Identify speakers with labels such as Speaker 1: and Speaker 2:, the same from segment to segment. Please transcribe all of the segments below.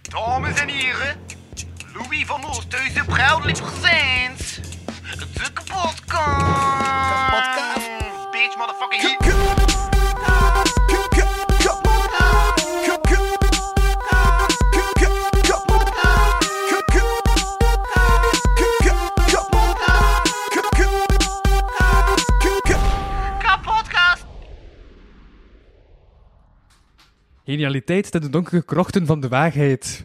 Speaker 1: Dames en heren, Louis van Oosthuizen, proudly presents de kapotkast.
Speaker 2: Kapotkast.
Speaker 1: Bitch, motherfucking hit. Kapotkast.
Speaker 3: Genialiteit ten de donkere krochten van de waagheid.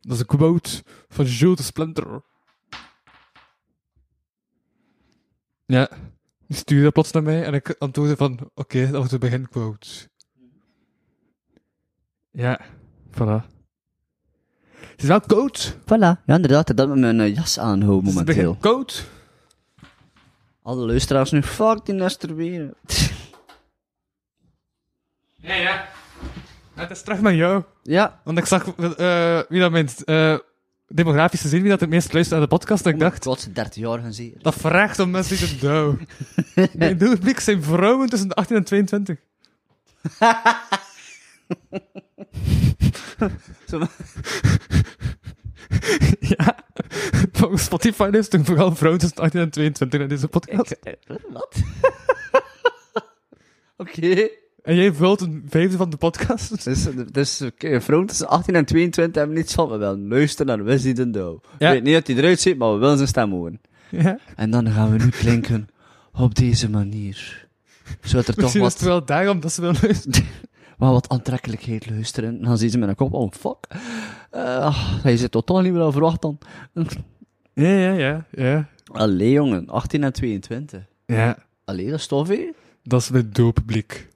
Speaker 3: Dat is een quote van Jules de Splinter. Ja, die stuurde dat plots naar mij en ik antwoordde van, oké, dat was de beginquote. Ja, voilà. Het is wel koud.
Speaker 2: Voilà, ja inderdaad, dat met mijn eh, jas aanhouden
Speaker 3: Het is het
Speaker 2: momenteel.
Speaker 3: begin koud.
Speaker 2: Alle luisteraars nu, fuck die nester weer.
Speaker 3: Ja, ja. Het is terug naar jou.
Speaker 2: ja,
Speaker 3: Want ik zag eh, wie dat mijn eh, demografisch gezien, wie dat het meest luistert naar de podcast. En ik dacht,
Speaker 2: Tot ze 30 jaar gaan zien.
Speaker 3: Dat vraagt om mensen die te douw. Mijn doelpubliek zijn vrouwen tussen de 18 en 22.
Speaker 2: Zo-
Speaker 3: Ja, volgens Spotify luisteren vooral vrouwen tussen de 18 en 22 naar deze podcast.
Speaker 2: Wat? Oké.
Speaker 3: En jij vult een vijfde van de podcast.
Speaker 2: Dus, dus oké, vrouwen tussen 18 en 22 hebben niets van. We willen luisteren naar Wesley den Douw.
Speaker 3: Ja.
Speaker 2: Ik weet niet dat hij eruit ziet, maar we willen zijn stem horen.
Speaker 3: Ja.
Speaker 2: En dan gaan we nu klinken op deze manier. Zodat er toch
Speaker 3: Misschien is
Speaker 2: wat,
Speaker 3: het wel daarom dat ze willen luisteren.
Speaker 2: wel wat aantrekkelijkheid luisteren. En dan zien ze met een kop, oh fuck. Eh hij zit totaal niet meer aan verwacht dan.
Speaker 3: Ja, ja, ja. Ja,
Speaker 2: Allee jongen, 18 en 22.
Speaker 3: ja.
Speaker 2: Allee, dat is tof hè?
Speaker 3: dat is mijn doelpubliek.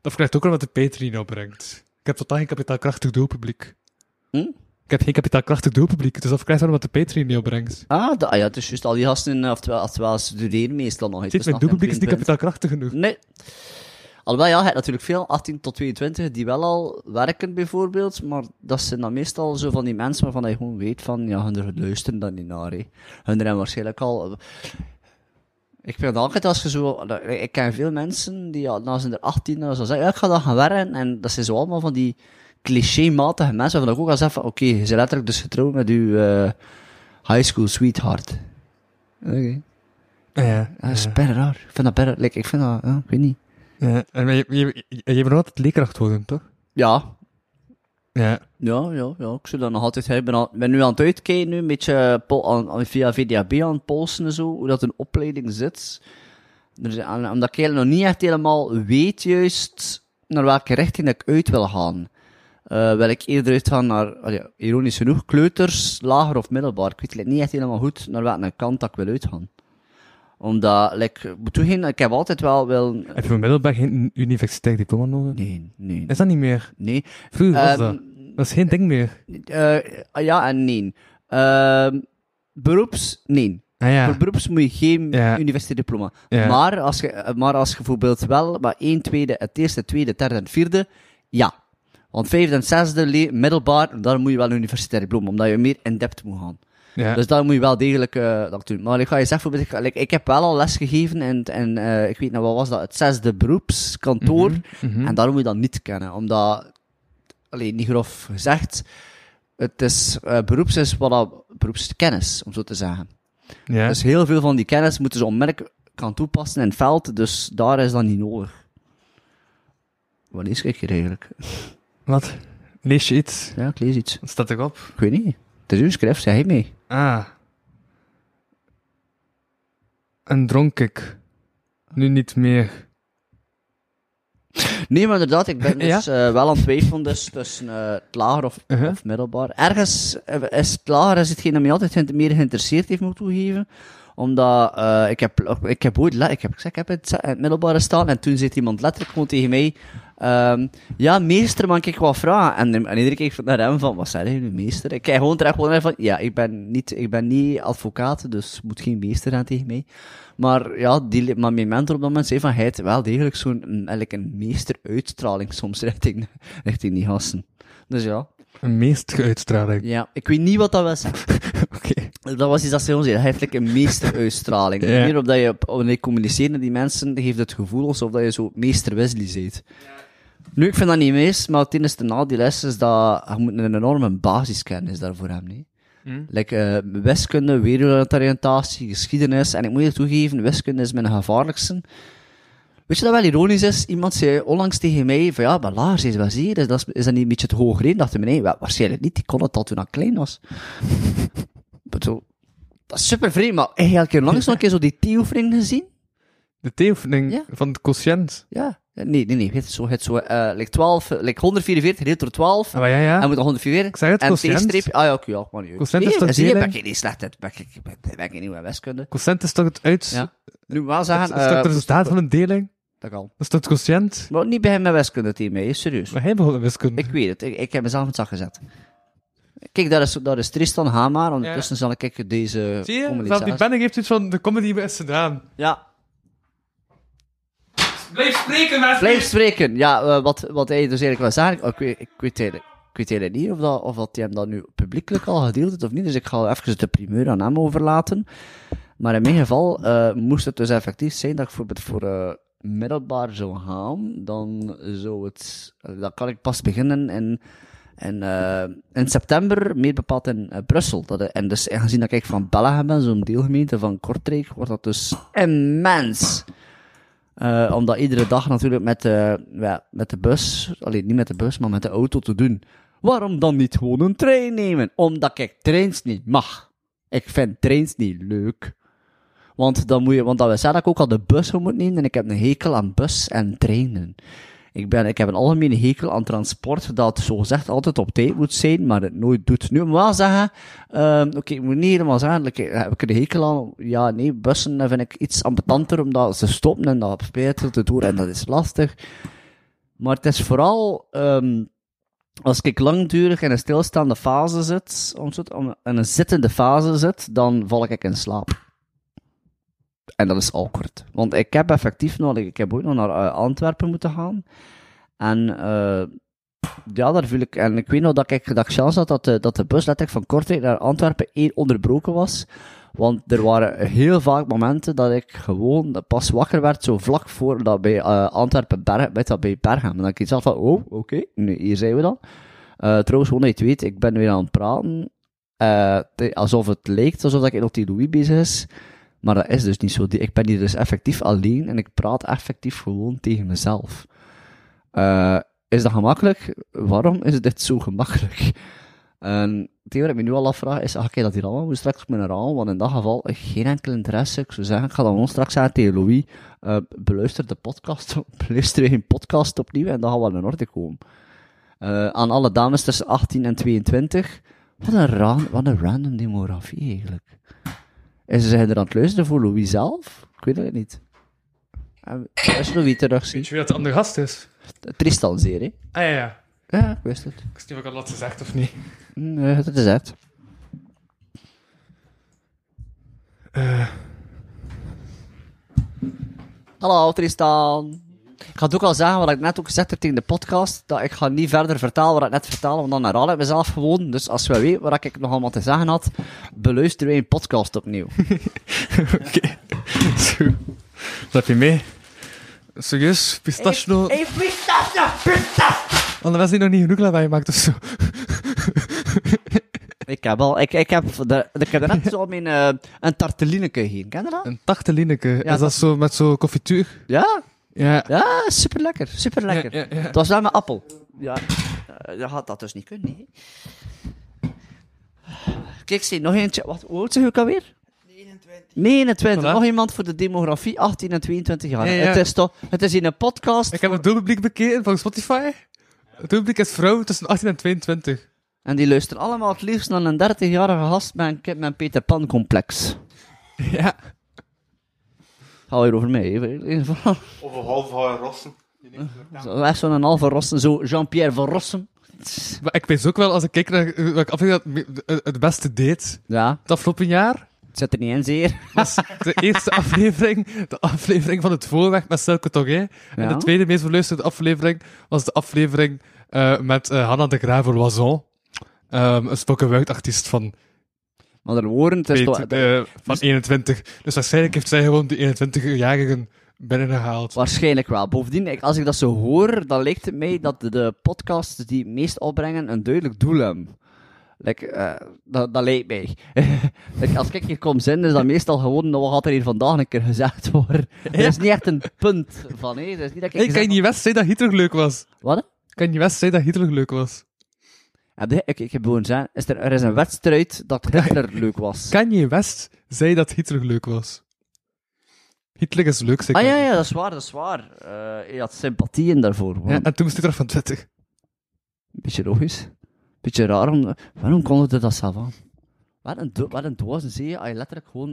Speaker 3: Dat verklaart ook wel wat de Patreon opbrengt. Ik heb totaal geen kapitaalkrachtig doelpubliek.
Speaker 2: Hm?
Speaker 3: Ik heb geen kapitaalkrachtig doelpubliek, dus dat verklaart wel wat de Patreon opbrengt.
Speaker 2: Ah, da- ah ja, het is juist al die gasten, eh, oftewel, oftewel studeren meestal nog. hè.
Speaker 3: Zit,
Speaker 2: Tussen
Speaker 3: mijn doelpubliek is niet
Speaker 2: 18 en 22.
Speaker 3: kapitaalkrachtig genoeg.
Speaker 2: Nee. Alhoewel, ja, je hebt natuurlijk veel 18 tot 22 die wel al werken, bijvoorbeeld. Maar dat zijn dan meestal zo van die mensen waarvan je gewoon weet van, ja, hun er luisteren dan niet naar, hè. Hun er waarschijnlijk al... eh, Ik vind het altijd als je zo... Ik ken veel mensen die, ja, na zijn er 18 en zo zeggen, ja, ik ga dan gaan werken. En dat zijn zo allemaal van die clichématige mensen waarvan ik ook al zeg van, oké, je bent letterlijk dus getrouwd met uw eh, high school sweetheart. Oké.
Speaker 3: Ah Ja,
Speaker 2: Dat is bijna raar. Ik vind dat bijna... Like, ik vind dat... Ja, ik weet niet.
Speaker 3: ja. En maar je, je, je, je moet altijd leerkracht worden, toch?
Speaker 2: Ja,
Speaker 3: Ja.
Speaker 2: Ja, ja, ja. Ik zou dat nog altijd hebben. Ik ben, al- ben nu aan het uitkijken, nu, een beetje eh, pol- aan, aan- via VDAB aan het polsen en zo, hoe dat een opleiding zit. Dus, eh, aan- omdat ik eigenlijk nog niet echt helemaal weet juist naar welke richting ik uit wil gaan. Eh wil ik eerder uitgaan naar, allee, ironisch genoeg, kleuters, lager of middelbaar. Ik weet eigenlijk niet echt helemaal goed naar welke kant dat ik wil uitgaan. Omdat, like, ik moet toegeven, ik heb altijd wel wil...
Speaker 3: Heb je van middelbaar geen universitair diploma nodig?
Speaker 2: Nee, nee,
Speaker 3: Is dat niet meer?
Speaker 2: nee.
Speaker 3: Vroeger was
Speaker 2: Ehm,
Speaker 3: dat. Dat is geen ding meer.
Speaker 2: Eh, ja en nee. Ehm, beroeps, nee.
Speaker 3: Ah ja.
Speaker 2: Voor beroeps moet je geen
Speaker 3: Ja.
Speaker 2: universiteitsdiploma.
Speaker 3: Ja.
Speaker 2: Maar, als je, maar als je bijvoorbeeld wel maar één, tweede, het eerste, tweede, derde en vierde, ja. Want vijfde en zesde, le- middelbaar, daar moet je wel een universitair diploma, omdat je meer in depth moet gaan.
Speaker 3: Ja.
Speaker 2: Dus daar moet je wel degelijk eh, dat doen. Maar ik ga je zeggen, bijvoorbeeld, ik, like, ik heb wel al les gegeven en, en eh, ik weet nou, wat was dat, het zesde beroepskantoor.
Speaker 3: Mhm. Hm?
Speaker 2: En daar moet je dat niet kennen, omdat, alleen niet grof gezegd, het is, eh, beroeps is wat dat- beroepskennis, om zo te zeggen.
Speaker 3: ja.
Speaker 2: Dus heel veel van die kennis moeten ze onmerk kan toepassen in het veld, dus daar is dat niet nodig. Wanneer schrik je eigenlijk?
Speaker 3: Wat? Lees je iets?
Speaker 2: Ja, ik lees iets.
Speaker 3: Wat staat erop?
Speaker 2: Ik weet niet. Het is uw schrift, zeg mee.
Speaker 3: Ah. En dronk ik. Nu niet meer.
Speaker 2: Nee, maar inderdaad, ik ben
Speaker 3: Ja?
Speaker 2: dus eh, wel aan het twijfelen dus, tussen eh, het lager of,
Speaker 3: Uh-huh.
Speaker 2: of middelbaar. Ergens eh, is het lager is hetgeen dat mij altijd ge- meer geïnteresseerd heeft, moet ik toegeven. Omdat eh, ik, heb, ik heb ooit le- ik heb, gezegd, ik heb het, het middelbare staan en toen zit iemand letterlijk gewoon tegen mij... ehm, ja, meester, mag ik wat vragen? En, en iedere keer keek ik naar hem van, wat zeg je nu, meester? Ik kijk gewoon terecht gewoon naar hem van, ja, ik ben niet, ik ben niet advocaat, dus moet geen meester zijn tegen mij. Maar ja, die, maar mijn mentor op dat moment zei van, hij heeft wel degelijk zo'n mm, eigenlijk een meesteruitstraling soms richting, richting die gasten. Dus ja.
Speaker 3: Een meestige uitstraling.
Speaker 2: Ja, ik weet niet wat dat was.
Speaker 3: Oké.
Speaker 2: Dat was iets dat ze ons zei. Hij heeft like, een meesteruitstraling.
Speaker 3: Ja.
Speaker 2: De manier op dat je, op- wanneer je communiceert met die mensen, geeft het gevoel alsof dat je zo meester Wesley bent. Nu, ik vind dat niet mis, maar het enige nadeel is, is dat je moet een enorme basiskennis daarvoor hebben. hè. Like, eh, wiskunde, wereldoriëntatie, geschiedenis. En ik moet je toegeven, wiskunde is mijn gevaarlijkste. Weet je dat wel ironisch is? Iemand zei onlangs tegen mij van ja, maar Lars is wel zeer, is dat, is dat niet een beetje te hoog gereden? Dacht ik, nee, wa- waarschijnlijk niet, die kon het al toen ik klein was. Ik bedoel, dat is super vreemd, maar heb je elke keer langs nog een keer zo die theoefening gezien?
Speaker 3: De theeoefening
Speaker 2: Ja.
Speaker 3: van het quotient.
Speaker 2: Ja. Ja, Nee, nee, nee, het is zo, het is zo, eh like 12, eh, like 144 gedeeld door 12.
Speaker 3: Ah, maar ja, ja.
Speaker 2: Hij moet nog 144.
Speaker 3: Ik zeg het,
Speaker 2: en
Speaker 3: quotient.
Speaker 2: T-streepje- Ah ja, oké, ja, maar niet uit.
Speaker 3: Quotient is
Speaker 2: Nee,
Speaker 3: toch
Speaker 2: zie je,
Speaker 3: delen?
Speaker 2: ben ik niet slecht, uit, ben ik, ben, ben ik niet goed in wiskunde.
Speaker 3: Quotient is toch het uit...
Speaker 2: Ja. Nu moet ik wel
Speaker 3: Het,
Speaker 2: zeggen,
Speaker 3: is toch het
Speaker 2: eh,
Speaker 3: resultaat van een deling?
Speaker 2: dat kan.
Speaker 3: Dat is toch het quotient?
Speaker 2: Maar niet bij hem met wiskunde team mee, serieus.
Speaker 3: Maar hij begon met wiskunde.
Speaker 2: Ik weet het, ik, ik heb mezelf in het zak gezet. Kijk, daar is, daar is Tristan Hama, ondertussen zal ik deze
Speaker 3: Zie je?
Speaker 2: comedy
Speaker 3: Zelfs die
Speaker 2: zelf-
Speaker 3: Benning heeft iets van de comedy is gedaan.
Speaker 2: Ja,
Speaker 4: Blijf spreken, mensen!
Speaker 2: blijf spreken. Ja, eh, wat, wat hij dus eigenlijk wil zeggen, oh, ik, weet, ik, weet eigenlijk, ik weet eigenlijk niet of, dat, of dat hij hem dat nu publiekelijk al gedeeld heeft of niet, dus ik ga even de primeur aan hem overlaten. Maar in mijn geval eh, moest het dus effectief zijn dat ik bijvoorbeeld voor eh, middelbaar zou gaan, dan zou het, dan kan ik pas beginnen in, in, eh, in september, meer bepaald in eh, Brussel. Dat, eh, en dus aangezien dat ik van Bellegem ben, zo'n deelgemeente van Kortrijk, wordt dat dus immens. Eh, om dat iedere dag natuurlijk met de, ja, met de bus, alleen niet met de bus, maar met de auto te doen. Waarom dan niet gewoon een trein nemen? Omdat ik trains niet mag. Ik vind trains niet leuk. Want dan moet je, want dat we zeiden dat ik ook al de bus zou moeten nemen en ik heb een hekel aan bus en treinen. Ik, ben, ik heb een algemene hekel aan transport dat zogezegd altijd op tijd moet zijn, maar het nooit doet. Nu moet ik wel zeggen, ehm, oké, ik moet niet helemaal zeggen, like, eh, heb ik een hekel aan? Ja, nee, bussen eh, vind ik iets ambetanter omdat ze stoppen en dat spijt te doen en dat is lastig. Maar het is vooral, ehm, als ik langdurig in een stilstaande fase zit, om zo te- om- in een zittende fase zit, dan val ik in slaap. En dat is awkward. Want ik heb effectief nog, ik heb ook nog naar eh, Antwerpen moeten gaan. En eh, ja, daar viel ik. En ik weet nog dat ik, dat ik chance had dat de, dat de bus letterlijk van Kortrijk naar Antwerpen één onderbroken was. Want er waren heel vaak momenten dat ik gewoon pas wakker werd, zo vlak voor dat bij eh, Antwerpen Berg, weet dat, bij Berghem. En dat ik iets had van, oh, oké, nu, hier zijn we dan. Eh, trouwens, gewoon dat je het weet, ik ben weer aan het praten. Eh, te- alsof het leek alsof ik nog die Louis bezig is. Maar dat is dus niet zo. Die- Ik ben hier dus effectief alleen en ik praat effectief gewoon tegen mezelf. Eh, is dat gemakkelijk? Waarom is dit zo gemakkelijk? En het enige wat ik me nu al afvraag is, ga ik dat hier allemaal moet straks moeten herhalen? Want in dat geval, eh, geen enkel interesse. Ik zou zeggen, ik ga dan gewoon straks zeggen tegen Louis, eh, beluister de podcast, beluister je een podcast opnieuw en dat gaat wel in orde komen. Eh, aan alle dames tussen 18 en 22. Wat een, ra- wat een random demografie eigenlijk. En ze zijn er aan het luisteren voor Louis zelf? Ik weet het niet. En Als Louis terugziet.
Speaker 3: Weet je wie dat de andere gast is?
Speaker 2: Tristan zeer, hè?
Speaker 3: Ah ja, ja.
Speaker 2: Ja, ik wist het.
Speaker 3: Ik wist niet of ik dat had gezegd of niet.
Speaker 2: Nee, dat is het. Eh. Hallo Tristan. Ik ga het ook al zeggen wat ik net ook gezegd heb tegen de podcast. Dat ik ga niet verder vertalen wat ik net vertelde, want dan herhaal ik mezelf gewoon. Dus als we weten wat ik nog allemaal te zeggen had, beluister wij een podcast opnieuw.
Speaker 3: Oké. Zo. Wat heb je mee? Serieus? Pistachio? Hey, pistachio! Pistachio! Anders was die nog niet genoeg lawaai gemaakt of zo.
Speaker 2: ik heb al, ik, ik heb, de, ik heb er net zo mijn, eh, een tartelineke heen. Ken je dat?
Speaker 3: Een tachtelineke. is dat
Speaker 2: dat-
Speaker 3: zo met zo'n confituur?
Speaker 2: Ja?
Speaker 3: Ja.
Speaker 2: Ja, super lekker, super lekker.
Speaker 3: Ja, ja, ja.
Speaker 2: Het was wel mijn appel. Ja, eh, dat had dat dus niet kunnen. Nee. Kijk, zie, nog eentje. Wat, hoe oud zijn jullie alweer? 29. 29.
Speaker 3: Voilà.
Speaker 2: Nog iemand voor de demografie, 18 en 22 jaar.
Speaker 3: Ja, ja.
Speaker 2: Het is toch, het is in een podcast.
Speaker 3: Ik heb het doelpubliek bekeken van Spotify. Het doelpubliek is vrouwen tussen 18 en 22.
Speaker 2: En die luisteren allemaal het liefst naar een 30-jarige gast met een kip met een Peter Pan complex.
Speaker 3: Ja.
Speaker 2: Hou hier over mee. hè. In ieder geval.
Speaker 5: Of een half haar rossen. Die neemt er ook aan.
Speaker 2: Zo, Echt zo'n halve Rossen, zo Jean-Pierre van Rossum.
Speaker 3: Maar ik weet ook wel, als ik kijk naar eh, welke aflevering dat me- eh, het beste deed
Speaker 2: Ja,
Speaker 3: het afgelopen jaar,
Speaker 2: het zit er niet in zeer.
Speaker 3: was de eerste aflevering de aflevering van het voorweg met Silke Togé. En
Speaker 2: Ja.
Speaker 3: de tweede meest beluisterde aflevering was de aflevering eh, met eh Hanna de Graver Loison. Ehm, een spoken word artiest van,
Speaker 2: Maar er woorden, het is
Speaker 3: weet,
Speaker 2: toch...
Speaker 3: Dus eh, van 21. Dus waarschijnlijk heeft zij gewoon die 21-jarigen binnengehaald.
Speaker 2: Waarschijnlijk wel. Bovendien, ik- als ik dat zo hoor, dan lijkt het mij dat de, de podcasts die het meest opbrengen een duidelijk doel hebben. Like, eh, dat, dat lijkt mij. Like, als ik hier kom zin, is dat meestal gewoon, nou, wat gaat er hier vandaag een keer gezegd worden? Er is niet echt een punt van, hé. Er is niet dat ik
Speaker 3: Hey,
Speaker 2: gezegd-
Speaker 3: kan je West zei dat Hitler leuk was?
Speaker 2: Wat?
Speaker 3: Kan je West zei dat Hitler leuk was?
Speaker 2: Heb je- ik, ik heb gewoon zeggen, is er, er is een wedstrijd dat Hitler leuk was.
Speaker 3: Kan je West zei dat Hitler leuk was? Hitler is leuk, zeker.
Speaker 2: Ah ja, ja, dat is waar, dat is waar. Eh je had sympathieën daarvoor. man.
Speaker 3: Ja, en toen moest hij er van 20.
Speaker 2: Beetje logisch. Beetje raar, om, waarom kon het er dat zelf aan? Wat een, do- wat een doos, zie je, als je letterlijk gewoon...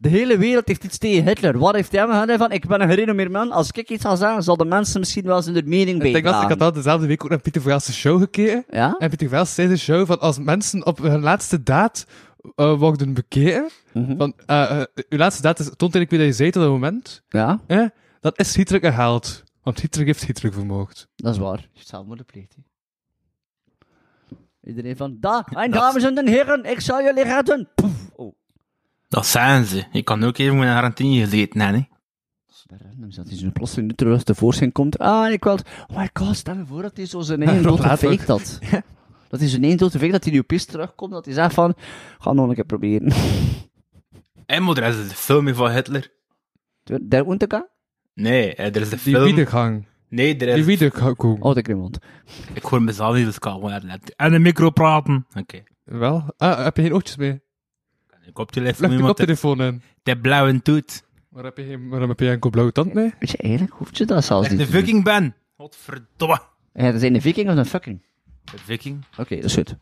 Speaker 2: De hele wereld heeft iets tegen Hitler. Wat heeft hij gedaan van, ik ben een gerenommeerd man, als ik iets ga zeggen, zal de mensen misschien wel eens hun mening
Speaker 3: Ik denk dat ik
Speaker 2: bijdragen.
Speaker 3: had al dezelfde week ook naar Pieter Verhaalse show gekeken.
Speaker 2: Ja?
Speaker 3: En Pieter Verhaals zei in de show van als mensen op hun laatste daad eh, worden bekeken,
Speaker 2: Mhm.
Speaker 3: van eh, eh, uw laatste daad is, toont eigenlijk wie dat je zei tot dat moment,
Speaker 2: Ja,
Speaker 3: eh, dat is Hitler gehaald. Want Hitler heeft Hitler vermoord.
Speaker 2: dat is waar. Je hebt zelfmoord gepleegd, hè. Iedereen van, da, mijn dames en heren, ik zal jullie redden. Poef. Oh,
Speaker 4: Dat zijn ze. Je kan ook even met een garantine gezeten hebben. Hè.
Speaker 2: Bij randoms, dat hij zo plotseling nu terug tevoorschijn komt. Ah, ik wil... Oh my god, stel je voor dat hij zo zijn eigen
Speaker 3: Rob
Speaker 2: dood
Speaker 3: laat
Speaker 2: fake
Speaker 3: ook.
Speaker 2: dat. Dat hij zijn eigen dood fake dat hij nu op piste terugkomt, dat hij zegt van... Ga nog een keer proberen.
Speaker 4: En maar er is dus de film van Hitler.
Speaker 2: Der Untergang?
Speaker 4: Nee, eh, er is de
Speaker 3: Die
Speaker 4: film.
Speaker 3: wiedergang.
Speaker 4: Nee, er
Speaker 3: Die
Speaker 4: is...
Speaker 3: wiedergang.
Speaker 2: Oh, de Grimond.
Speaker 4: Ik hoor mezelf dus even kabel En de micro praten. Oké.
Speaker 3: Wel? Ah, heb je geen oortjes mee?
Speaker 4: Ik op je
Speaker 3: Leg
Speaker 4: van
Speaker 3: de
Speaker 4: iemand de,
Speaker 3: koptelefoon in.
Speaker 4: de blauwe toet.
Speaker 3: Waarom heb je, geen, waarom heb je enkel blauwe tand mee?
Speaker 2: Weet je, eigenlijk hoeft je dat zelfs
Speaker 4: Leg
Speaker 2: niet
Speaker 4: de
Speaker 2: te doen.
Speaker 4: viking ben. Godverdomme.
Speaker 2: Ja, dat zijn een viking of een fucking?
Speaker 4: De viking.
Speaker 2: Oké, dat is goed.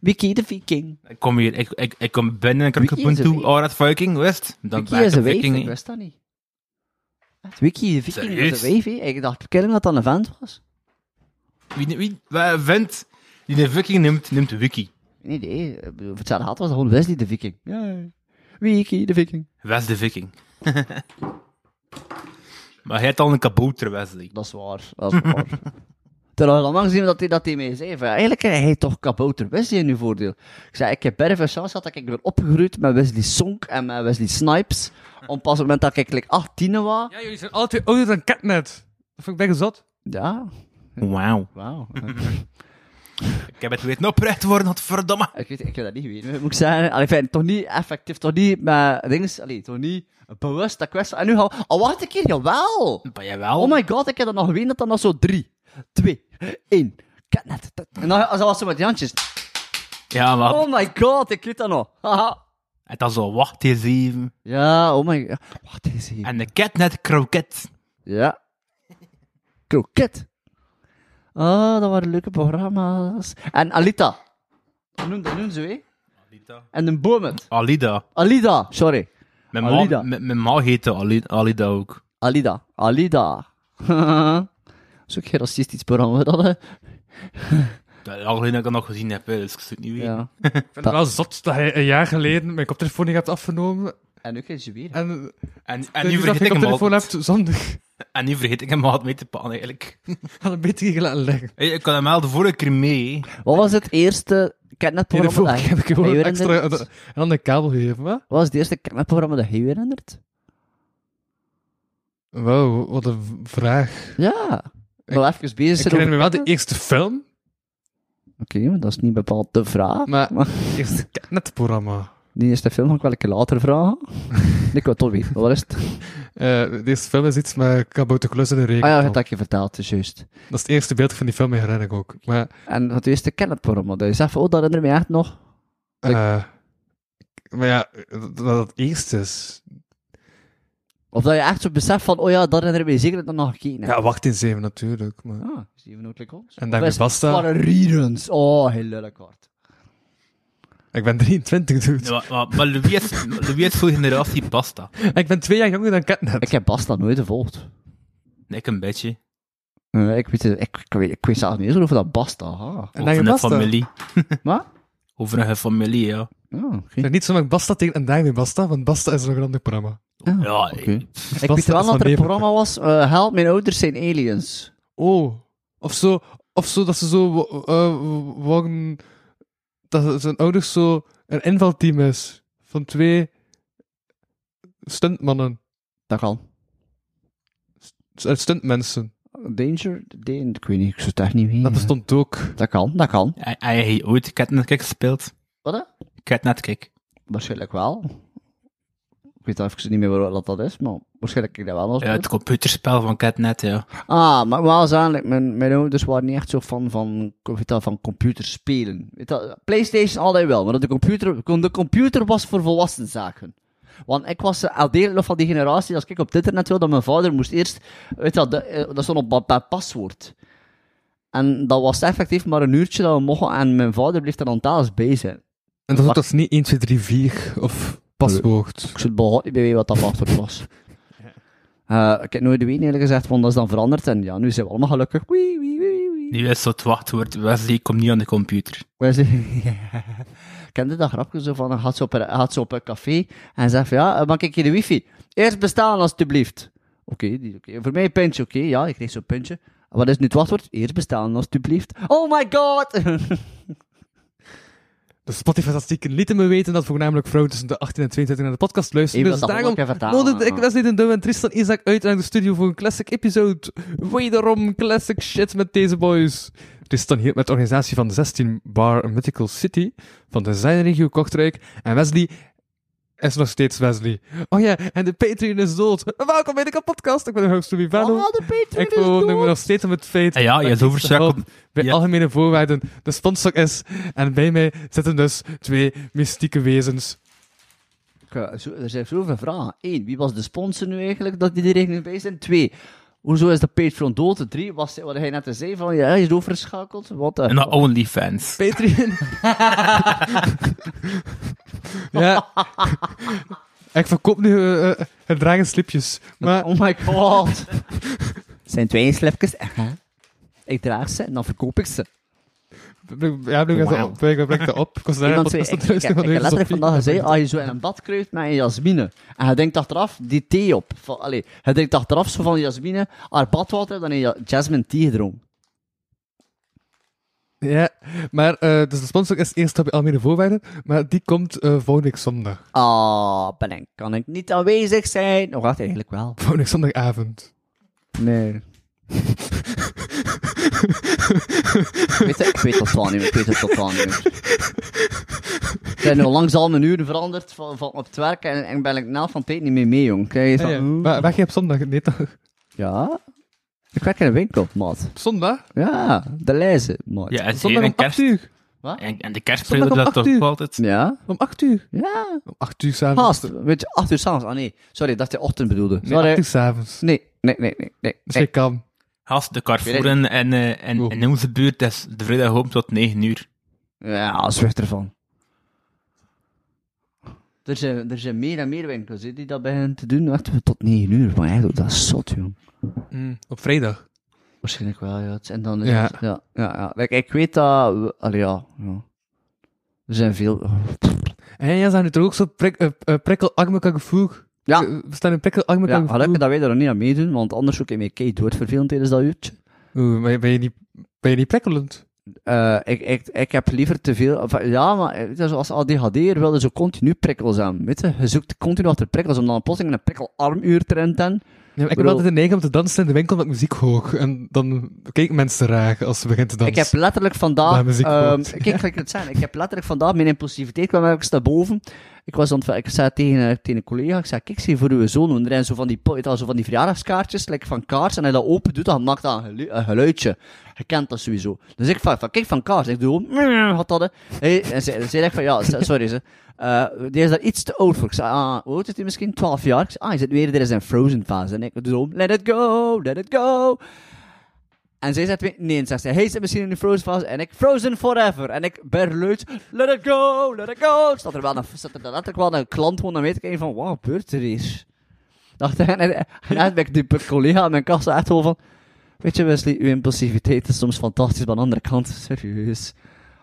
Speaker 2: Wiki de viking.
Speaker 4: Ik kom hier, ik, ik, ik kom binnen en
Speaker 2: Wie
Speaker 4: ik
Speaker 2: is
Speaker 4: krijg een
Speaker 2: de
Speaker 4: toe.
Speaker 2: viking?
Speaker 4: Oh, dat viking, wist? Dan
Speaker 2: Wiki
Speaker 4: ben ik
Speaker 2: is
Speaker 4: de
Speaker 2: een wijf,
Speaker 4: viking,
Speaker 2: ik
Speaker 4: hè.
Speaker 2: wist dat niet. Het Wiki de viking is
Speaker 4: Serieus?
Speaker 2: een wijf, hè. Ik dacht, killing dat dat een vent was.
Speaker 4: Wie, wie, wie vindt die een viking neemt, neemt de wiki.
Speaker 2: Geen idee. Ik bedoel, Voor hetzelfde geld was dat gewoon Wesley de viking. Ja, Wiki de viking.
Speaker 4: West de viking. maar hij had al een kabouter, Wesley.
Speaker 2: Dat is waar, dat is waar. Terwijl al lang zien dat hij dat hij mij zei. Van, eigenlijk heb hij toch kabouter Wesley in uw voordeel. Ik zei, ik heb berven chance gehad dat ik ben opgegroeid met Wesley Sonk en met Wesley Snipes. Om pas op het moment dat ik like, 18 was.
Speaker 3: Ja, jullie zijn altijd ouder dan Catnet. Dat vind ik bijna zot.
Speaker 2: Ja,
Speaker 4: Wauw.
Speaker 2: wauw.
Speaker 4: Ik heb het weten oprecht worden, godverdomme.
Speaker 2: ik, weet, ik heb dat niet weten, moet ik zeggen. Allee, fijn, toch niet effectief, toch niet met dingen. Allee, toch niet bewust dat kwestie. En nu gaan we... Oh, wacht een keer, jawel!
Speaker 4: Maar jawel.
Speaker 2: Oh my god, ik heb dat nog geweten dat dat nog zo 3, 2, 1. Catnet. tut. En dan als dat was zo met die handjes.
Speaker 4: Ja, maar
Speaker 2: Oh my god, ik weet dat nog. Haha.
Speaker 4: het was al wacht hier zeven.
Speaker 2: Ja, oh my god. Wat is hier?
Speaker 4: En de catnet kroket.
Speaker 2: Ja. Kroket. Oh, dat waren leuke programma's. En Alita. Noem, dat noem ze, hè?
Speaker 4: Alida.
Speaker 2: En een Bomet.
Speaker 4: Alida.
Speaker 2: Alida, sorry.
Speaker 4: Mijn
Speaker 2: Alida.
Speaker 4: ma, mijn, mijn ma heette Ali- Alida ook.
Speaker 2: Alida. Alida. dat is ook geen racistisch programma, dat, hè?
Speaker 4: Dat is al geleden dat ik dat nog gezien heb, hè, dus ik zou het niet weten.
Speaker 2: Ja.
Speaker 3: Ik vind het wel zot dat hij een jaar geleden mijn koptelefoon niet hebt afgenomen.
Speaker 2: En ook geen juwelen.
Speaker 3: En,
Speaker 4: En,
Speaker 3: en
Speaker 4: en, nu
Speaker 3: dat je
Speaker 4: vergeet ik hem
Speaker 3: koptelefoon
Speaker 4: altijd.
Speaker 3: hebt zonder.
Speaker 4: en nu vergeet ik hem altijd mee te pannen, eigenlijk.
Speaker 3: Had een beetje hier laten liggen.
Speaker 4: Hey, ik kan hem wel de vorige keer mee. hè.
Speaker 2: Wat was het eerste
Speaker 3: Hier de
Speaker 2: catnet-programma
Speaker 3: vorige
Speaker 2: dat
Speaker 3: keer heb ik
Speaker 2: Hey,
Speaker 3: gewoon
Speaker 2: je
Speaker 3: een
Speaker 2: herinnert
Speaker 3: extra
Speaker 2: het?
Speaker 3: een een andere kabel gegeven. Wat?
Speaker 2: Wat was het eerste catnet-programma dat je je herinnert?
Speaker 3: Wow, wat een v- vraag.
Speaker 2: Ja. Wel even bezig
Speaker 3: Ik
Speaker 2: zijn over
Speaker 3: herinner me wel de
Speaker 2: catnet.
Speaker 3: eerste film,
Speaker 2: Oké, maar dat is niet bepaald de vraag.
Speaker 3: maar
Speaker 2: Maar-
Speaker 3: het eerste catnet-programma.
Speaker 2: Die eerste film ga ik wel een keer later vragen. ik wil het toch weten, wat is het?
Speaker 3: Eh, de eerste film is iets met kabouterklus en een
Speaker 2: Ah ja,
Speaker 3: regenton.
Speaker 2: dat heb je verteld, dat is juist.
Speaker 3: dat is het eerste beeld van die film, me herinner ik ook. Maar
Speaker 2: En het eerste kennetprogramma, dat je zegt van, oh, dat herinner ik me echt nog.
Speaker 3: Eh, maar ja, dat dat het eerst is.
Speaker 2: Of dat je echt zo beseft van, oh ja, dat herinner ik me zeker dat ik nog gekeken heb.
Speaker 3: Ja, wacht in zeven natuurlijk. Maar...
Speaker 2: Ah, is die van Oudelijk Holmes?
Speaker 3: En
Speaker 2: Of
Speaker 3: daarmee
Speaker 2: is-
Speaker 3: basta.
Speaker 2: Wat een reruns. Oh, heel lelijk hard.
Speaker 3: Ik ben dus 23, dude.
Speaker 4: Ja, maar, maar, maar Louis is- Louis is voor generatie pasta.
Speaker 3: En ik ben twee jaar jonger dan Catnet.
Speaker 2: Ik heb Basta nooit gevolgd.
Speaker 4: Nee, ik een beetje.
Speaker 2: Eh, ik, weet, het- ik, ik, weet, ik weet zelf niet eens over dat Basta. Ah.
Speaker 3: En dan
Speaker 4: Over
Speaker 3: je
Speaker 4: een
Speaker 3: basta.
Speaker 4: familie.
Speaker 2: Wat?
Speaker 4: Over een familie, ja.
Speaker 2: Ja,
Speaker 3: Ik
Speaker 2: oké.
Speaker 3: zeg niet zomaar Basta tegen en daarmee Basta, want Basta is nog een ander programma.
Speaker 2: Ah,
Speaker 4: Ja,
Speaker 2: oké.
Speaker 4: ik-
Speaker 2: Ik
Speaker 3: Basta
Speaker 2: weet wel
Speaker 3: is
Speaker 2: dat
Speaker 3: van
Speaker 2: er een
Speaker 3: Leeuwen.
Speaker 2: programma was, eh, Help, mijn ouders zijn aliens.
Speaker 3: Oh. Of zo, of zo dat ze zo eh worden... Dat zijn ouders zo een invalteam is. Van twee stuntmannen.
Speaker 2: Dat kan.
Speaker 3: uit stuntmensen.
Speaker 2: Danger? Dan- ik weet niet, ik zou het echt niet weten.
Speaker 3: Dat bestond ook.
Speaker 2: Dat kan, dat kan.
Speaker 4: Hij hij heeft ooit Catnetkick gespeeld.
Speaker 2: Wat? hè?
Speaker 4: Catnetkick.
Speaker 2: Waarschijnlijk wel. Ik weet even niet meer waarom dat, dat is, maar waarschijnlijk heb ik dat wel. als
Speaker 4: Ja, het
Speaker 2: beeld.
Speaker 4: computerspel van Catnet, ja.
Speaker 2: Ah, maar wel zalig. Mijn, mijn ouders waren niet echt zo fan van, weet dat, van computerspelen. Weet dat, Playstation altijd wel, maar de computer, de computer was voor volwassen zaken. Want ik was eh, al deel nog van die generatie, als ik op het internet wilde, dat mijn vader moest eerst, weet dat, de- eh, dat stond op papier paswoord. En dat was effectief maar een uurtje dat we mochten, en mijn vader bleef er aan thuis bij zijn.
Speaker 3: En dat was ook dat is niet 1, 2, 3, 4 of paswoord.
Speaker 2: Ik zou het behoud niet bij wat dat paswoord was. Eh, ik heb nooit weten eerlijk gezegd, want dat is dan veranderd en ja, nu zijn we allemaal gelukkig. Wee, wee, wee, wee.
Speaker 4: Nu is zo het wachtwoord, Wesley, kom niet aan de computer.
Speaker 2: Kende dat grapje zo van, hij gaat ze op, een- hij gaat ze op een café en zegt van, ja, eh, mag ik je de wifi? Eerst bestaan alstublieft. Oké, die- oké. voor mij een puntje, oké, ja, ik kreeg zo'n puntje. Wat is nu het wachtwoord? Eerst bestaan alstublieft. Oh my god!
Speaker 3: De Spotify-statistieken lieten me weten dat voornamelijk vrouwen tussen de 18 en 22 naar de podcast luisteren.
Speaker 2: Ik
Speaker 3: Dus
Speaker 2: wil dat
Speaker 3: daarom
Speaker 2: ook even vertalen,
Speaker 3: nodigde ik
Speaker 2: ja.
Speaker 3: Wesley Den Douw en Tristan Isaac uit naar de studio voor een classic episode. Wederom classic shit met deze boys. Tristan hielp met de organisatie van 16 Bar Mythical City van de designregio Kortrijk. En Wesley is nog steeds Wesley. Oh ja, en de Patreon is dood. Welkom bij de podcast. Ik ben de host Louis Vano.
Speaker 2: Oh, de Patreon
Speaker 3: ik
Speaker 2: is dood.
Speaker 3: me nog steeds om het feit
Speaker 4: En ja,
Speaker 3: dat
Speaker 4: je
Speaker 3: ik
Speaker 4: is overschakeld.
Speaker 3: de helft bij
Speaker 4: Ja.
Speaker 3: algemene voorwaarden de sponsor is. En bij mij zitten dus twee mystieke wezens.
Speaker 2: Ik, eh, zo- Er zijn zoveel vragen. Eén, wie was de sponsor nu eigenlijk dat die de rekening bij zijn? Twee, hoezo is de Patreon dood? Drie, was, wat hij net zei van, ja, hij is overschakeld. Wat eh?
Speaker 4: En dat OnlyFans.
Speaker 3: Patreon. ja. Ik verkoop nu eh, eh, gedragen slipjes. Maar
Speaker 2: Oh my god. zijn twee slipjes. Ik draag ze en dan verkoop ik ze.
Speaker 3: ja, breng dat
Speaker 2: Wauw.
Speaker 3: op. Breng breng dat op. Ik was daar
Speaker 2: Iemand
Speaker 3: een
Speaker 2: zei, ik,
Speaker 3: podcast aan
Speaker 2: ik,
Speaker 3: het
Speaker 2: ik, ik
Speaker 3: luisteren
Speaker 2: heb
Speaker 3: van deze
Speaker 2: letterlijk
Speaker 3: Sophie.
Speaker 2: vandaag gezegd, als je zo in een bad kruipt met een jasmine, en je denkt achteraf die thee op. Van, allee, je denkt achteraf zo van jasmine, haar badwater, dan heb je jasmine thee gedronken.
Speaker 3: Ja, maar eh, dus de sponsor is eerst bij algemene voorwaarden. Maar die komt eh, volgende week zondag.
Speaker 2: Ah, ben ik, kan ik niet aanwezig zijn? Nog wacht, eigenlijk wel.
Speaker 3: Volgende week zondagavond.
Speaker 2: Nee. weet je, ik weet het wel niet meer, ik weet het totaal niet meer. Ik ben al langs al mijn uren veranderd van, van op het werk en, en ben ik na van tijd niet meer mee, jong. Kijk,
Speaker 3: Ja,
Speaker 2: zo-
Speaker 3: Ah, ja. Maar weg je op zondag? Nee, toch?
Speaker 2: Ja? Ik werk in een winkel, maat.
Speaker 3: Op zondag?
Speaker 2: Ja, de lijzen, maat.
Speaker 4: Ja, en
Speaker 3: Zondag om
Speaker 4: zeker een
Speaker 3: 8
Speaker 4: kerst.
Speaker 3: uur.
Speaker 4: En, en de kerstperiode
Speaker 3: Zondag om
Speaker 4: dat
Speaker 3: acht
Speaker 4: toch
Speaker 3: uur.
Speaker 4: altijd.
Speaker 2: Ja?
Speaker 3: Om 8 uur.
Speaker 2: Ja.
Speaker 3: Om 8 uur s'avonds.
Speaker 2: Haast, weet je, acht uur s'avonds. Ah nee, sorry, dat je ochtend bedoelde.
Speaker 3: Nee, 8
Speaker 2: Sorry.
Speaker 3: uur s'avonds.
Speaker 2: Nee, nee, nee, nee, nee.
Speaker 3: Dus
Speaker 2: nee.
Speaker 3: je kan.
Speaker 4: Haast de Carrefouren en, eh, en
Speaker 3: Wow.
Speaker 4: in onze buurt is de vrijdag open tot 9 uur.
Speaker 2: Ja, zwicht ervan. Er zijn, er zijn meer en meer winkels hè, die dat beginnen te doen. Wachten we tot 9 uur, maar eigenlijk, dat is zot, jong.
Speaker 3: Mm, op vrijdag.
Speaker 2: Waarschijnlijk wel, ja. Het- En dan is
Speaker 3: Ja.
Speaker 2: het- ja, ja, ja. Like, ik weet dat... we- allee, ja, ja. Er zijn veel...
Speaker 3: En jij zijn nu toch ook zo prik, eh, eh, prikkelarme kakkevoer?
Speaker 2: Ja.
Speaker 3: Eh, We staan in prikkelarme
Speaker 2: Ja,
Speaker 3: kakkevoer.
Speaker 2: gelukkig dat wij er nog niet aan meedoen, want anders zoek ik mij kei doodvervelend tijdens dat uurtje.
Speaker 3: Oeh, ben je, ben je niet, ben je niet prikkelend?
Speaker 2: Eh, ik, ik, ik heb liever te veel. enfin, ja, maar eh, weet je, zoals ADHD'er wilde zo dus continu prikkels aan. Weet je, je zoekt continu achter prikkels om dan plotseling een prikkelarmuur te rennen.
Speaker 3: Ja, maar ik heb
Speaker 2: Bedoel-
Speaker 3: altijd de neiging om te dansen in de winkel met muziek hoog. En dan kijken mensen raar als ze begint te dansen.
Speaker 2: Ik heb letterlijk
Speaker 3: Waar
Speaker 2: vandaag.
Speaker 3: muziek
Speaker 2: ehm
Speaker 3: hoort.
Speaker 2: kijk, gelijk ik het zijn. Ik heb letterlijk vandaag mijn impulsiviteit kwam ergens naar boven. Ik was aan het- ik zei tegen, eh, tegen een collega, ik zei, kijk, zie voor uw zoon, want er zijn zo van die, po- weet je wel, zo van die verjaardagskaartjes, like van kaars, en hij dat open doet, dan maakt dat een, gelu- een geluidje. Je kent dat sowieso. Dus ik vraag van, kijk, van kaars, ik doe gewoon, "Mm," wat dat, hè. Hey, en ze, ze zegt van, ja, s- sorry, ze, eh, die is daar iets te oud voor. Ik zei, ah, hoe oud is hij misschien? 12 jaar? Ik zei, ah, hij zit weer, er is een frozen fase. En ik doe zo, let it go, let it go. En zij zegt weer, nee, en zegt zij, hij zit misschien in de Frozen fase. En ik, Frozen forever. En ik berluid, let it go, let it go. Staat er wel een, staat er letterlijk wel een klant gewoon, dan weet ik even van, wat gebeurt er hier? Dacht hij, en, en, en dan ben ik die collega aan mijn kast echt gewoon van, weet je Wesley, uw impulsiviteit is soms fantastisch, maar aan de andere kant, serieus.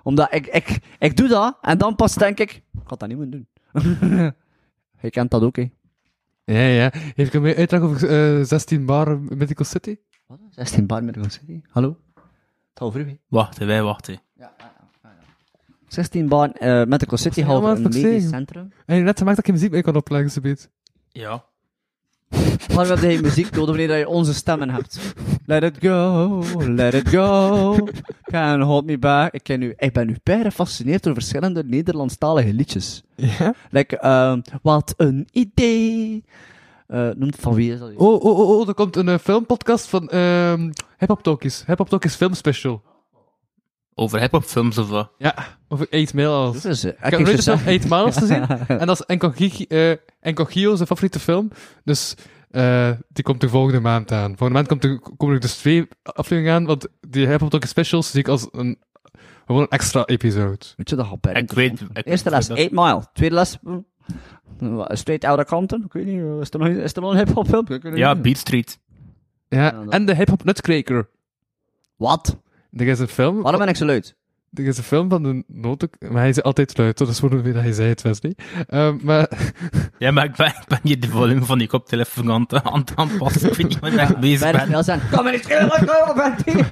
Speaker 2: Omdat ik, ik, ik doe dat, en dan pas denk ik, ik had dat niet moeten doen. Je kent dat ook, hè.
Speaker 3: Ja, ja. Heeft ik een meer uitleg over eh, 16 bar Mythical City?
Speaker 2: Wat? 16 bar met City. Hallo? Tal voor u,
Speaker 4: Wachten, wij wachten.
Speaker 2: 16 bar eh Medical City,
Speaker 3: Ja,
Speaker 2: halve
Speaker 3: maar
Speaker 2: een
Speaker 3: dat
Speaker 2: medisch
Speaker 3: zei-
Speaker 2: centrum.
Speaker 3: En je hebt net gemaakt dat je muziek mee kan opleggen, ze beet.
Speaker 4: Ja.
Speaker 2: Maar we hebben muziek nodig wanneer dat je onze stemmen hebt. Let it go, let it go, can hold me back. Ik, ken nu, ik ben nu bij gefascineerd door verschillende Nederlandstalige liedjes.
Speaker 3: Ja?
Speaker 2: Like, ehm, wat een idee. Eh, noemt van wie is dat?
Speaker 3: Oh, oh, oh, oh, er komt een eh, filmpodcast van ehm Hip Hop Talkies. Hip Hop Talkies Film Special.
Speaker 4: Over hip-hop films of wat?
Speaker 3: Ja, over 8 Mail als.
Speaker 2: Dat is, eh,
Speaker 3: Ik
Speaker 2: ik
Speaker 3: heb
Speaker 2: heb
Speaker 3: nooit
Speaker 2: ze
Speaker 3: de film 8
Speaker 2: zeggen.
Speaker 3: Miles gezien. En dat is Enkogigi- eh, Enkogio, zijn favoriete film. Dus eh, die komt de volgende maand aan. Volgende maand komt er, komen er dus twee afleveringen aan, want die Hip Hop Talkies Specials zie ik als een, gewoon een extra episode.
Speaker 2: Weet je, dat gaat bijna
Speaker 4: Ik weet...
Speaker 2: interessant.
Speaker 4: ik-
Speaker 2: Eerste les, 8 Mile. Tweede les, mm, wat, Straight Outta Compton. Ik weet niet, eh, is er nog, is er nog een hip-hop film? Ik weet
Speaker 4: Ja,
Speaker 2: niet.
Speaker 4: Beat Street.
Speaker 3: Ja,
Speaker 2: dat-
Speaker 3: en de Hip Hop Nutcracker.
Speaker 2: Wat?
Speaker 3: Er is een film...
Speaker 2: Waarom ben ik zo luid?
Speaker 3: Er is een film van de noten... Maar hij is altijd luid, hoor. dat is gewoon weer dat hij zei het, Wesley. Ehm, maar
Speaker 4: Ja, maar ik ben, ik ben hier de volume van die koptelefoon aan het aan het aanpassen. Ik weet niet waar ik bezig
Speaker 2: Bijna
Speaker 4: ben.
Speaker 2: snel zijn. Kom maar niet schelen, wat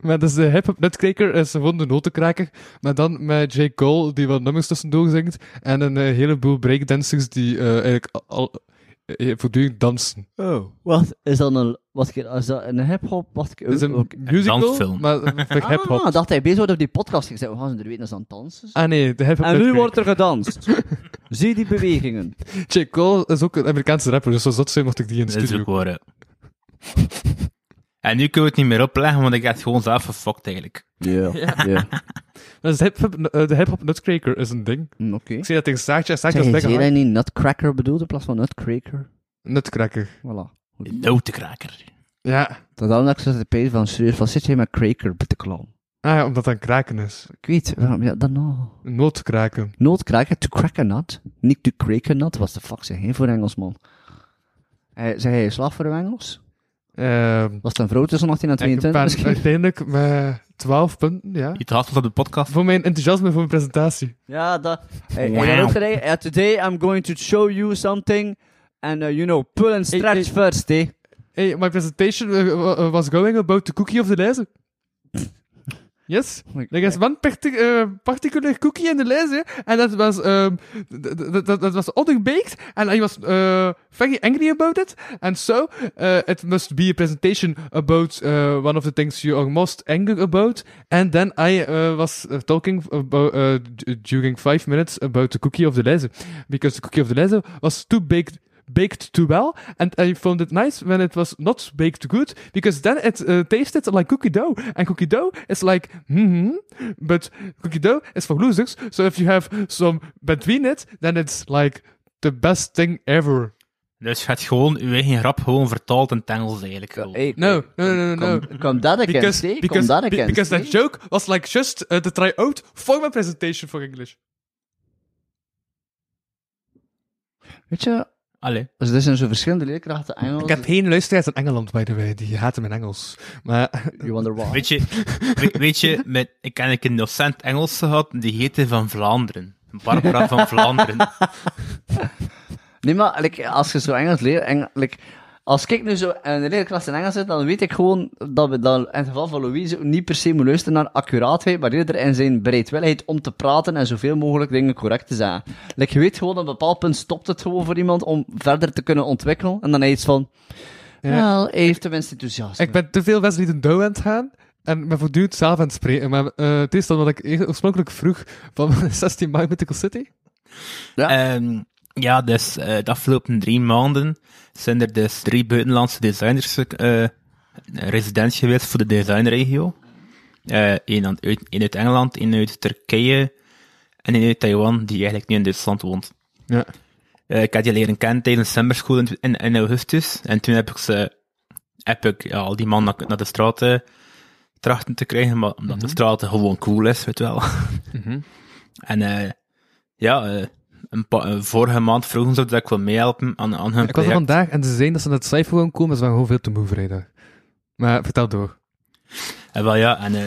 Speaker 3: Maar dus de hip-hop nutcracker is gewoon de notenkraker. Maar dan met J. Cole, die wat nummers tussendoor zingt. En een eh, heleboel breakdancers die eh, eigenlijk al, al- eh, voortdurend dansen.
Speaker 2: Oh. Wat is dan een, wat keer- is dat een hip-hop? Wat keer-
Speaker 3: Het is een
Speaker 2: ook-
Speaker 3: musical,
Speaker 4: dansfilm.
Speaker 3: maar met hip-hop.
Speaker 2: Ah, dacht hij bezig wordt op die podcast. Ik zei, we gaan ze er weten, dat ze aan het dansen zijn.
Speaker 3: Ah nee, de hip-hop
Speaker 2: En nu
Speaker 3: nutcracker.
Speaker 2: wordt er gedanst. Zie die bewegingen.
Speaker 3: J. Cole is ook een Amerikaanse rapper, dus als dat zijn mocht ik die in de
Speaker 4: Dat is
Speaker 3: studio.
Speaker 4: ook waar, hè. En nu kunnen we het niet meer opleggen, want ik heb het gewoon zelf gefokt eigenlijk.
Speaker 2: Ja. ja.
Speaker 3: Dus de hip-hop eh, de hip-hop nutcracker is een ding.
Speaker 2: Mm, Oké.
Speaker 3: Ik zie dat tegen Saartje en Saartje
Speaker 2: Zeg,
Speaker 3: is
Speaker 2: je zei dat
Speaker 3: lekker
Speaker 2: je niet nutcracker bedoelt in plaats van nutcracker?
Speaker 3: Nutcracker.
Speaker 2: Voilà. Goed.
Speaker 4: Notenkraker.
Speaker 3: Ja.
Speaker 2: Dat daarom dat ik zo zat te pezen van, serieus, wat zit jij met cracker bij de clown?
Speaker 3: Ah ja, omdat dat een kraken is.
Speaker 2: Ik weet, waarom, ja, dan nou.
Speaker 3: Een nootkraken.
Speaker 2: Nootkraker, to crack a nut. Niet to crack a nut, wat de fuck zeg jij voor Engelsman? Eh, zeg jij slag voor een Engels?
Speaker 3: Ehm
Speaker 2: Was het een vrouw tussen 18 en
Speaker 3: Ik ben
Speaker 2: 22 misschien?
Speaker 3: uiteindelijk met 12 punten, ja.
Speaker 4: Je haast ons op de podcast.
Speaker 3: Voor mijn enthousiasme voor mijn presentatie.
Speaker 2: Ja, dat... Hey,
Speaker 4: Wauw.
Speaker 2: hey, today, eh, today I'm going to show you something. And eh, you know, pull and stretch
Speaker 3: hey.
Speaker 2: first, eh.
Speaker 3: Hey, my presentation uh, wa- was going about the cookie of the lijzer. Yes, there is one parti eh, particular cookie in the lijzer. En dat was, ehm, d- d- d- dat was underbaked. And I was eh, very angry about it. And so, eh, it must be a presentation about eh, one of the things you are most angry about. And then I eh, was eh, talking about, eh, d- during five minutes about the cookie of the lijzer. because the cookie of the leather was too baked baked too well and I found it nice when it was not baked good because then it uh, tasted like cookie dough and cookie dough is like hmm but cookie dough is for losers so if you have some between it then it's like the best thing ever
Speaker 4: Dus je hebt gewoon je eigen grap gewoon vertaald in het Engels eigenlijk. gewoon.
Speaker 2: Hey,
Speaker 3: no no no no no
Speaker 2: Kom, kom dat ik eens,
Speaker 3: because
Speaker 2: eh. Kom
Speaker 3: because,
Speaker 2: dat ik
Speaker 3: be-
Speaker 2: eens,
Speaker 3: because
Speaker 2: eh.
Speaker 3: that joke was like just uh, the try out for my presentation for English
Speaker 2: Weet je,
Speaker 4: Allee.
Speaker 2: dus er zijn zo verschillende leerkrachten Engels.
Speaker 3: ik heb geen luisteraars in Engeland by the way die haten mijn Engels maar
Speaker 2: You wonder why.
Speaker 4: Weet je, we- weet je met, ik ken een docent Engels gehad, die heette Van Vlaanderen. Barbara van Vlaanderen.
Speaker 2: Nee, maar like, als je zo Engels leert, Eng- like, als ik nu zo in de leerklas in Engels zit, dan weet ik gewoon dat we dan in het geval van Louise niet per se moeten luisteren naar accuraatheid, maar eerder in zijn bereidwilligheid om te praten en zoveel mogelijk dingen correct te zeggen. Like, je weet gewoon, op een bepaald punt stopt het gewoon voor iemand om verder te kunnen ontwikkelen. En dan hij iets van,
Speaker 3: Ja.
Speaker 2: wel, hij heeft tenminste enthousiasme.
Speaker 3: Ik ben te veel Wesley de Douw aan het gaan. En ik ben voortdurend zelf aan het spreken. Maar eh, het is dan wat ik eer- oorspronkelijk vroeg van 16 maart Mythical City.
Speaker 4: Ehm, ja, dus eh, de afgelopen drie maanden zijn er dus drie buitenlandse designers eh resident geweest voor de designregio. Eh één aan- uit, één uit Engeland, één uit Turkije en één uit Taiwan, die eigenlijk nu in Duitsland woont.
Speaker 3: Ja.
Speaker 4: Eh, ik had die leren kennen tijdens summerschool in, in, in augustus. En toen heb ik, ze, heb ik ja, al die mannen naar, naar de straten trachten te krijgen, maar omdat
Speaker 3: Mhm.
Speaker 4: de straten gewoon cool is, weet je wel. En eh, ja, eh, een pa- eh, vorige maand vroegen ze dat ik wil meehelpen aan, aan hun
Speaker 3: Ik was er
Speaker 4: project.
Speaker 3: vandaag en ze zeiden dat ze naar het cijfer gewoon komen. Ze waren gewoon veel te moe vrijdag. Maar vertel door.
Speaker 4: En wel ja, en eh,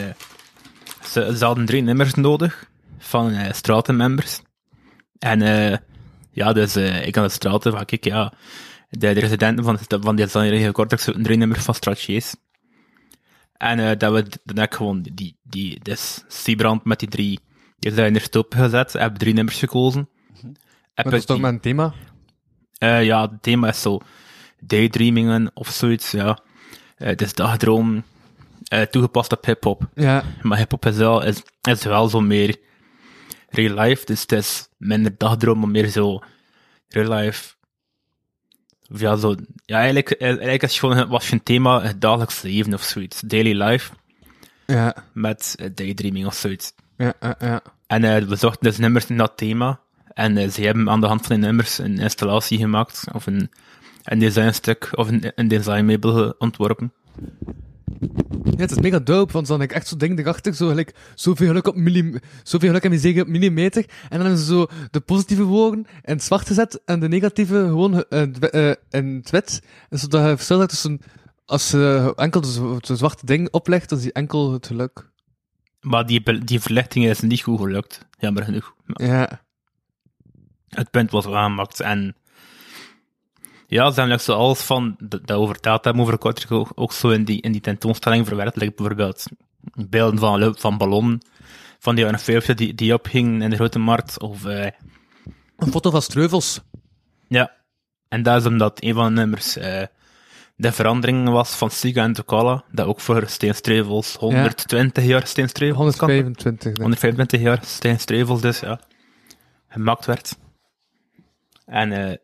Speaker 4: ze, ze hadden drie nummers nodig van eh, stratenmembers. En eh, ja, dus eh, ik aan de straten van, kijk ja, de, de residenten van, van die Zanjelige Cortex zoeken drie nummers van Stratiers. En eh, dat we d- dan heb ik gewoon die, die, dus Siebrand met die drie designers opgezet. Heb drie nummers gekozen. Heb
Speaker 3: Maar dat is
Speaker 4: ik
Speaker 3: toch
Speaker 4: die-
Speaker 3: mijn thema?
Speaker 4: Eh, ja, het thema is zo. daydreamingen of zoiets, ja. Eh, het is dagdroom eh, toegepast op hip-hop.
Speaker 3: Ja.
Speaker 4: Maar hip-hop is wel, is, is wel zo meer real life, dus het is minder dagdroom, maar meer zo real life. Of ja, zo, ja eigenlijk, eh, eigenlijk is het gewoon, was je een thema het dagelijks leven of zoiets. Daily life
Speaker 3: Ja.
Speaker 4: met eh, daydreaming of zoiets.
Speaker 3: Ja, ja, ja.
Speaker 4: En eh, we zochten dus nummers in dat thema. En eh, ze hebben aan de hand van die nummers een installatie gemaakt, of een, een designstuk, of een, een designmeubel ontworpen.
Speaker 3: Ja, het is mega dope, want dan heb ik echt zo'n ding erachter, zo gelijk, zoveel geluk op millim, zoveel geluk heb je zeker op millimeter, en dan hebben ze zo de positieve woorden in het zwart gezet, en de negatieve gewoon eh, d- eh, in het wit, En zodat je verschil hebt tussen, als je enkel het z- het zwarte ding oplegt, dan zie je enkel het geluk.
Speaker 4: Maar die, be- die verlichting is niet goed gelukt, jammer genoeg. Maar
Speaker 3: Ja.
Speaker 4: het punt was wel aangemaakt. En ja, ze hebben ook zo alles van, dat dat we over taat hebben, over Kortrijk, ook, ook zo in die, in die tentoonstelling verwerkt. Like bijvoorbeeld beelden van, lu- van ballonnen, van die jaren 50 die, die ophingen in de Grote Markt, of... eh,
Speaker 3: Een foto van Streuvels.
Speaker 4: Ja, en dat is omdat een van de nummers eh, de verandering was van Siga en Tocala, dat ook voor Steenstrevels 120 jaar Steenstrevels
Speaker 3: 125. denk ik.
Speaker 4: 125 jaar Steenstrevels dus, ja, gemaakt werd. En eh,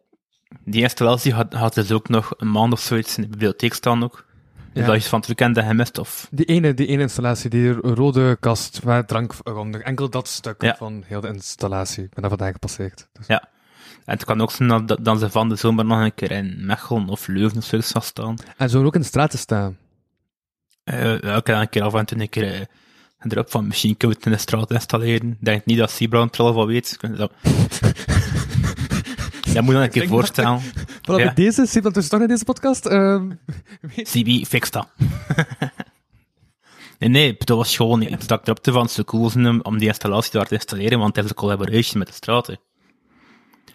Speaker 4: die installatie had, had dus ook nog een maand of zoiets in de bibliotheek staan ook. Dus
Speaker 3: Ja.
Speaker 4: dat is van het weekend dat gemist, of...
Speaker 3: Die ene, die ene installatie, die ro- rode kast met drank eronder. Enkel dat stuk
Speaker 4: Ja.
Speaker 3: van heel de installatie. Ik ben daar vandaag gepasseerd. Dus-
Speaker 4: Ja. En het kan ook zijn dat, dat- dat ze van de zomer nog een keer in Mechelen of Leuven of zoiets zou staan.
Speaker 3: En zo ook in de straten staan.
Speaker 4: eh ja, ik heb een keer af en toe een keer eh, erop van misschien kunnen we het in de straat installeren. Ik Denk niet dat Seabrand er al van weet. Ik- Dat, dat moet je dan een keer
Speaker 3: Klinkt
Speaker 4: voorstellen.
Speaker 3: Vanaf
Speaker 4: Ja.
Speaker 3: bij deze, Simon, tussen toch in deze podcast. ehm,
Speaker 4: CB, fix dat. nee, nee, dat was gewoon iets dat ik erop te van zo cool is om- om die installatie daar te installeren, want het is een collaboration met de straten.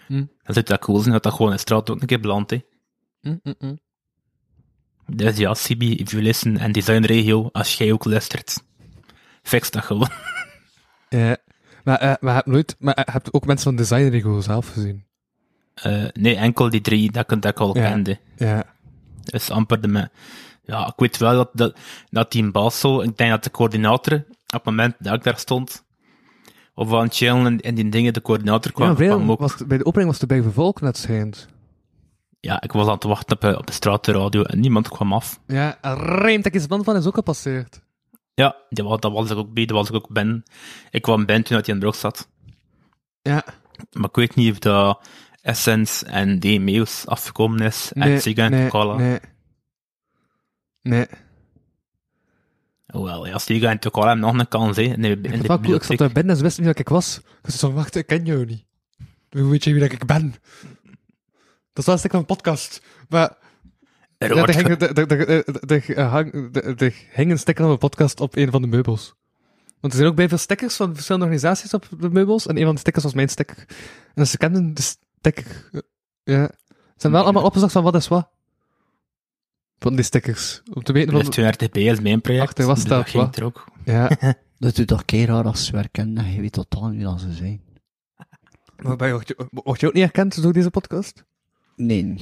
Speaker 3: Hm.
Speaker 4: Dan zit dat cool zijn dat dat gewoon in de straat ook een keer belandt. hè. Dus ja, CB, if you listen, en Design Regio, als jij ook luistert, fix dat gewoon.
Speaker 3: Ja. Maar, eh, maar, heb nooit, maar eh, heb ook mensen van Design Rego zelf gezien.
Speaker 4: Eh, nee, enkel die drie dat ik, dat ik al
Speaker 3: Ja.
Speaker 4: kende.
Speaker 3: Ja.
Speaker 4: Dat is amper de me. Ja, ik weet wel dat, dat, dat die in Basel, ik denk dat de coördinator, op het moment dat ik daar stond, of aan het chillen en, en die dingen, de coördinator kwam,
Speaker 3: ja,
Speaker 4: kwam ook.
Speaker 3: was, bij de opening was het bij Vervolk net schijnt.
Speaker 4: Ja, ik was aan het wachten op, eh, op de straat, de radio, en niemand kwam af.
Speaker 3: Ja, Reemtek is man van is ook gepasseerd.
Speaker 4: Ja, die, wa- dat was ik ook bij, dat was ik ook ben. Ik kwam ben toen dat hij in Brug zat.
Speaker 3: Ja.
Speaker 4: Maar ik weet niet of dat Essence en DMEO's afgekomen is, en Sega en
Speaker 3: nee,
Speaker 4: Tocala.
Speaker 3: Nee. Nee.
Speaker 4: Hoewel, ja, Sega en Tocala hebben nog een kans, hè, in de, in de
Speaker 3: Ik vond het wel cool, ik
Speaker 4: bibliotheek.
Speaker 3: zat daar binnen en ze wisten niet dat ik was. Ik was zo van, wacht, ik ken jou niet. Hoe weet je wie dat ik ben? Dat is wel een stuk van een podcast. Maar
Speaker 4: Er
Speaker 3: ja,
Speaker 4: wordt
Speaker 3: er, hing, er, er, er, er- er hang- er- er hing een sticker van een podcast op een van de meubels. Want er zijn ook bij veel stickers van verschillende organisaties op de meubels. En een van de stickers was mijn sticker. En ze kenden de sticker. Ja. Ze zijn wel allemaal opgezocht van wat is wat. Van die stickers. Om te weten
Speaker 4: Dus
Speaker 3: van...
Speaker 4: 230p is mijn project.
Speaker 3: Achter was
Speaker 4: dus
Speaker 3: dat,
Speaker 4: dat ging
Speaker 3: wat?
Speaker 4: er ook.
Speaker 3: Ja.
Speaker 2: Dat doet toch keer raar als ze werken en je weet totaal niet dat ze zijn.
Speaker 3: Maar ben je- word je, word je ook niet herkend door deze podcast?
Speaker 2: Nee.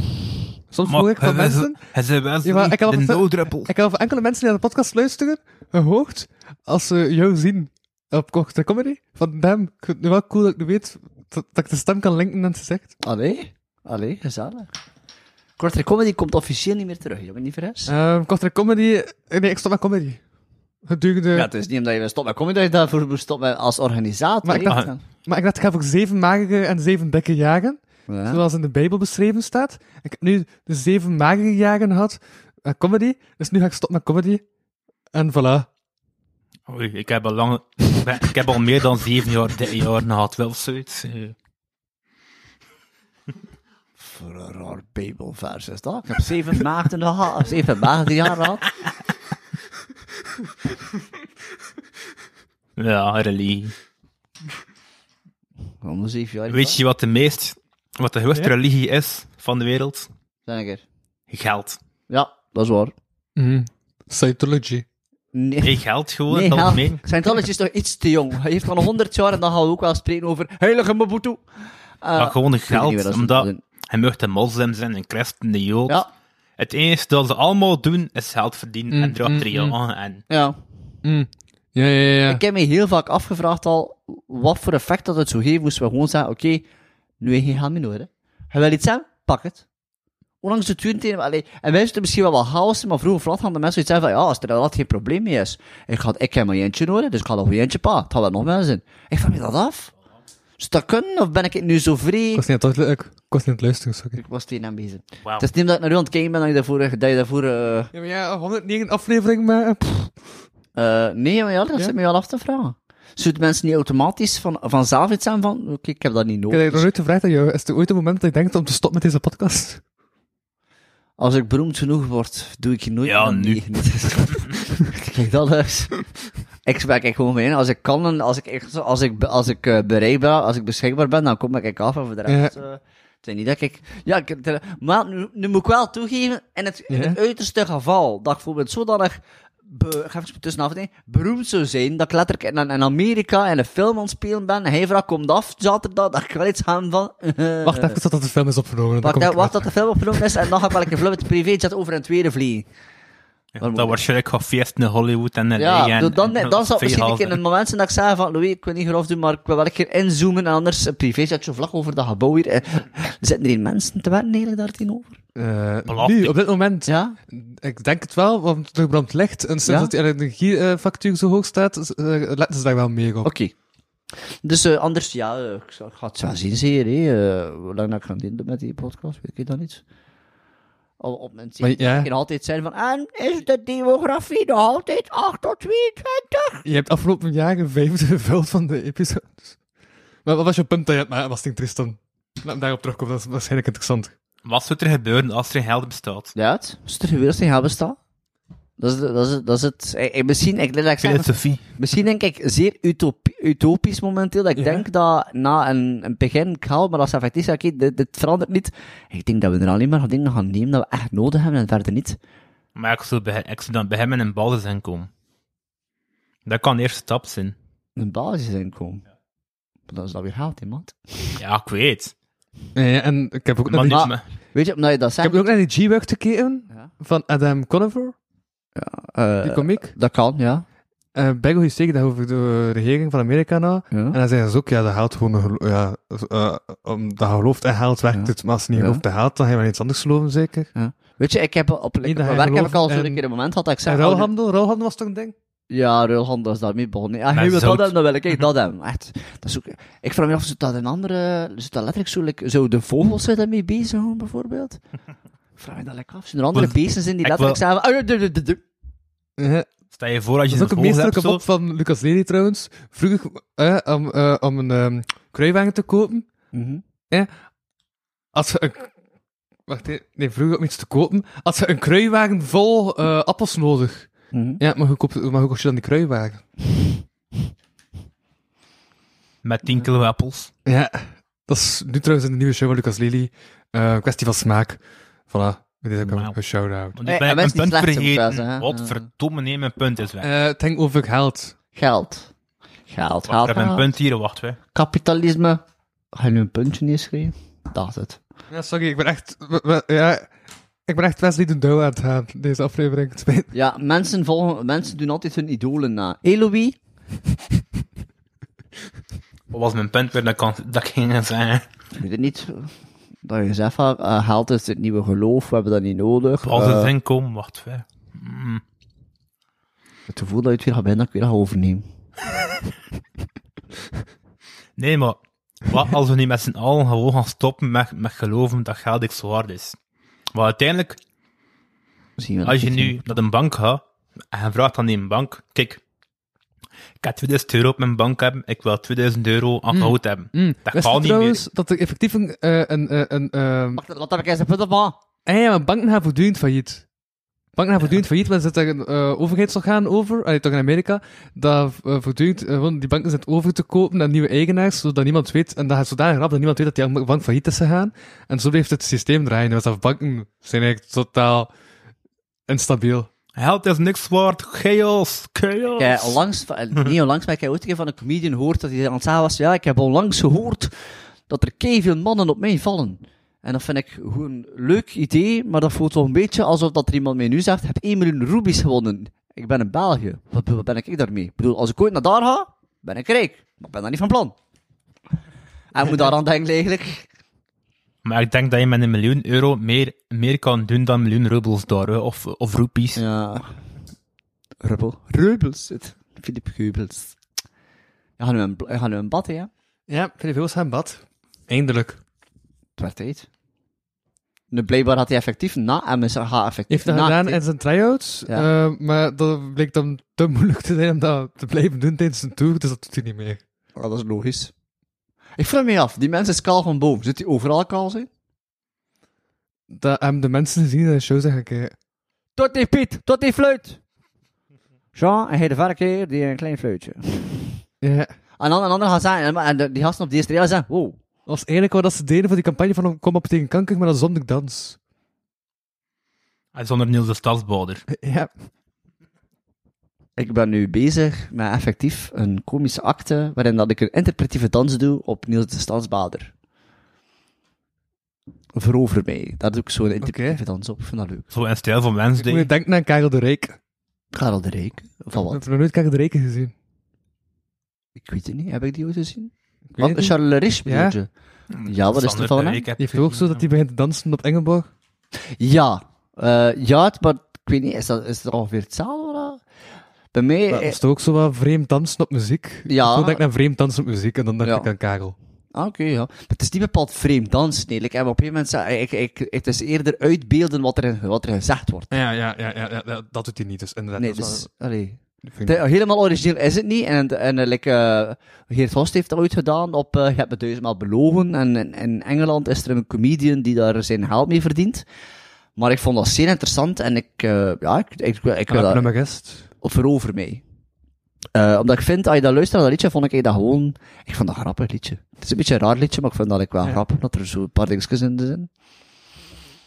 Speaker 3: Soms hoor ik van mensen...
Speaker 4: eh, Hij zei wel
Speaker 3: Ja, maar ik had
Speaker 4: de
Speaker 3: het-
Speaker 4: nooddruppel.
Speaker 3: Ik heb van enkele mensen die naar de podcast luisteren gehoord als ze jou zien op Cocktail Comedy. Van damn, ik vind het wel cool dat ik nu weet dat, dat ik de stem kan linken en ze zegt.
Speaker 2: Allee? Allee, gezellig. Kortrijk Comedy komt officieel niet meer terug, jongen, niet verres?
Speaker 3: Ehm Cocktail Comedy... eh, Nee, ik stop met comedy. Gedurende...
Speaker 2: Ja, het is niet omdat je wil stoppen met comedy, dat je daarvoor moet stoppen met- als organisator.
Speaker 3: Maar ik
Speaker 2: hè?
Speaker 4: dacht-
Speaker 2: Ja.
Speaker 3: Maar ik dacht, ik ga voor zeven magere en zeven dikke jaren, zoals in de Bijbel beschreven staat. Ik heb nu de zeven magere jaren gehad, eh, comedy, dus nu ga ik stoppen met comedy. En voilà.
Speaker 4: Oei, Oh, ik heb al lang... ik heb al meer dan zeven jaar, dit jaar gehad, wel of zoiets. Eh,
Speaker 2: Voor een raar bijbelvers is dat. Ik heb zeven maagden gehad, zeven maagden jaar gehad.
Speaker 4: Ja, religie.
Speaker 2: Om de zeven jaar.
Speaker 4: Weet je wat de meest... Wat de grootste
Speaker 3: Ja?
Speaker 4: religie is van de wereld?
Speaker 2: Zijn ik er.
Speaker 4: Geld.
Speaker 2: Ja, dat is waar.
Speaker 3: Mhm. Scientology.
Speaker 2: Nee.
Speaker 4: Nee, geld gewoon,
Speaker 2: Nee,
Speaker 4: dat
Speaker 2: ja.
Speaker 4: was mee.
Speaker 2: Scientology is toch iets te jong. Hij heeft al 100 jaar en dan gaan we ook wel spreken over heilige Mobutu. Eh,
Speaker 4: Maar gewoon
Speaker 2: ik weet niet
Speaker 4: geld,
Speaker 2: meer, dat is
Speaker 4: omdat
Speaker 2: een-
Speaker 4: hij mocht een moslim zijn, een christen, een jood.
Speaker 2: Ja,
Speaker 4: Het enige dat ze allemaal doen, is geld verdienen
Speaker 2: Mm,
Speaker 4: en erachter jagen en...
Speaker 2: Ja.
Speaker 3: Mm. Ja, ja, ja.
Speaker 2: Ik heb me heel vaak afgevraagd al wat voor effect dat het zou geven moesten we gewoon zeggen, oké, nu heb je geen geld meer nodig. Je wil iets hebben? Pak het. Ondanks de tuin tegen, allee, en wij zitten misschien wel wel chaos, maar vroeger vlak hadden mensen iets zeggen van, ja, als er inderdaad geen probleem mee is, ik, ga, ik heb mijn eentje nodig, dus ik ga nog een eentje pa, het gaat wel nog wel zijn. Ik vraag me dat af. Zou dat kunnen, of ben ik nu zo vrij?
Speaker 3: Ik was niet aan het, lu- ik, ik was niet aan het luisteren, sorry.
Speaker 2: Ik was tegen hem bezig.
Speaker 4: Wauw.
Speaker 2: Het is niet omdat ik naar u aan het kijken ben dat je daarvoor, dat je daarvoor eh,
Speaker 3: Ja, maar ja, 109 afleveringen, maar...
Speaker 2: Eh, nee, maar ja, dat
Speaker 3: Ja?
Speaker 2: zit me wel af te vragen. Zouden mensen niet automatisch van, vanzelf iets zijn van, oké, ik heb dat niet
Speaker 3: Ik heb
Speaker 2: nodig.
Speaker 3: je nog nooit gevraagd aan jou. Is er ooit een moment dat je denkt om te stoppen met deze podcast?
Speaker 2: Als ik beroemd genoeg word, doe ik je nooit
Speaker 4: Ja,
Speaker 2: meer
Speaker 4: nu.
Speaker 2: mee. Kijk, dat is... Ik spreek echt gewoon mee in. Als ik kan, en als ik, echt- als ik, be- als ik eh, bereikbaar, als ik beschikbaar ben, dan kom ik af en voor de rest... eh, het is niet dat ik... Ja, ik, het- maar nu, nu moet ik wel toegeven, in het, in het
Speaker 3: Ja?
Speaker 2: uiterste geval, dat ik bijvoorbeeld zodanig... Be, ga even tussenaf denken, beroemd zou zijn, dat ik letterlijk in, in Amerika in een film aan het spelen ben, en hij vraagt, komt af zaterdag, dat ik wel iets heb van...
Speaker 3: Wacht even tot de film is opgenomen. dan
Speaker 2: Eh, Wacht,
Speaker 3: kom
Speaker 2: hè,
Speaker 3: ik
Speaker 2: wacht
Speaker 3: terug.
Speaker 2: tot de film opgenomen is en dan ga ik wel een keer vlug met de privéjet over in het tweede vliegen.
Speaker 4: Dat waarschijnlijk gaat feesten in Hollywood en in
Speaker 2: Ja,
Speaker 4: Leiden en-
Speaker 2: doe- dan,
Speaker 4: en-
Speaker 2: dan, dan zou ik
Speaker 4: en-
Speaker 2: misschien een keer een moment zijn dat ik zei van, Louis, ik wil niet grof doen, maar ik wil wel een keer inzoomen en anders een privéjetje vlak over dat gebouw hier. Eh, Zitten er hier mensen te werken eigenlijk daar tegenover?
Speaker 3: Eh, nu, op dit moment.
Speaker 2: Ja?
Speaker 3: Ik denk het wel, want er brandt licht. En sinds
Speaker 2: Ja?
Speaker 3: dat die energiefactuur zo hoog staat, is- eh, letten ze daar wel meer op.
Speaker 2: Oké. Dus eh, anders, ja, eh, ik zou- ik ga het wel zien zeer, hè. eh, hoe lang dat ik ga doen met die podcast, weet ik dat niet. Al op mijn
Speaker 3: Maar ja.
Speaker 2: Ik kan altijd zijn van, en is de demografie nog altijd 8 tot 22?
Speaker 3: Je hebt afgelopen jaar een vijfde gevuld van de episodes. Maar wat was je punt dat je had, maar was het Tristan? Laat hem daarop terugkomen, dat is waarschijnlijk interessant.
Speaker 4: Wat zou er gebeuren als er geen geld bestaat?
Speaker 2: Ja, het is er gebeurd in Habesta. Dat is, dat is, dat is het. Ik, ik- misschien, ik, dat ik zeg,
Speaker 4: Filosofie.
Speaker 2: misschien denk ik zeer utopie- utopisch momenteel. Dat ik denk dat na een, een begin kaal, maar als het effectief is, oké, dit, dit verandert niet. Ik denk dat we er alleen maar gaan dingen gaan nemen dat we echt nodig hebben en verder niet.
Speaker 4: Maar ik zou, bij, ik zou dan bij hem in een basis zijn komen. Dat kan de eerste stap zijn.
Speaker 2: Een basisinkomen. Maar Dat is dan weer geld, hè, maat.
Speaker 4: Ja, ik weet.
Speaker 3: Ja, ja, en ik heb ook naar
Speaker 4: Maar
Speaker 3: die,
Speaker 4: niet,
Speaker 2: Ah.
Speaker 4: maar-
Speaker 2: Weet je, omdat je dat
Speaker 3: ik
Speaker 2: zegt,
Speaker 3: heb ook naar die G-Work gekeken,
Speaker 2: Ja.
Speaker 3: van Adam Conover,
Speaker 2: eh,
Speaker 3: die komiek.
Speaker 2: dat kan, ja.
Speaker 3: Uh, Bagel is tegen dat over de regering van Amerika nou. En
Speaker 2: ja.
Speaker 3: dan zeggen ze ook, ja, dat haalt gewoon, een gelo- ja, eh, omdat je gelooft en haalt, werkt
Speaker 2: Ja.
Speaker 3: het. Maar als je niet
Speaker 2: Ja.
Speaker 3: gelooft en haalt, dan ga je wel iets anders geloven, zeker.
Speaker 2: Weet je, ik heb op, op
Speaker 3: dat
Speaker 2: mijn
Speaker 3: hij
Speaker 2: werk heb ik
Speaker 3: gelooft
Speaker 2: al zo'n
Speaker 3: en-
Speaker 2: keer een moment gehad dat
Speaker 3: En
Speaker 2: ik zeg... oh, nu-
Speaker 3: ruilhandel, ruilhandel was toch een ding?
Speaker 2: Ja, ruilhandel is daarmee begonnen. Ja,
Speaker 4: Maar
Speaker 2: je wil dat
Speaker 4: zout.
Speaker 2: hebben, dan wil ik echt dat hebben. Echt. Dat is ook, ik vraag me af, zou dat een andere... Zou dat letterlijk zo... like, zou de vogels zich daarmee bezig houden, bijvoorbeeld? Ik vraag me dat lekker af. Zijn er andere
Speaker 4: Want
Speaker 2: beesten in die
Speaker 4: ik
Speaker 2: letterlijk zeggen... van, "Ah, du- du- du- du."
Speaker 3: Ja.
Speaker 4: Stel je voor als je
Speaker 3: Dat is ook
Speaker 4: een
Speaker 3: een
Speaker 4: vogel hebt,
Speaker 3: meesterlijke
Speaker 4: zo,
Speaker 3: mop van Lucas Lely trouwens. Vroeger, eh, om, eh, om een ehm kruiwagen te kopen,
Speaker 2: Mhm.
Speaker 3: als je een... Wacht, nee, nee, vroeger om iets te kopen, had ze een kruiwagen vol eh, appels nodig.
Speaker 2: Mhm.
Speaker 3: Ja, maar hoe, koop, maar hoe kost je dan die kruiwagen?
Speaker 4: met 10 kilo appels.
Speaker 3: Ja, dat is nu trouwens in de nieuwe show van Lucas Lely. eh, een kwestie van smaak. Voilà, dit is ook
Speaker 4: Wauw.
Speaker 3: een- een shout-out.
Speaker 4: Want
Speaker 2: Hey,
Speaker 4: ik ben
Speaker 2: en wij
Speaker 4: mijn
Speaker 2: zijn
Speaker 4: punt
Speaker 2: niet slecht, zou ik
Speaker 4: vergeten.
Speaker 2: zeggen, hè.
Speaker 4: Wat
Speaker 2: Ja.
Speaker 4: verdomme, nee, mijn punt is weg.
Speaker 3: Eh, het hangt over geld.
Speaker 2: Geld. Geld,
Speaker 4: Wacht, ik
Speaker 2: geld,
Speaker 4: heb mijn
Speaker 2: geld.
Speaker 4: punt hier, wacht. Hè.
Speaker 2: Kapitalisme. Ga je nu een puntje neerschrijven? Dat is het.
Speaker 3: Ja, sorry, ik ben echt... we- we- Ja, ik ben echt Wesley de Douw aan het gaan, deze aflevering. Het spijt me.
Speaker 2: Ja, mensen, volgen, mensen doen altijd hun idolen na. Hé, Louis?
Speaker 4: Wat was mijn punt weer dat ik, kan- dat ik ging zeggen?
Speaker 2: Ik weet het niet. Dat je zegt van, eh, geld is het nieuwe geloof, we hebben dat niet nodig.
Speaker 4: Als
Speaker 2: Eh,
Speaker 4: het inkomen, wacht. Hè. Mm.
Speaker 2: Het gevoel dat je het weer gaat winnen, dat ik weer ga overnemen.
Speaker 4: Nee, maar wat als we niet met z'n allen gewoon gaan stoppen met, met geloven dat geld iets waard is? Want uiteindelijk,
Speaker 2: Zien we dat
Speaker 4: als je
Speaker 2: niet.
Speaker 4: nu naar de bank gaat en je vraagt aan die bank: Kijk, ik heb 2000 euro op mijn bank hebben, ik wil 2000 euro
Speaker 2: Mm.
Speaker 4: aan goud hebben. Dat
Speaker 3: Wist je
Speaker 4: kan niet
Speaker 3: trouwens dat er effectief een... eh, een, eh, een, ehm,
Speaker 2: Wacht, laat dat ik eens een punt op maken.
Speaker 3: Ah ja, maar banken gaan voortdurend failliet. Banken gaan voortdurend failliet, maar er zit daar een eh, overheidsorgaan over, allee, toch in America, dat eh, voortdurend eh, gewoon die banken zit over te kopen aan nieuwe eigenaars, zodat niemand weet, en dat gaat zodanig rap dat niemand weet dat die bank failliet is gegaan. En zo blijft het systeem draaien, dus dat banken zijn eigenlijk totaal instabiel.
Speaker 4: meer. Geld is niks waard, chaos, chaos.
Speaker 2: Ik heb onlangs, van- eh, niet onlangs, maar ik heb ooit een keer van een comedian gehoord dat hij aan het zeggen was, ja, ik heb onlangs gehoord dat er veel mannen op mij vallen. En En dat vind ik gewoon een leuk idee, maar dat voelt toch een beetje alsof dat er iemand mij nu zegt, heb 1 miljoen rubies gewonnen. Ik ben een België. Wat, wat ben ik daarmee? Ik bedoel, als ik ooit naar daar ga, ben ik rijk. Maar ik ben daar niet van plan. En moet daaraan denken eigenlijk.
Speaker 4: Maar ik denk dat je met een miljoen euro meer, meer kan doen dan een miljoen rubbels daar, hè, of, of roepies.
Speaker 2: Ja. Rubbel. Reubels. Het. Filip Geubels. Hij gaat nu een, hij gaat nu een bad, hè? Het
Speaker 3: Ja, Philip Hills zijn bad. Eindelijk.
Speaker 2: werd tijd. Nu, blijkbaar had hij effectief na MS gaat effectief
Speaker 3: Heeft dat
Speaker 2: na-
Speaker 3: gedaan in zijn try-outs,
Speaker 2: Ja.
Speaker 3: eh, maar dat bleek dan te moeilijk te zijn om dat te blijven doen tijdens zijn tour, dus dat doet hij niet meer.
Speaker 2: Ja, dat is logisch. Ik vraag me af, die mensen is kaal van boven. Zit die overal kaal zijn?
Speaker 3: Dat hebben de mensen gezien in de show zeggen, kijk,
Speaker 2: Tot die Piet, tot die fluit. Jean en hij de varkeer, die een klein fluitje.
Speaker 3: ja.
Speaker 2: En dan een ander gaat zeggen, en- en de- die gasten op die eerste rij zeggen, wow.
Speaker 3: Dat was eigenlijk wat dat ze deden voor die campagne van Kom op tegen kanker, maar dat zonder dans.
Speaker 4: En Zonder Niels de Stadsbouwer.
Speaker 3: Ja.
Speaker 2: Ik ben nu bezig met effectief een komische acte, waarin dat ik een interpretieve dans doe op Niels de Stadsbader. Verover mij. Daar doe ik zo'n interpretieve dans op. Vind dat leuk.
Speaker 4: Zo in stijl van
Speaker 3: Ik moet
Speaker 4: Wednesday.
Speaker 3: denken aan Karel de Rijk. Ik
Speaker 2: Karel de Rijk. Van wat?
Speaker 3: heb nog nooit Karel de Rijk gezien.
Speaker 2: Ik weet het niet. Heb ik die ooit gezien?
Speaker 3: Ik weet
Speaker 2: Wat?
Speaker 3: het niet.
Speaker 2: Charles Lerisch bedoel
Speaker 3: Ja.
Speaker 2: je? Ja, wat is er
Speaker 4: Sander
Speaker 2: van
Speaker 4: de
Speaker 2: hem?
Speaker 4: Rijk heb
Speaker 3: Die heeft ook zo dat hij begint te dansen op Engelborg.
Speaker 2: Ja. Eh, ja, het- maar ik weet niet, is dat, is dat ongeveer hetzelfde? Voilà. Bij mij...
Speaker 3: Dat
Speaker 2: eh,
Speaker 3: is toch ook zo wat vreemd dansen op muziek?
Speaker 2: Ja.
Speaker 3: Toen denk ik naar vreemd dansen op muziek en dan dacht
Speaker 2: Ja.
Speaker 3: ik aan Karel.
Speaker 2: ah, oké, ja. Maar het is niet bepaald vreemd dansen, nee. Like, en op een moment... zei- Ik, ik, het is eerder uitbeelden wat er, wat er gezegd wordt.
Speaker 3: Ja, ja, ja, ja, dat doet hij niet. Dus inderdaad.
Speaker 2: Nee, dus... Allee. Het- helemaal origineel is het niet. En, en eh, like, eh, Geert Host heeft dat ooit gedaan op eh, Je hebt me duizendmaal belogen. En in, in Engeland is er een comedian die daar zijn geld mee verdient. Maar ik vond dat zeer interessant en ik... eh, ja, ik, ik, ik, wil- ik wil dat-
Speaker 3: nummer rest.
Speaker 2: of verover mij. Eh, omdat ik vind, als je dat luistert naar dat liedje, vond ik dat gewoon... Ik vond dat een grappig liedje. Het is een beetje een raar liedje, maar ik vind dat ik wel grappig, dat er zo een paar dingetjes in zijn.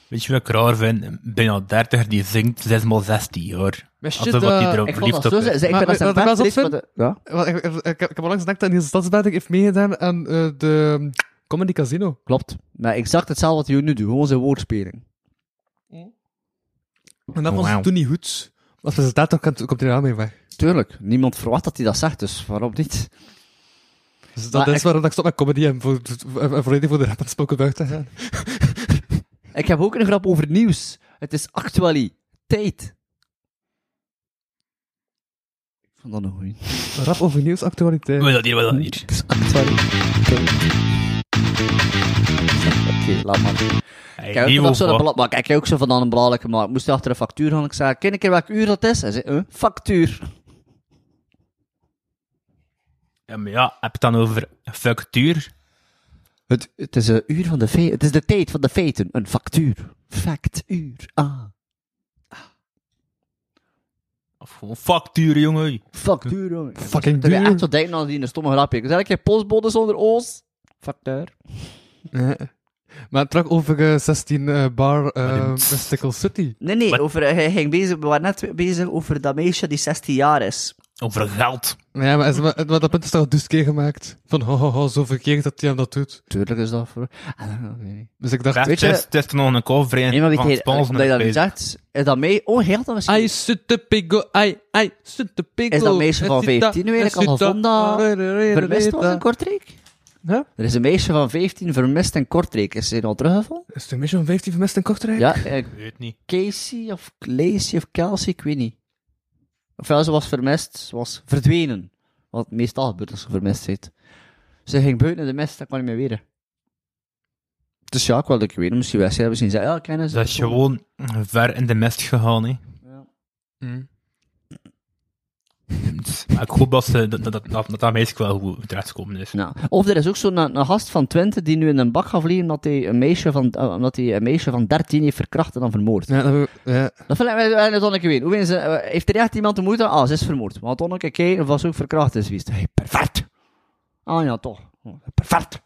Speaker 4: Weet je wat ik raar vind? Bijna 30 die zingt 6x16 hoor.
Speaker 3: Wist je
Speaker 4: Alsof dat die
Speaker 3: dat-
Speaker 4: erop
Speaker 2: Ik vond
Speaker 4: verliefd
Speaker 2: dat
Speaker 4: op
Speaker 2: zo...
Speaker 4: is.
Speaker 2: ze- Ik
Speaker 3: Maar wat
Speaker 2: vind dat zijn
Speaker 3: ik wel
Speaker 2: best
Speaker 3: zot
Speaker 2: lied,
Speaker 3: vind-
Speaker 2: maar de- Ja?
Speaker 3: Ik, ik, ik, ik heb al langs gedacht dat Niels Stadsberg heeft meegedaan aan eh, de mm, Comedy Casino.
Speaker 2: Klopt. Maar exact hetzelfde wat jullie nu doen, gewoon zijn woordspeling.
Speaker 3: En dat was
Speaker 4: Wauw.
Speaker 3: toen niet goed. Als presentator komt, komt hij er wel mee weg.
Speaker 2: Tuurlijk, niemand verwacht dat hij dat zegt, dus waarom niet?
Speaker 3: Dus dat
Speaker 2: Maar
Speaker 3: is
Speaker 2: ik-
Speaker 3: waarom dat ik stop met comedy en voor, en- en volledig voor de rap en spoken word te gaan.
Speaker 2: Ik heb ook een grap over nieuws. Het is actualiteit. Ik vond dat een goeie.
Speaker 3: Rap over nieuwsactualiteit.
Speaker 4: Wil dat hier, wil dat hier.
Speaker 2: Het is actualiteit. Oké, laat maar.
Speaker 4: Hey,
Speaker 2: Ik heb ook
Speaker 4: nieuw
Speaker 2: nog zo'n
Speaker 4: wat?
Speaker 2: blad, maar ik heb ook zo van aan een blaadje gemaakt. Ik moest achter een factuur gaan. Ik zei, ken ik er welk uur dat is? Hij zei, eh, factuur.
Speaker 4: Ja, maar ja, heb je het dan over factuur?
Speaker 2: Het, het is een uur van de feiten. Het is de tijd van de feiten. Een factuur. Factuur. Ah.
Speaker 4: Of gewoon factuur, jongen.
Speaker 2: Factuur. jongen.
Speaker 3: Fucking
Speaker 2: Dat je echt
Speaker 3: duur.
Speaker 2: zo denken aan die stomme grapje. Ik zei, ik heb postbode zonder oos. Factuur.
Speaker 3: Ja. Maar terug over eh, 16 eh, bar eh,
Speaker 4: Maar dit-
Speaker 3: Mystical City.
Speaker 2: Nee, nee.
Speaker 4: Wat?
Speaker 2: Over, hij ging bezig, we waren net bezig over dat meisje die 16 jaar is.
Speaker 4: Over geld.
Speaker 3: Ja, maar, is-
Speaker 4: Hm.
Speaker 3: maar- maar dat punt is toch al dus keer gemaakt? Van ho, ho, ho, zo verkeerd dat hij hem dat doet.
Speaker 2: Tuurlijk is dat voor... Ah, ik weet niet.
Speaker 3: Dus ik dacht,
Speaker 4: Ja,
Speaker 2: weet
Speaker 4: Het
Speaker 2: je-
Speaker 4: is, het is nog een cover in
Speaker 2: Nee, maar
Speaker 4: van
Speaker 2: weet je,
Speaker 4: Spons
Speaker 2: omdat je dat
Speaker 4: naar
Speaker 2: nu
Speaker 4: Pees.
Speaker 2: zegt, is dat mee... Oh, heel dat misschien...
Speaker 3: I shoot the pigo, I, I shoot the pigo.
Speaker 2: Is dat meisje van 15 nu eigenlijk al gevonden? Vermist was in Kortrijk?
Speaker 3: Huh?
Speaker 2: Er is een meisje van 15 vermist in Kortrijk. Is ze al teruggevallen?
Speaker 3: Is de meisje van 15 vermist in Kortrijk?
Speaker 2: Ja, eh,
Speaker 4: Ik weet niet.
Speaker 2: Casey of Lacey of Kelsey, ik weet niet. Ofwel, ze was vermist, ze was verdwenen. Wat meestal gebeurt als ze vermist zit. Ze ging buiten de mist, dat kon niet meer weer. Dus ja, ik wilde ik weten, misschien wij ze hebben zien ze, ja, kennen ze.
Speaker 4: Dat is gewoon ver in de mist gegaan, hè.
Speaker 3: Mm.
Speaker 4: Maar ik hoop dat ze, dat, dat, dat, dat, dat meisje wel goed terechtkomen is.
Speaker 2: Ja. Of er is ook zo'n een gast van Twente die nu in een bak gaat vliegen omdat hij een meisje van, eh, omdat hij een meisje van 13 heeft verkracht en dan vermoord.
Speaker 3: Ja, dat, ja.
Speaker 2: Dat vind ik wel wel net onnekeer weten. Hoe weten ze, eh, heeft er echt iemand de moeite? Ah, ze is vermoord. Want dan ook een keer of was ook verkracht is geweest. Hey, perfect. Ah ja, toch. Perfect.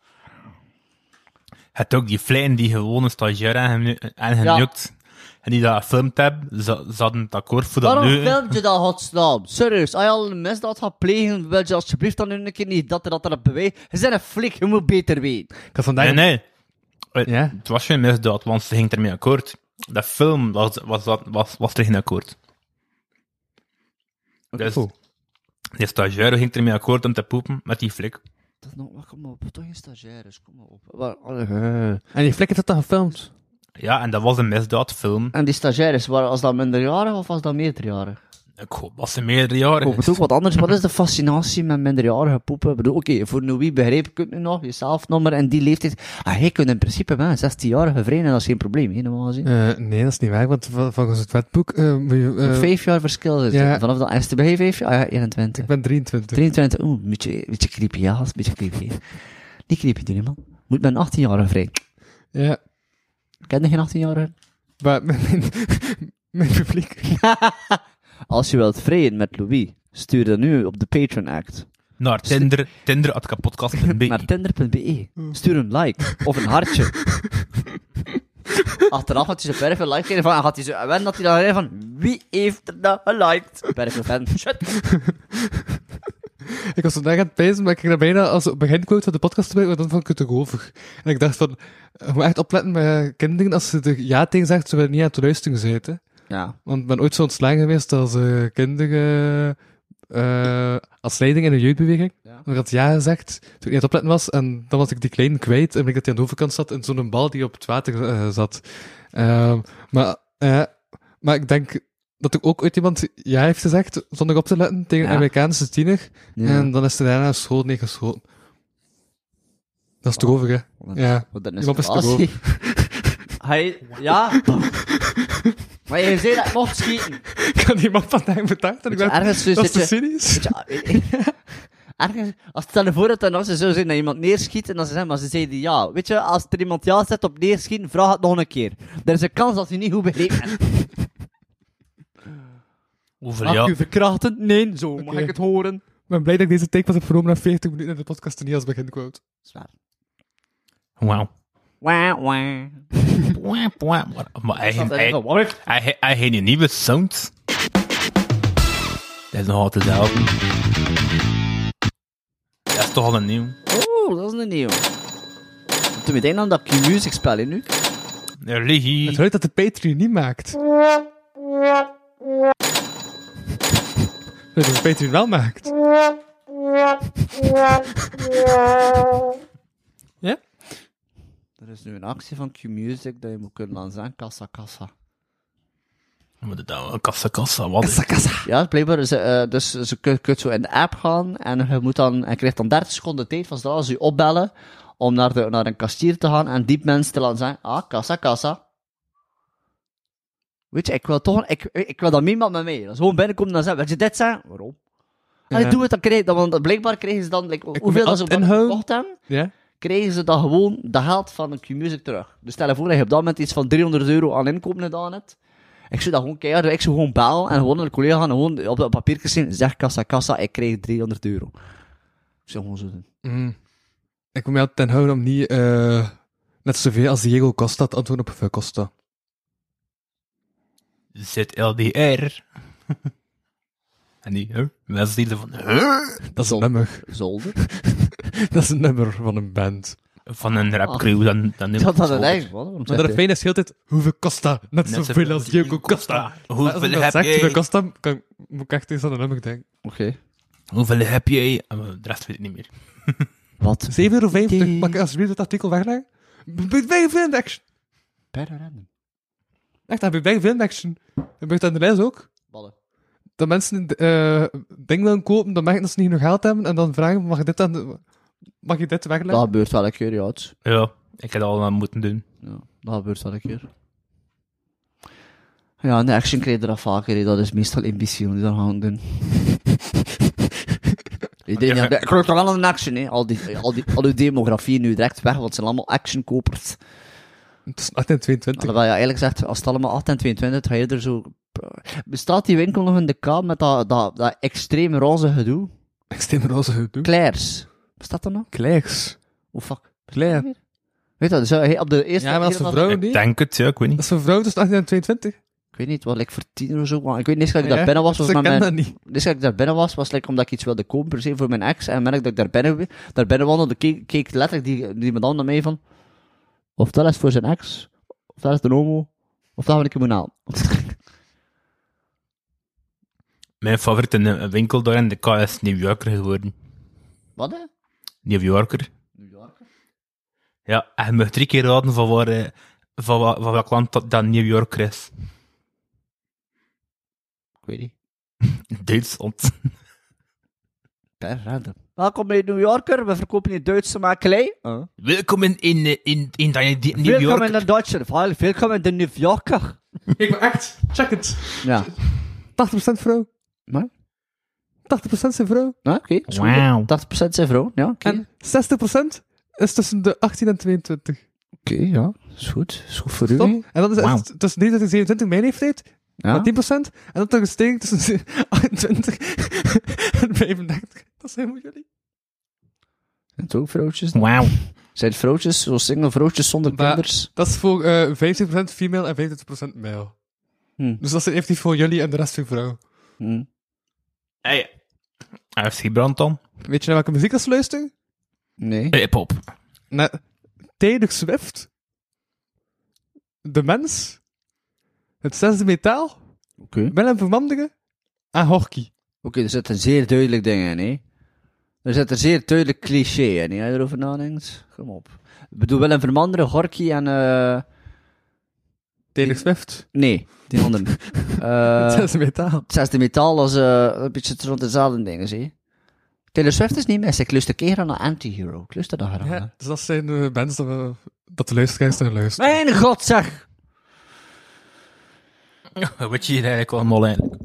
Speaker 4: Het ook die vleien die gewoon een stagiair aan hem en
Speaker 2: Ja.
Speaker 4: genukt. En die dat gefilmd hebben, ze, ze hadden het akkoord voor dat
Speaker 2: Waarom
Speaker 4: nu.
Speaker 2: film je dat godsnaam? Serieus, als je al een misdaad gaat plegen, wil je alsjeblieft dan nu een keer niet dat er dat er beweegt. Je bent een flik, je moet beter weten.
Speaker 3: Ik had vandaag
Speaker 4: Nee, nee. eh,
Speaker 3: Ja.
Speaker 4: Het was geen misdaad, want ze ging ermee akkoord. De film was, was, dat- was, was er geen akkoord. Dus
Speaker 3: Cool.
Speaker 4: de stagiaire ging ermee akkoord om te poepen met die flik.
Speaker 2: Dat nog, maar kom op, toch geen stagiaires, kom maar op. Waar- eh, alle-
Speaker 3: En die flikker dat dan gefilmd.
Speaker 4: Ja, en dat was een misdaadfilm.
Speaker 2: En die stagiaires, waren als dat minderjarig of was dat meerderjarig?
Speaker 4: Ik hoop dat ze meerdere jaren
Speaker 2: Ik hoop het ook wat anders. Wat is de fascinatie met minderjarige poepen? Ik bedoel, oké, voor Louis begreep ik het nu nog, je zelfnummer en die leeftijd. Ah, hij kunt in principe wel een 16-jarige vreden, dat is geen probleem, hè, normaal gezien.
Speaker 3: Eh, nee, dat is niet waar, want vol- volgens het wetboek eh, moet je... eh,
Speaker 2: Vijf jaar verschil is
Speaker 3: ja.
Speaker 2: het. Vanaf dat eerste bij vijf jaar, ah, ja, 21.
Speaker 3: ik ben 23.
Speaker 2: 23, oeh, een beetje, een beetje creepy, ja, dat is een beetje creepy. Niet creepy doen, hè, man. Moet met een 18-jarige vrij.
Speaker 3: Ja,
Speaker 2: Ken je geen 18-jarige?
Speaker 3: maar mijn, mijn publiek...
Speaker 2: Als je wilt vrijen met Louis, stuur dan nu op de Patreon Act.
Speaker 4: naar Tinder, Tinder at kapotkast.be.
Speaker 2: Naar tinder.be. Stuur een like of een hartje. Achteraf had hij zo perfect like gegeven van, en had hij zo en dat hij dan gegeven van, wie heeft er dat geliked? Perfect fan. Shit.
Speaker 3: Ik was vandaag aan het pijzen, maar ik ging er bijna als beginquote van de podcast bij, want dan vond ik het te golvig. En ik dacht van, eh, moet echt opletten met kinderen, als ze er ja tegen zegt, ze willen niet aan het luisteren zitten.
Speaker 2: Ja.
Speaker 3: Want ik ben ooit zo ontslagen geweest als eh kinderen, eh, als leiding in een jeugdbeweging.
Speaker 2: Ja.
Speaker 3: Ik had ja gezegd, toen ik niet aan het opletten was, en dan was ik die kleine kwijt, en bleek dat hij aan de overkant zat, in zo'n bal die op het water eh, zat. Ehm, maar, eh, maar ik denk dat ik ook ooit iemand ja heeft gezegd, zonder op te letten, tegen
Speaker 2: Ja.
Speaker 3: een Amerikaanse tiener.
Speaker 2: Ja.
Speaker 3: En dan is er daarna een school neergeschoten. Dat is droevig, hè?
Speaker 2: Wat-
Speaker 3: Ja.
Speaker 2: Wat een
Speaker 3: Iemand is te
Speaker 2: escalatie. Hij, ja. maar je zei dat ik mocht schieten.
Speaker 3: Ik had die man vandaag bedankt en ik
Speaker 2: Weet je,
Speaker 3: dacht,
Speaker 2: ergens zo
Speaker 3: dat is
Speaker 2: zit
Speaker 3: te
Speaker 2: je-
Speaker 3: cynisch.
Speaker 2: Weet je, eh, Ergens, als stel je voor dat dan als ze zo zijn dat iemand neerschiet en dan ze zeggen, maar ze zeiden ja. Weet je, als er iemand ja zet op neerschieten, vraag het nog een keer. Er is een kans dat je niet goed begrepen hebt.
Speaker 4: Hoeveel
Speaker 2: Mag ik
Speaker 4: jaar?
Speaker 2: u verkrachten? Nee, zo mag
Speaker 3: Oké.
Speaker 2: ik het horen.
Speaker 3: Ik ben blij dat ik deze take pas heb genomen na 40 minuten in de podcast en niet als beginquote.
Speaker 2: Zwaar.
Speaker 4: Wauw.
Speaker 2: Wah, wah.
Speaker 4: Wauw, wauw. Maar- Maar hij
Speaker 2: Dat
Speaker 4: ging-
Speaker 2: is
Speaker 4: hij-
Speaker 2: wel warm.
Speaker 4: hij- hij- hij ging een nieuwe sound. Dat is nog altijd dezelfde. Dat is toch al een nieuw.
Speaker 2: Oeh, dat is een nieuw. Toen meteen aan dat Q-music spel hè, nu.
Speaker 4: Religie.
Speaker 3: Het ruikt dat de Patreon niet maakt. Dat de Patreon wel maakt. Ja?
Speaker 2: Er is nu een actie van Q-music dat je moet kunnen laten zijn. Kassa, kassa.
Speaker 4: Wat is dat? Kassa, kassa. Wat is
Speaker 2: Ja, blijkbaar. Is, eh, eh, dus ze kun, kunt zo in de app gaan en je moet dan, en krijgt dan 30 seconden tijd van zodra ze je opbellen om naar, de, naar een kastier te gaan en die mensen te laten zeggen, ah, kassa, kassa. Weet je, ik wil toch, ik, ik wil dat niemand met mij. Dat is gewoon binnenkomen en dan zeggen, wil je dit zijn? Waarom?
Speaker 3: Ja.
Speaker 2: Allee, doe het, dan krijg je dat, want blijkbaar krijgen ze dan, like,
Speaker 3: Ik
Speaker 2: hoeveel
Speaker 3: wil
Speaker 2: dat ze op dat
Speaker 3: inhouden.
Speaker 2: gekocht hebben,
Speaker 3: Ja?
Speaker 2: krijgen ze dan gewoon de geld van een Q-Music terug. Dus stel je voor dat je op dat moment iets van 300 euro aan inkopen gedaan hebt. Ik zou dat gewoon keihard, ik zou gewoon bellen en gewoon naar de collega gaan, gewoon op dat papiertje zien, zeg kassa, kassa, ik krijg 300 euro. Ik zou gewoon zo doen.
Speaker 3: Mm. Ik wil mij altijd ten houden om niet eh, net zoveel als Diego Costa te antwoorden op hoeveel Costa.
Speaker 4: ZLDR. en die, huh? mensen die van, huh?
Speaker 3: Dat is een nummer.
Speaker 2: Zolder?
Speaker 3: Dat is een nummer van een band.
Speaker 4: Van een
Speaker 3: Ah.
Speaker 4: rapcrew, dan, dan neemt
Speaker 2: Dat had een
Speaker 4: het
Speaker 2: eigen, wat? Waarom
Speaker 3: Maar
Speaker 2: zegt
Speaker 3: dat
Speaker 2: hij-
Speaker 3: fijn is heel tijd, hoeveel Costa? Net
Speaker 4: Net
Speaker 3: zoveel als Diego Costa. Als ik
Speaker 4: Hoeveel
Speaker 3: dat
Speaker 4: heb
Speaker 3: zeg, hoeveel
Speaker 4: jij?
Speaker 3: Costa, kan, moet ik echt eens aan een nummer denken.
Speaker 2: Oké.
Speaker 4: Hoeveel heb jij? En De rest weet ik niet meer.
Speaker 2: Wat?
Speaker 3: 7,50 euro. Mag ik
Speaker 2: Per
Speaker 3: alsjeblieft het artikel wegleggen? Big Bang Film Action.
Speaker 2: random.
Speaker 3: Echt, dat Big Bang Film Action. Dat gebeurt aan de lijst ook.
Speaker 2: Ballen.
Speaker 3: Dat mensen eh dingen willen kopen, dan merken dat ze niet genoeg geld hebben. En dan vragen, mag, dit aan de- mag je dit
Speaker 2: Dat
Speaker 3: wegleggen?
Speaker 2: gebeurt wel een keer, ja. het-
Speaker 4: Ja, ik heb dat al aan moeten doen.
Speaker 2: ja dat gebeurt wel een keer. Ja, en de action krijg je dat vaker, hè. dat is meestal imbeciel die dat gaan doen. Ik denk,
Speaker 3: eh,
Speaker 2: ja, ik geloof toch wel aan de action, hè. Al die, al die, al die demografie nu direct weg, want ze zijn allemaal actionkopers.
Speaker 3: Het is 18 en 22.
Speaker 2: Alhoewel, ja, eigenlijk zegt, als het allemaal 8 en 22, ga je er zo... Bestaat die winkel nog in de K met dat, dat, dat extreem roze gedoe?
Speaker 3: Extreem roze gedoe.
Speaker 2: Claire's. Bestaat dat nog?
Speaker 3: Kleks.
Speaker 2: Oh, fuck.
Speaker 3: Claire.
Speaker 2: Weet dat, zo, eh, hey, op de eerste...
Speaker 3: Ja, maar dat is
Speaker 2: keer
Speaker 3: voor vrouwen
Speaker 4: ik
Speaker 3: niet.
Speaker 4: denk het, ja, ik weet
Speaker 3: Dat
Speaker 4: niet.
Speaker 3: is voor vrouwen tussen 18 en 22.
Speaker 2: Ik weet niet, wat, like voor 10 of zo, maar ik weet niet, eens dat ik
Speaker 3: Ja,
Speaker 2: daar binnen was, was
Speaker 3: Ze
Speaker 2: met
Speaker 3: kennen
Speaker 2: mijn...
Speaker 3: dat niet.
Speaker 2: Dus dat ik daar binnen was, was like, omdat ik iets wilde kopen per se voor mijn ex. En merk dat ik daar binnen, daar binnen wandelde, keek, keek letterlijk die, die madame naar mij van... Of dat is voor zijn ex. Of dat is de homo. Of dat wil ik hem aan.
Speaker 4: Mijn favoriete eh, winkel daar in de K is New Yorker geworden.
Speaker 2: Wat hè?
Speaker 4: New Yorker. Ja, en je mag drie keer raden van, waar, eh, van, wa- van welk land dat, dat New Yorker is.
Speaker 2: Ik weet niet.
Speaker 4: Duitsland.
Speaker 2: Per random. Welkom bij New Yorker. We verkopen in Duitse makelij. Uh.
Speaker 4: Welkom in, in, eh, in, in, dat- die- New
Speaker 2: Welkom in
Speaker 4: Yorker.
Speaker 2: de Duitse. Welkom in de New Yorker.
Speaker 3: Ik ben echt, check het.
Speaker 2: Ja.
Speaker 3: 80% vrouw.
Speaker 2: Maar?
Speaker 3: 80% zijn vrouw.
Speaker 2: Nou, oké. is goed.
Speaker 4: Wauw.
Speaker 2: 80% zijn vrouw. Ja, oké.
Speaker 3: En 60% is tussen de 18 en 22.
Speaker 2: Oké, ja. Is goed. Is goed voor
Speaker 3: Top.
Speaker 2: u.
Speaker 3: En dat is
Speaker 4: Wauw.
Speaker 3: echt tussen 29 en 27 mijn leeftijd,
Speaker 2: Ja.
Speaker 3: met 10%. En dat dan gestegen tussen 28 en 35. Dat zijn we jullie.
Speaker 2: Zijn het ook vrouwtjes?
Speaker 4: Wauw.
Speaker 2: Zijn het vrouwtjes, zo single vrouwtjes zonder
Speaker 3: Maar-
Speaker 2: kinders?
Speaker 3: Dat is voor eh 15% female en 25% male.
Speaker 2: Hm.
Speaker 3: Dus dat zijn effectief voor jullie en de rest zijn vrouw.
Speaker 2: Hm.
Speaker 4: Hey. Hij heeft gebrand dan.
Speaker 3: Weet je naar welke muziek dat ze luisteren?
Speaker 2: Nee.
Speaker 4: Hip-hop.
Speaker 3: Naar Taylor Swift, De Mens, Het Zesde Metaal,
Speaker 2: Oké.
Speaker 3: Willem Vermandigen en Horky.
Speaker 2: Oké, er zitten zeer duidelijk dingen in, hè. Er zitten zeer duidelijk cliché in, hè. Als je erover nadenkt, kom op. Ik bedoel, Willem Vermanderen, Gorky en... eh
Speaker 3: Taylor Swift,
Speaker 2: Nee, die anderen.
Speaker 3: Het
Speaker 2: Eh
Speaker 3: Zesde Metaal.
Speaker 2: het zesde metaal was eh, een beetje rond dezelfde dingen, hè. Taylor Swift is niet mis. Ik luister keer aan een anti-hero. Ik luister daar graag aan.
Speaker 3: Ja, dus dat zijn de bands dat, we, dat de luisteraars naar luisteren.
Speaker 2: Mijn god, zeg!
Speaker 4: Weet je hier eigenlijk allemaal eigenlijk?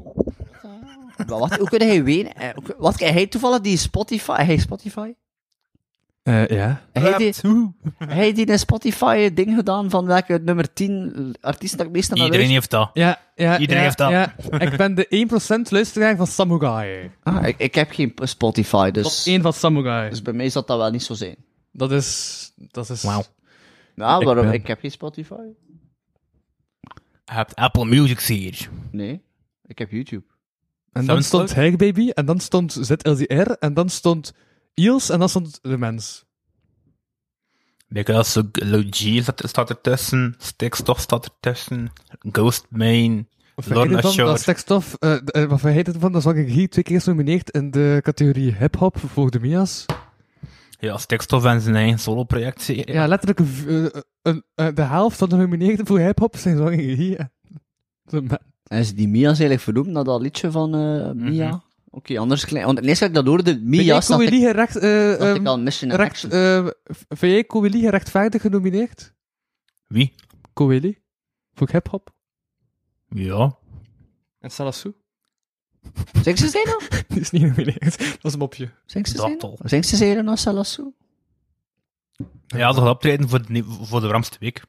Speaker 2: Maar wat, hoe kun hij wenen? Eh, hoe- Wat, hij heeft toevallig die Spotify... Hij heeft Spotify?
Speaker 3: Eh, ja.
Speaker 2: Hij die, hij die een Spotify ding gedaan van welke nummer 10 artiest dat ik meestal naar
Speaker 4: Iedereen
Speaker 2: luister?
Speaker 4: heeft dat.
Speaker 3: Ja, ja,
Speaker 4: Iedereen
Speaker 3: ja,
Speaker 4: heeft dat.
Speaker 3: ja. Ik ben de 1% luisteraar van Samurai.
Speaker 2: Ah, ik, ik heb geen Spotify,
Speaker 3: Tot
Speaker 2: dus,
Speaker 3: 1 van Samurai.
Speaker 2: dus bij mij zal dat wel niet zo zijn.
Speaker 3: Dat is... Dat is...
Speaker 4: Wauw.
Speaker 2: Nou,
Speaker 3: Ik
Speaker 2: waarom?
Speaker 3: ben-
Speaker 2: Ik heb geen Spotify.
Speaker 4: Je hebt Apple Music hier.
Speaker 2: Nee, ik heb YouTube.
Speaker 3: En
Speaker 4: Sounds
Speaker 3: dan stond Hag Baby, en dan stond ZLDR, en dan stond Iels, en dan stond De Mens.
Speaker 4: Because Logie staat- staat ertussen, Stikstof staat ertussen, Ghostbane,
Speaker 3: Of
Speaker 4: Lorna
Speaker 3: vergeet het van,
Speaker 4: Shore.
Speaker 3: dat stekstof, eh d- eh, wat vergeet het van, dat was ik hier twee keer genomineerd in de categorie hip-hop voor de Mia's.
Speaker 4: Ja, Stikstof en zijn eigen solo-project. zie je.
Speaker 3: Ja, letterlijk een v- eh, een- eh, de helft van de genomineerden voor hip-hop zijn zwangen hier. en De Mens.
Speaker 2: En is die Mia's eigenlijk vernoemd naar dat liedje van eh, Mia?
Speaker 4: Mhm.
Speaker 2: Oké, anders klein. Want ineens had ik dat hoorde,
Speaker 3: Vind
Speaker 2: Mia's,
Speaker 3: jij
Speaker 2: dacht ik,
Speaker 3: Coeli gerecht, eh,
Speaker 2: dacht ik
Speaker 3: ehm,
Speaker 2: al Mission in
Speaker 3: recht,
Speaker 2: Action.
Speaker 3: eh, vind jij Coeli gerechtvaardig genomineerd?
Speaker 4: Wie?
Speaker 3: Coeli? Voor hip-hop?
Speaker 4: Ja.
Speaker 3: En Salassou?
Speaker 2: Zijn ze zijn dan?
Speaker 3: Die is niet genomineerd. Dat is een mopje.
Speaker 2: Zijn ze
Speaker 4: Dat
Speaker 2: zijn dan?
Speaker 4: toch.
Speaker 2: Zijn ze zijn dan als Salassou?
Speaker 4: Ja, toch optreden voor de, voor de warmste week.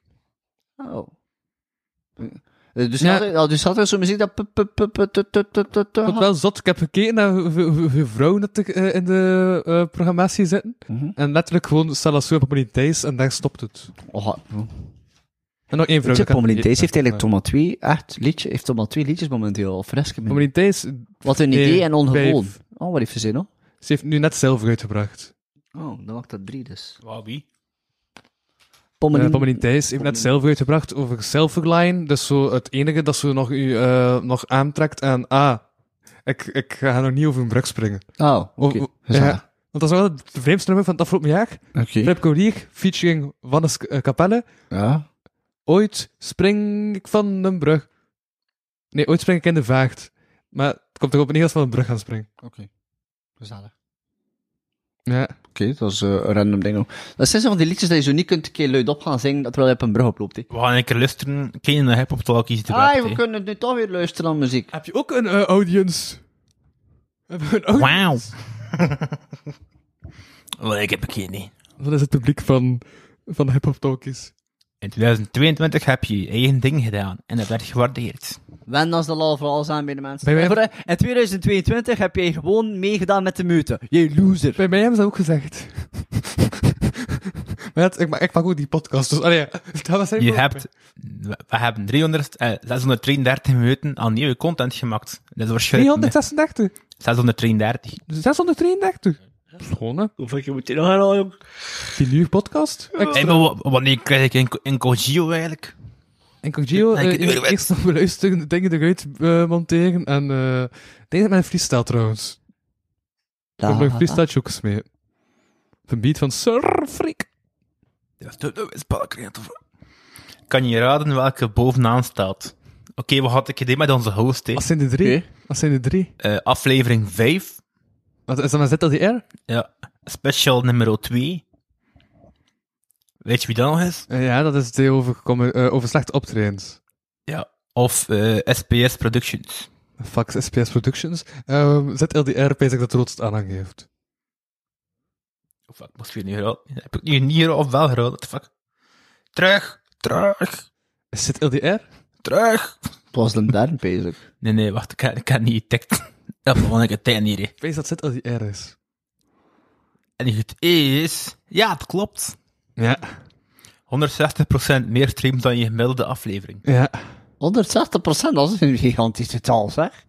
Speaker 2: Oh. Eh, Dus
Speaker 3: Ja.
Speaker 2: had er- dus had er zo'n muziek dat... pu- pu- pu- pu- tu- tu- tu- tu- tu-
Speaker 3: Ik vond het wel zot. Ik heb gekeken naar hoeveel, hoeveel vrouwen dat er, eh, in de eh, programmatie zitten.
Speaker 2: Mhm.
Speaker 3: En letterlijk gewoon Salassou en Pommelien Thijs en daar stopt het.
Speaker 2: Oh, ha-
Speaker 3: En nog één vrouw.
Speaker 2: Tja,
Speaker 3: dat kan-
Speaker 2: Pommelien Thijs heeft eigenlijk
Speaker 3: Eh,
Speaker 2: maar twee, echt, liedje, heeft toch maar twee liedjes momenteel, al fris gemeen.
Speaker 3: Pommelien Thijs, eh,
Speaker 2: Wat een
Speaker 3: Nee,
Speaker 2: idee en ongewoon.
Speaker 3: vijf.
Speaker 2: Oh, wat heeft ze zin, hoor.
Speaker 3: ze heeft nu net zelf uitgebracht.
Speaker 2: Oh, dan maakt dat drie dus.
Speaker 4: Wow, wie?
Speaker 3: Eh,
Speaker 2: Pommelien,
Speaker 3: Pommelien Eh, Thijs heeft net
Speaker 2: Pommelien.
Speaker 3: zelf uitgebracht over self-line. Dus zo het enige dat ze nog, u, eh, nog aantrekt aan... Ah, ik, ik ga nog niet over een brug springen.
Speaker 2: Oh, oké.
Speaker 3: Of-
Speaker 2: Gezellig.
Speaker 3: ja, want dat is wel het vreemdste nummer van het afgelopen jaar.
Speaker 2: Oké.
Speaker 3: Flip Colier, featuring Wannes eh, Capelle.
Speaker 2: Ja.
Speaker 3: Ooit spring ik van een brug. Nee, ooit spring ik in de vaart. Maar het komt erop neer dat ze van een brug gaan springen.
Speaker 2: Gezellig.
Speaker 3: Ja.
Speaker 2: Oké, dat is eh, een random ding ook. Dat zijn zo van die liedjes dat je zo niet kunt een keer luid op gaan zingen, terwijl je op een brug oploopt, hè.
Speaker 4: We gaan een keer luisteren. Ken je de hip-hop talk hier te
Speaker 2: Ah, we kunnen nu toch weer luisteren aan muziek.
Speaker 3: Heb je ook een eh, audience? Hebben we een audience?
Speaker 4: Wauw. Wel, ik heb een keer niet.
Speaker 3: Dat is het publiek van, van Hip Hop Talkies.
Speaker 4: In 2022 heb je je eigen ding gedaan en dat werd gewaardeerd.
Speaker 2: Wen als de lal vooral zijn bij de mensen.
Speaker 3: Bij mij-
Speaker 2: En voor- eh, In 2022 heb jij gewoon meegedaan met de mute. Jij loser.
Speaker 3: Bij mij hebben ze dat ook gezegd. maar het, ik, ma- ik maak ook die podcast, dus allee, ja, dat was
Speaker 4: Je
Speaker 3: eigenlijk ook-
Speaker 4: hebt, we we hebben 300, eh, 633 minuten aan nieuwe content gemaakt. Dat is waarschijnlijk
Speaker 3: 336.
Speaker 4: 633.
Speaker 3: 633. Schoon, hè?
Speaker 4: Hoeveel keer moet je nog herhalen, jong?
Speaker 3: Tien uur podcast? Ik-
Speaker 4: Hey, maar wa- wanneer krijg ik een, een Gogio eigenlijk?
Speaker 3: En Cogio,
Speaker 4: Ik- ik-
Speaker 3: eh,
Speaker 4: ik-
Speaker 3: eerst nog beluisteren, de dingen eruit eh, monteren. En eh, ik denk dat mijn vries staat trouwens. Ik heb nog een freestyle chokers mee. Op Een beat van Sir Freak.
Speaker 4: Ja, dat is Kan je raden welke bovenaan staat? Oké, wat had ik gedaan met onze host, hè?
Speaker 3: Wat zijn de drie? Wat zijn de drie?
Speaker 4: Eh, aflevering 5.
Speaker 3: Wat, is dat mijn ZLDR?
Speaker 4: Ja. Special nummer 2. Weet je wie dat nog is?
Speaker 3: Eh, ja, dat is het over, gekomen, eh, over slecht optredens.
Speaker 4: Ja. Of eh, SPS Productions.
Speaker 3: Fax SPS Productions. Ehm, ZLDR, pees ik dat Roodst aanhang heeft.
Speaker 4: Of ik Oh, moest weer niet geraden. Heb ik nu niet geraden of wel geraden? What the Fuck. Terug. Terug.
Speaker 3: Is dit LDR?
Speaker 4: Terug.
Speaker 2: Het was de derde bezig.
Speaker 4: Nee, nee, wacht. Ik heb, ik heb niet getikt. Dat begon ik het tijd hier, hè.
Speaker 3: Pees dat ZLDR is.
Speaker 4: En het is... Ja, het klopt.
Speaker 3: Ja.
Speaker 4: 160% meer streams dan je gemiddelde aflevering.
Speaker 3: Ja.
Speaker 2: 160%, dat is een gigantisch getal, zeg.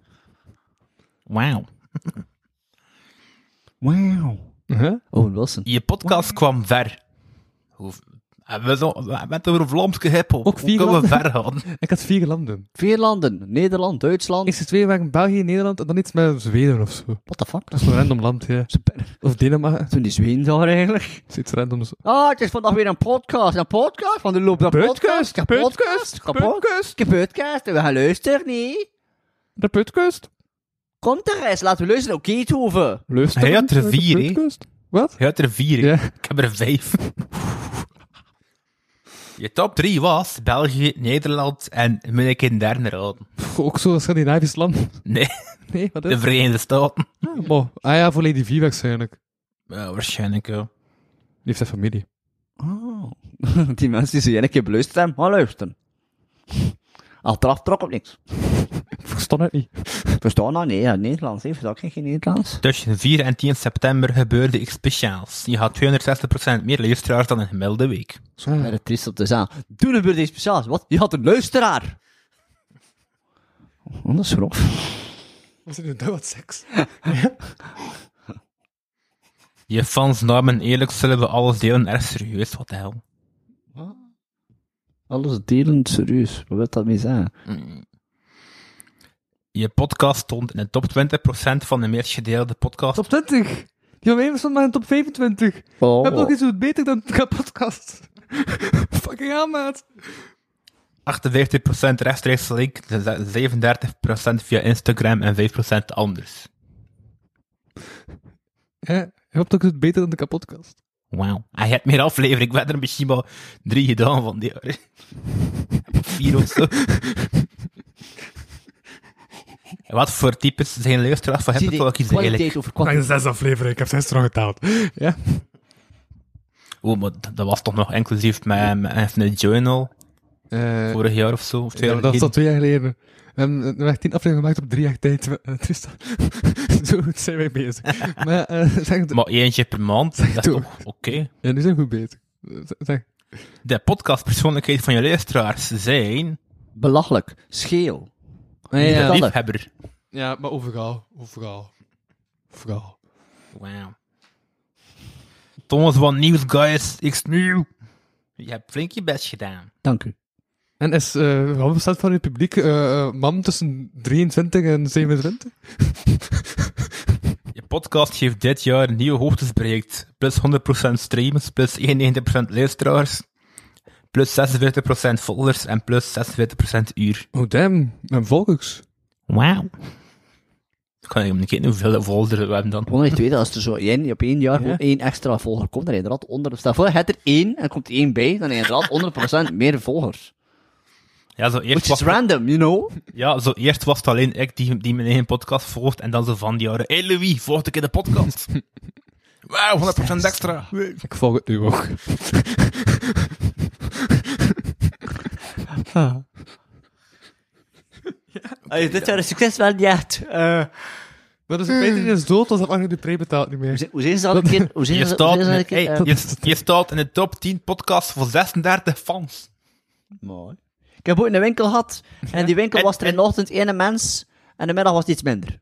Speaker 4: Wauw.
Speaker 2: Wauw.
Speaker 3: Huh?
Speaker 2: Owen Oh, Wilson.
Speaker 4: Je podcast kwam ver. Hoe, en we, zo, we hebben het over Vlaamse hiphop.
Speaker 3: Ook
Speaker 4: Hoe kunnen
Speaker 3: Vierland.
Speaker 4: we ver gaan?
Speaker 3: Ik had vier landen.
Speaker 2: Vier landen. Nederland,
Speaker 3: Ik
Speaker 2: Duitsland.
Speaker 3: zit twee waren België, Nederland en dan iets met Zweden of zo.
Speaker 2: What the fuck?
Speaker 3: Dat is een random land, ja.
Speaker 2: Ze ben-
Speaker 3: Of Denemarken.
Speaker 2: Toen die Zweden daar eigenlijk.
Speaker 3: Zoiets randoms.
Speaker 2: Ah, het is vandaag weer een podcast. Een podcast? Van de loop naar podcast. Een podcast. Een podcast. Een podcast. En we gaan luisteren, nee.
Speaker 3: De putkust.
Speaker 2: Kom er eens, laten we luisteren. Oké, okay, Toven.
Speaker 3: Luister.
Speaker 4: Hij had er
Speaker 3: De
Speaker 4: vier, hè?
Speaker 3: putkust. Wat?
Speaker 4: Je hebt er vier. hè.
Speaker 3: Ja.
Speaker 4: Ik heb er vijf. Je top drie was België, Nederland en moet ik in derde raden?
Speaker 3: Pff, ook zo'n Scandinavisch land.
Speaker 4: Nee,
Speaker 3: Nee, wat
Speaker 4: de
Speaker 3: is
Speaker 4: Verenigde Staten.
Speaker 3: het? Bon. Ah ja, voor Lady V waarschijnlijk. Die
Speaker 4: Ja, waarschijnlijk, ja.
Speaker 3: heeft zijn familie.
Speaker 2: Oh. Die mensen die ze een keer beluisterd hebben, gaan luisteren. Achteraf trok op niks.
Speaker 3: Ik verstond het niet.
Speaker 2: Verstaan dat? Nee, ja, Nederlands. Heeft dat geen Nederlands?
Speaker 4: Tussen 4 en 10 september gebeurde iets speciaals. Je had 260% meer luisteraars dan een gemiddelde week.
Speaker 2: Ja, dat triest op de zaal. Toen gebeurde iets speciaals. Wat? Je had een luisteraar. Oh, dat is grof.
Speaker 3: Was het nu wat seks?
Speaker 4: Je fans namen eerlijk zullen we alles delen erg serieus, wat de hel.
Speaker 2: Alles delend serieus. Wat wil dat mee zeggen?
Speaker 4: Je podcast stond in de top 20% van de meest gedeelde podcast.
Speaker 3: Top 20. Die van mij stond maar in top 25.
Speaker 2: Oh.
Speaker 3: Heb nog iets wat beter dan de podcast. Fucking aan, maat.
Speaker 4: 48% rechtstreeks link, 37% via Instagram en 5% anders.
Speaker 3: Hè? Je hoopt ook iets beter dan de podcast.
Speaker 4: Wauw. Hij heeft meer aflevering. Ik werd er misschien wel drie gedaan van die jaar. Vier of zo. En Wat voor types zijn luisteraars van
Speaker 2: Zie
Speaker 4: Hippie
Speaker 2: die
Speaker 4: Talkies eigenlijk?
Speaker 2: kwaliteit over kwantiteit.
Speaker 3: zes afleveringen. Ik heb zes er getaald. Ja.
Speaker 4: Oh, maar dat- dat was toch nog inclusief met, met Infinite Journal
Speaker 3: Eh
Speaker 4: vorig jaar of zo? Of twee
Speaker 3: Ja,
Speaker 4: jaar
Speaker 3: dat is al
Speaker 4: geleden?
Speaker 3: twee jaar geleden. We hebben eh, we hebben tien afleveringen gemaakt op drie jaar tijd. We- eh, Tristan, zo goed zijn wij bezig. maar eh, zeg het-
Speaker 4: Maar eentje per maand. Dat is
Speaker 3: toe.
Speaker 4: toch oké.
Speaker 3: ja, nu zijn we goed bezig. Eh, Zeg,
Speaker 4: De podcastpersoonlijkheid van je luisteraars zijn...
Speaker 2: Belachelijk. Scheel.
Speaker 4: de
Speaker 2: Belachelijk.
Speaker 4: liefhebber.
Speaker 3: ja, maar overal. Overal. Overal.
Speaker 4: Wauw. Thomas van Nieuws, guys. Ik nieuw. Je hebt flink je best gedaan.
Speaker 2: Dank u.
Speaker 3: En is eh wat bestaat van het publiek eh, eh, man tussen 23 en 27?
Speaker 4: Je podcast heeft dit jaar nieuwe hoogtes bereikt. Plus 100% streams, plus 91% luisteraars, plus 46% followers en plus 46% uur.
Speaker 3: Oh damn, en volgens.
Speaker 4: Wauw. Ik kan even kijken hoeveel followers we hebben dan.
Speaker 2: 102, als er zo één, op één jaar gewoon
Speaker 4: Ja.
Speaker 2: één extra volger komt, dan inderdaad onder... Stel voor, je hebt er één, en er komt één bij, dan inderdaad 100% meer volgers.
Speaker 4: Ja, zo eerst,
Speaker 2: Which is
Speaker 4: was,
Speaker 2: random, you know?
Speaker 4: ja, zo eerst was het alleen ik die, die mijn eigen podcast volgt en dan zo van die jaren. Hey Louis, volgt ik in de podcast? Wauw, 100% extra.
Speaker 3: Ik volg het nu ook.
Speaker 2: Ah. dit jaar een succes wel niet echt. Eh,
Speaker 3: Maar dus Peter is dood, als dat Arno de Pre betaalt niet meer.
Speaker 2: Hoe zijn ze al een keer... Hoe zijn
Speaker 4: Je
Speaker 2: ze hoe
Speaker 4: staat,
Speaker 2: zijn ze al een
Speaker 4: in,
Speaker 2: keer...
Speaker 4: hey,
Speaker 2: eh,
Speaker 4: je, je staat in de top 10 podcast voor 36 fans.
Speaker 2: Mooi. Ik heb ooit een winkel gehad, en die winkel
Speaker 4: En-
Speaker 2: was er in de
Speaker 4: en-
Speaker 2: ochtend één mens, en de middag was het iets minder.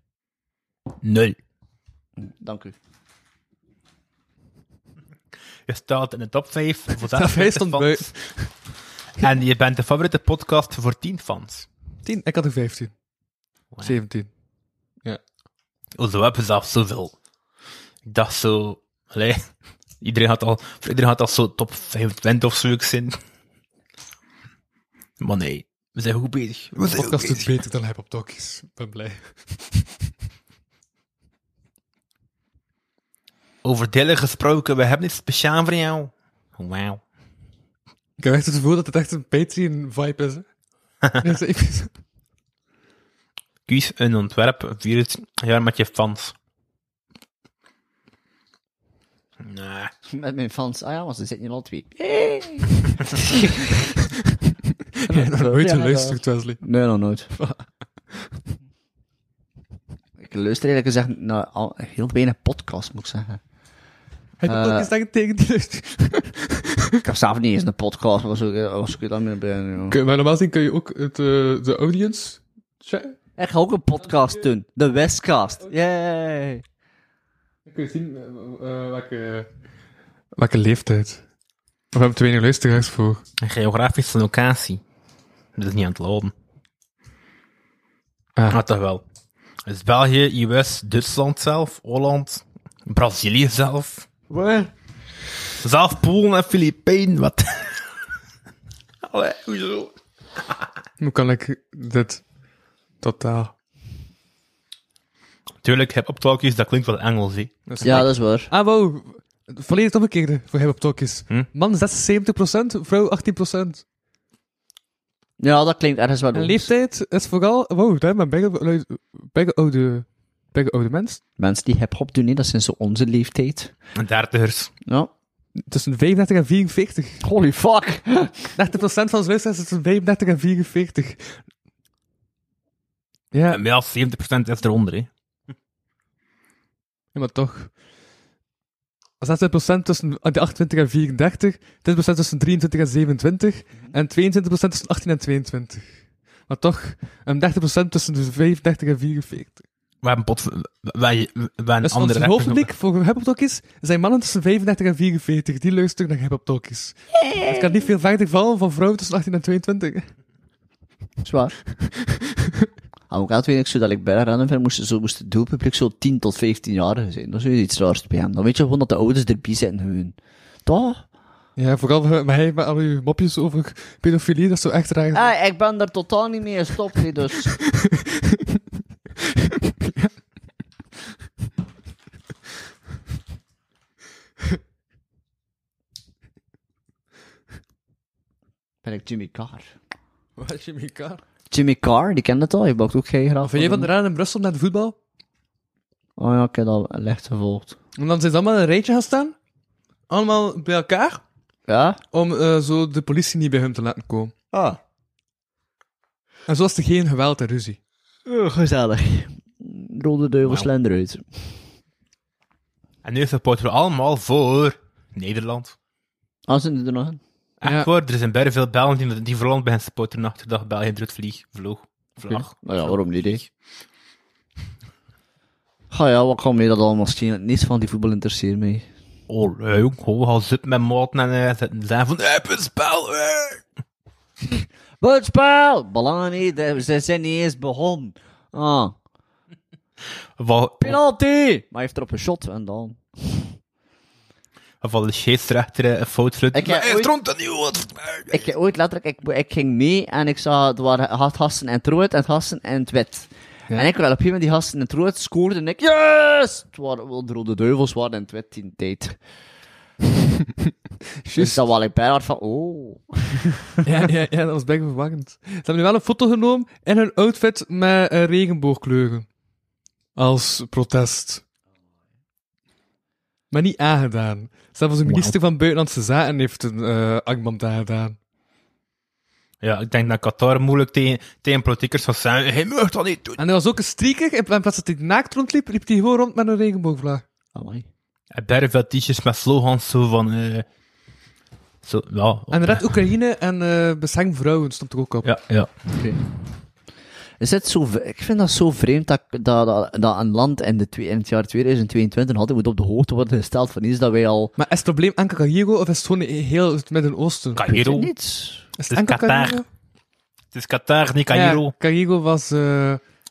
Speaker 4: Nul.
Speaker 2: Dank u.
Speaker 4: je staat in de top 5 voor
Speaker 3: Dat hij
Speaker 4: 56
Speaker 3: stond
Speaker 4: fans. En je bent de favoriete podcast voor 10 fans.
Speaker 3: 10, ik had er 15.
Speaker 4: Wow.
Speaker 3: 17.
Speaker 4: Hoezo hebben ze zelfs zoveel? Ik dacht zo... Allee, iedereen had al, voor iedereen had al zo top 25 of zo, ik zin. Maar nee, we zijn goed bezig. We
Speaker 3: De
Speaker 4: zijn goed
Speaker 3: podcast doet
Speaker 4: bezig.
Speaker 3: beter dan hij op Talkies. Ik ben blij.
Speaker 4: Over delen gesproken, we hebben iets speciaal voor jou. Wauw.
Speaker 3: Ik heb echt het gevoel dat het echt een Patreon-vibe is. hè. Deze episode.
Speaker 4: Kies een ontwerp vier het jaar met je fans. Nee.
Speaker 2: Met mijn fans. Ah ja, want ze zitten hier al twee.
Speaker 3: Ik heb nog nooit
Speaker 2: Ja,
Speaker 3: geluisterd, Wesley.
Speaker 2: Nee, nog nooit. ik luister eigenlijk gezegd naar al, heel weinig podcasts, moet ik zeggen.
Speaker 3: Hij
Speaker 2: Eh.
Speaker 3: doet ook eens tegen tegen die luistert.
Speaker 2: Ik heb zelf niet eens een podcast, was ook, was ook dan meer bij. joh.
Speaker 3: Kun- Maar normaal gezien kun je ook het, eh, de audience checken.
Speaker 2: Ik ga ook een podcast doen. De Westcast. Yay!
Speaker 3: Dan kun je zien eh, eh, welke, welke leeftijd. We hebben te weinig luisteraars voor.
Speaker 4: Een geografische locatie. Dat is niet aan het lopen.
Speaker 3: Ah.
Speaker 4: Maar toch wel. Dus België, US, Duitsland zelf, Holland, Brazilië zelf.
Speaker 3: Waar?
Speaker 4: Zelf Polen en Filipijnen, wat? Allee, hoezo?
Speaker 3: Hoe kan ik dit totaal...
Speaker 4: Tuurlijk, heb op talkies, dat klinkt wel Engels, hè.
Speaker 2: Ja, dat is waar.
Speaker 3: Ah, wow. Volledig het omgekeerde voor hem op Talkies.
Speaker 4: Hm?
Speaker 3: Man 76%, vrouw 18%.
Speaker 2: Ja, dat klinkt ergens wel.
Speaker 3: En leeftijd is vooral... Wow, daar hebben we bijna- bijna oude, bijna oude mensen.
Speaker 2: Mensen die hip-hop doen, hè, dat zijn zo onze leeftijd.
Speaker 4: En dertigers.
Speaker 2: Ja.
Speaker 3: Tussen 35 en 44. 30%
Speaker 2: Holy fuck!
Speaker 3: van zijn luisteraars is tussen 35 en 44. Ja,
Speaker 4: En meer dan 70% is eronder, hè.
Speaker 3: Ja, maar toch. 60% tussen ah, de 28 en 34, 20% tussen 23 en 27 en 22% tussen 18 en 22. Maar toch, een 30% tussen de 35 en 44.
Speaker 4: We hebben pot... We, we, we- we een
Speaker 3: Dus
Speaker 4: andere
Speaker 3: onze
Speaker 4: rappers nog-
Speaker 3: hoofdpubliek voor Heb op Talkies zijn mannen tussen 35 en 44. Die luisteren naar Heb op Talkies. Het kan niet veel verder vallen van vrouwen tussen 18 en 22.
Speaker 2: Zwaar. Had ook altijd weet ik zo dat ik bij rennen vind, moest, zo moest het doelpubliek zo 10 tot 15-jarigen zijn. Dat is weer iets raars bij hem. Dan weet je gewoon dat de ouders erbij zitten gewoon. Toch?
Speaker 3: Ja, vooral met mij, met al uw mopjes over pedofilie, dat is zo echt raar.
Speaker 2: Ah, ik ben er totaal niet mee gestopt, hè, dus. Ben ik Jimmy Carr?
Speaker 3: Wat je
Speaker 2: Jimmy Carr, die kent het al, je maakt ook geen graag.
Speaker 3: Vind jij van de raar in Brussel naar de voetbal?
Speaker 2: Oh ja, ik heb dat licht gevolgd.
Speaker 3: En dan zijn ze allemaal in een rijtje gaan staan. Allemaal bij elkaar.
Speaker 2: Ja?
Speaker 3: Om eh, zo de politie niet bij hem te laten komen.
Speaker 2: Ah.
Speaker 3: En zo was er geen geweld en ruzie.
Speaker 2: gezellig. Rode duivel
Speaker 4: Wauw.
Speaker 2: slender uit.
Speaker 4: En nu supporten we allemaal voor Nederland.
Speaker 2: Ah, zijn die er nog in?
Speaker 4: Echt
Speaker 3: Ja.
Speaker 4: waar, er zijn bijna veel Belgen die, die vooral bij hen supporteren achter dag België eruit vlieg, vloog, vlag.
Speaker 2: Nou ja, waarom niet, hè? Ga ja, wat kan mij dat allemaal schelen? Niets van die voetbal interesseert mij.
Speaker 4: Oh, leuk, ho, al zit met maten en eh, zitten zijn van, heb een spel, eh."
Speaker 2: Buitenspel! Belangen niet, hè. ze zijn niet eens begonnen. Ah,
Speaker 4: Van,
Speaker 2: penalty! Maar hij heeft erop een shot en dan...
Speaker 4: van de scheidsrechter eh, een fout fluit.
Speaker 2: Ik heb
Speaker 4: Maar hij
Speaker 2: ooit-
Speaker 4: stroomt dat niet, wat?
Speaker 2: Ik heb ooit letterlijk, ik, ik ging mee en ik zag, het waren had gasten en het rood en het gasten en het wit. En ik wil op een gegeven moment die gasten in het rood scoorde en ik, yes! Het waren wel de rode duivels, waren in het wit in tijd. Dus
Speaker 3: Juist.
Speaker 2: dat was ik bij hard van, oh.
Speaker 3: Ja, ja, ja, dat was bijna verwarrend. Ze hebben nu wel een foto genomen in hun outfit met eh, regenboogkleuren. Als protest. Maar niet aangedaan. Zelfs de minister van Buitenlandse Zaken heeft een eh akband aangedaan.
Speaker 4: Ja, ik denk dat Qatar moeilijk tegen, tegen politiekers zou zijn. Hij mag dat niet doen.
Speaker 3: En er was ook een streaker. In plaats dat hij naakt rondliep, liep hij gewoon rond met een regenboogvlaag.
Speaker 2: Amai.
Speaker 4: En bijna veel t-shirts met slogans zo van, eh, zo, ja.
Speaker 3: En red Oekraïne en eh bescherm vrouwen stond er ook op.
Speaker 4: Ja, ja.
Speaker 2: Oké. Is het zo, v- ik vind dat zo vreemd dat, dat, dat, dat een land in, de twee, in het jaar 2022 altijd moet op de hoogte worden gesteld van iets dat wij al...
Speaker 3: Maar is het probleem enkel Cairo of is het gewoon heel het Midden-Oosten?
Speaker 2: Ik weet
Speaker 4: Cairo.
Speaker 2: het niet.
Speaker 3: Is
Speaker 4: het is Qatar.
Speaker 3: Cairo?
Speaker 4: Het is Qatar, niet Cairo.
Speaker 3: Ja, Cairo was... eh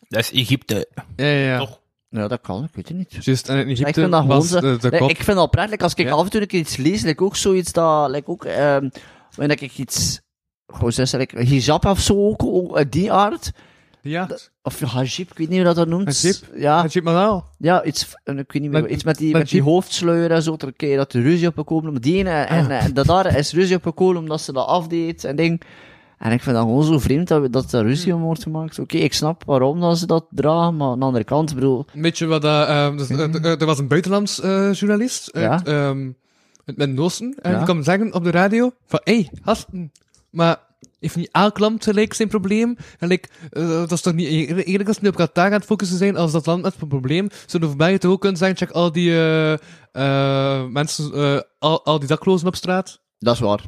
Speaker 4: Dat is Egypte.
Speaker 3: ja, ja, ja.
Speaker 4: Toch?
Speaker 2: Ja, dat kan, ik weet het niet.
Speaker 3: Juist, en in Egypte
Speaker 2: ik vind dat gewoon
Speaker 3: was
Speaker 2: zo-
Speaker 3: de, de
Speaker 2: Nee,
Speaker 3: kop.
Speaker 2: ik vind het al prettig als ik
Speaker 3: Ja.
Speaker 2: af en toe een keer iets lees, like ook zoiets dat, like ook, ehm wanneer ik iets, gewoon zes, like hijab of zo ook, ook, eh, die aard,
Speaker 3: ja,
Speaker 2: of hajib, ik weet niet hoe dat dat noemt.
Speaker 3: Hijab?
Speaker 2: Ja,
Speaker 3: Najib Manal.
Speaker 2: ja, iets, eh, ik weet niet meer,
Speaker 3: Met-
Speaker 2: iets met die,
Speaker 3: met
Speaker 2: met die
Speaker 3: jeep.
Speaker 2: hoofdsleur en zo, ter keer dat er ruzie opgekomen, maar die ene,
Speaker 3: Ah.
Speaker 2: en, en, dat daar is ruzie opgekomen omdat ze dat afdeed en ding. En ik vind dat gewoon zo vreemd dat, we- dat daar ruzie
Speaker 3: Hmm.
Speaker 2: om wordt gemaakt. Oké, ik snap waarom dat ze dat dragen, maar aan de andere kant, ik bedoel,
Speaker 3: Een beetje wat... dat, ehm, dus, eh, eh, er was een buitenlands eh, journalist uit ehm, het Midden-Oosten. En
Speaker 2: Ja.
Speaker 3: Eh, die kwam zeggen op de radio van... Hé, hey, gasten, maar... Heeft niet aanklampt, lijkt zijn probleem. En like, eh, dat is toch niet eer- eerlijk als ze nu op Qatar aan het focussen zijn als dat land met een probleem. Zouden we voorbij toch ook kunnen zeggen, check al die eh, eh, mensen, eh, al, al die daklozen op straat.
Speaker 2: dat is waar.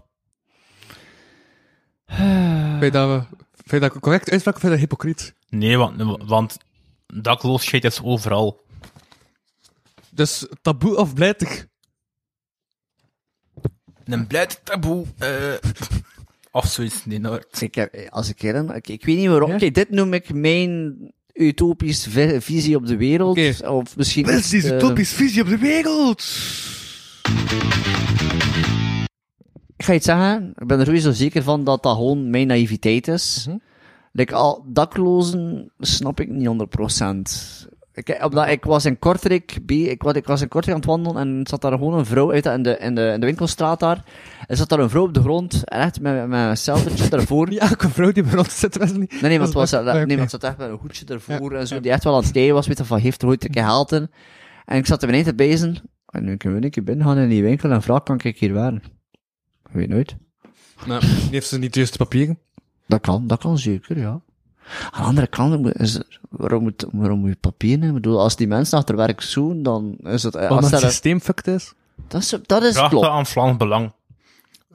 Speaker 3: Vind je dat, we- vind je dat correct uitspraak of vind je dat hypocriet?
Speaker 4: Nee, want, want dakloosheid is overal.
Speaker 3: Dus taboe of blijtig?
Speaker 4: Een blijd taboe. eh of zoiets, nee, nou,
Speaker 2: Dus Ik heb, eh, als ik herinner, ik, ik weet niet waarom.
Speaker 3: Ja?
Speaker 2: Kijk, dit noem ik mijn utopische vi- visie op de wereld.
Speaker 3: Oké.
Speaker 2: Of misschien. eh,
Speaker 3: visie op de wereld?
Speaker 2: Ik ga iets zeggen. Ik ben er sowieso zeker van dat dat gewoon mijn naïviteit is.
Speaker 3: Mhm.
Speaker 2: Like, al, daklozen snap ik niet 100%. Ik, eh, omdat ik was in Kortrijk, be- ik, wa- ik was in Kortrijk aan het wandelen en zat daar gewoon een vrouw uit in de, in de, in de winkelstraat daar. En zat daar een vrouw op de grond, en echt met, met een seltertje daarvoor.
Speaker 3: Die elke vrouw die bij ons zit, was niet.
Speaker 2: Nee, nee, want
Speaker 3: Dat
Speaker 2: het was,
Speaker 3: is echt-
Speaker 2: eh,
Speaker 3: oké.
Speaker 2: nee, want zat echt met een hoedje ervoor en zo, die echt wel aan het kijken was, weet je, van, heeft er ooit een keer gehaald in? En ik zat er beneden te bezen, en nu kunnen we een keer binnen gaan in die winkel en vraag, kan ik hier werken? Ik weet nooit.
Speaker 3: Nou, die heeft ze niet de juiste papieren.
Speaker 2: Dat kan, dat kan zeker, ja. Aan de andere kant, moet- is er- waarom moet, waarom moet je papier nemen? Ik bedoel, als die mensen achter werk zoen, dan is het... eh, Als
Speaker 3: Omdat
Speaker 2: dat,
Speaker 3: het
Speaker 2: dat,
Speaker 3: systeem fucked is.
Speaker 2: is, dat is
Speaker 4: vraag dat
Speaker 2: klopt.
Speaker 4: aan Vlaams Belang.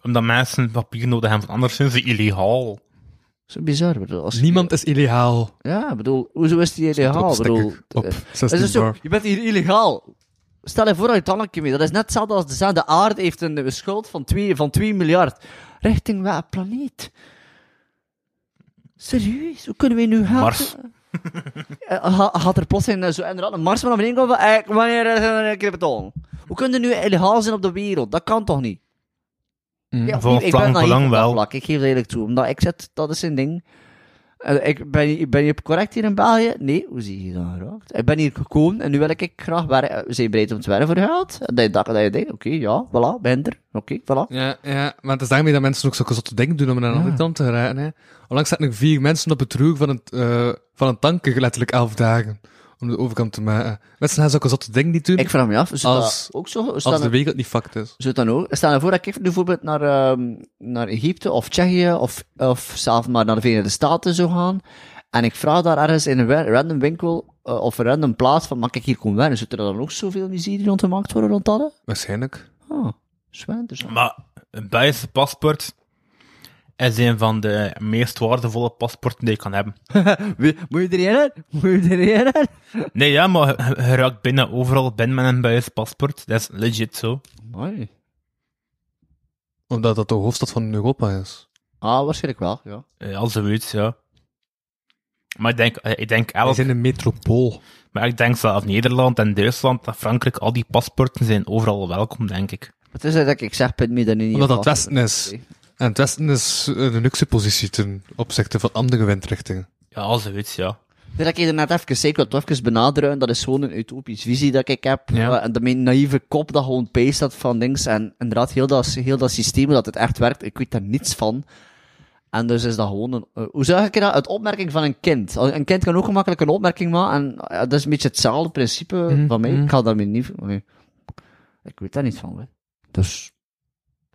Speaker 4: Omdat mensen papier nodig hebben, want anders zijn ze illegaal.
Speaker 2: Zo bizar, ik bedoel. Als,
Speaker 3: Niemand is illegaal.
Speaker 2: Ja, ik bedoel, hoezo is die illegaal? Ik
Speaker 3: Stond erop,
Speaker 2: bedoel,
Speaker 3: stek ik op.
Speaker 2: eh,
Speaker 3: 16
Speaker 2: is het zo,
Speaker 3: bar.
Speaker 2: je bent hier illegaal. Stel je voor dat je het allemaal een keer mee. Dat is net hetzelfde als dezelfde aarde heeft een eh, schuld van 2 van 2 miljard. Richting welke planeet? Serieus? Hoe kunnen we nu gaan?
Speaker 4: Mars.
Speaker 2: Eh, ha- Had er plots een, eh, zo, inderdaad een Mars van naar beneden komen? van, eh, wanneer is er een keer betaald? Hoe kunnen we nu illegaal zijn op de wereld? Dat kan toch niet?
Speaker 3: Mm.
Speaker 2: Ja,
Speaker 4: Volgens
Speaker 2: ik ben
Speaker 4: Frank
Speaker 2: naïef
Speaker 4: Belang
Speaker 2: op dat
Speaker 4: wel.
Speaker 2: vlak. Ik geef dat eerlijk toe. Omdat ik zit, dat is zijn ding. Eh, ik ben, ben je correct hier in België? Nee, hoe zie je dan geraakt? Ik ben hier gekomen en nu wil ik, ik graag werken. We zijn bereid om te werken voor geld. En Dat je dacht, dat je denkt, oké, ja, voilà, ben er. Oké, voilà.
Speaker 3: Ja, ja, maar het is daarmee dat mensen ook zo'n zotte dingen doen om naar een andere kant te geraken. Hè. Onlangs zaten er vier mensen op het roer van, het, eh, van een tanker, letterlijk elf dagen, om de overkant te maken. Mensen gaan zo'n zotte dingen niet doen,
Speaker 2: Ik vraag me af, zou
Speaker 3: Als-
Speaker 2: dat ook zo? Zou
Speaker 3: als de
Speaker 2: dat,
Speaker 3: wereld niet fucked is.
Speaker 2: zou dat ook? Stel je voor dat ik nu bijvoorbeeld naar, ehm, naar Egypte of Tsjechië of, of zelf maar naar de Verenigde Staten zou gaan. En ik vraag daar ergens in een wa- random winkel eh, of een random plaats van, mag ik hier komen werken? Zou er dan ook zoveel miserie rond gemaakt worden rond dat? hè?
Speaker 3: Waarschijnlijk.
Speaker 2: Oh, zwaar interessant.
Speaker 4: Maar een Belgische paspoort is een van de meest waardevolle paspoorten die je kan hebben.
Speaker 2: Wie- Moet je erin uit? Moet je erin uit?
Speaker 4: Nee, ja, maar je- je raakt binnen overal binnen met een Belgisch paspoort. Dat is legit zo.
Speaker 2: Mooi.
Speaker 3: Omdat dat de hoofdstad van Europa is.
Speaker 2: Ah, waarschijnlijk wel, ja.
Speaker 4: Eh, Als je weet, ja. Maar ik denk, eh, ik denk
Speaker 3: Wij
Speaker 4: elk,
Speaker 3: zijn een metropool.
Speaker 4: maar ik denk zelfs Nederland en Duitsland en Frankrijk, al die paspoorten zijn overal welkom, denk ik.
Speaker 2: Wat is dat dat ik zeg, Pit, me dat nu niet...
Speaker 3: Omdat dat
Speaker 2: vast-
Speaker 3: Westen is. En het Westen is eh, een luxe positie ten opzichte van andere windrichtingen.
Speaker 4: Ja, als je weet, ja.
Speaker 2: Dat ik je er net even zei, ik wil het toch even benadrukken, dat is gewoon een utopische visie dat ik heb.
Speaker 3: Ja.
Speaker 2: Eh, En dat mijn naïeve kop dat gewoon peest dat van links. En inderdaad, heel dat, heel dat systeem, dat het echt werkt, ik weet daar niets van. En dus is dat gewoon een... eh, hoe zeg ik dat? Het opmerking van een kind. Al- Een kind kan ook gemakkelijk een opmerking maken. En eh, dat is een beetje hetzelfde principe van mij. Ik ga daarmee niet... nee. Ik weet daar niet van, hè. Dus...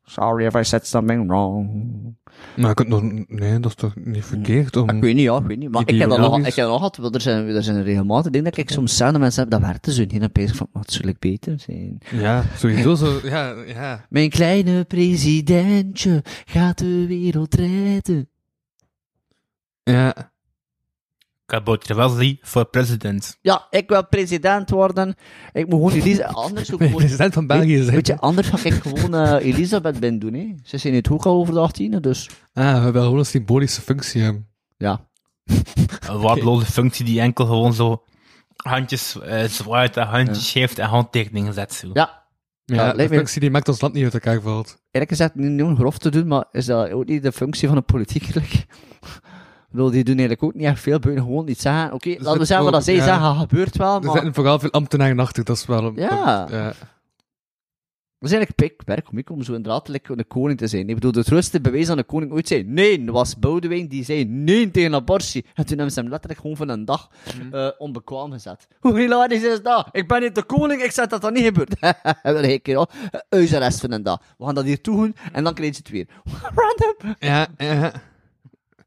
Speaker 2: Sorry if I said something wrong.
Speaker 3: Maar je kunt nog... Nee, dat is toch niet verkeerd om...
Speaker 2: Hmm. Ah, Ik weet niet, ja, ik weet niet. Maar ik heb dat nog,
Speaker 3: Ideologisch.
Speaker 2: ik heb dat nog gehad, want er zijn, er zijn regelmatig dingen dat ik soms samen mensen heb, dat werkt dus niet. En opeens van, wat zou ik beter zijn?
Speaker 3: Ja, sowieso zo... Ja, ja.
Speaker 2: Mijn kleine presidentje gaat de wereld redden.
Speaker 3: Ja.
Speaker 4: Kabouter Wesley voor president.
Speaker 2: Ja, ik wil president worden. Ik moet gewoon Elisa... Anders ook gewoon...
Speaker 3: president van België zijn.
Speaker 2: Weet je, anders ga ik gewoon eh, Elisabeth ben doen, hè. Ze zijn in het hoek al over de 18, dus...
Speaker 3: Ah, we hebben gewoon een symbolische functie hebben.
Speaker 2: Ja.
Speaker 4: Een waardeloze functie die enkel gewoon zo handjes eh, zwaait en handjes heeft en handtekeningen zet. Zo.
Speaker 2: Ja. Ja,
Speaker 3: Ja,
Speaker 2: lijkt
Speaker 3: de
Speaker 2: me-
Speaker 3: functie die maakt ons land niet uit elkaar valt.
Speaker 2: Eerlijk gezegd, niet om grof te doen, maar is dat ook niet de functie van de politiek, eigenlijk? Ik bedoel, die doen eigenlijk ook niet echt veel, buiten gewoon iets zeggen. Oké, laten we
Speaker 3: het
Speaker 2: zeggen wat dat
Speaker 3: ook-
Speaker 2: zij
Speaker 3: ja.
Speaker 2: zeggen, gebeurt wel,
Speaker 3: Er
Speaker 2: maar...
Speaker 3: zitten vooral veel ambtenaren achter, dat is wel... een-
Speaker 2: Ja.
Speaker 3: ja.
Speaker 2: Dat is eigenlijk pikwerk om ik om zo inderdaad like, een koning te zijn. Ik bedoel, het grootste bewijs aan de koning ooit zei nee, was Boudewijn die zei nee tegen abortie. En toen hebben ze hem letterlijk gewoon van een dag eh, onbekwaam gezet. Hoe hilarisch is dat? Ik ben niet de koning, ik zeg dat dat niet gebeurt. en dan keer al, uit de rest eh, van een dag. We gaan dat hier toedoen en dan krijg je het weer. Random.
Speaker 3: Ja, ja.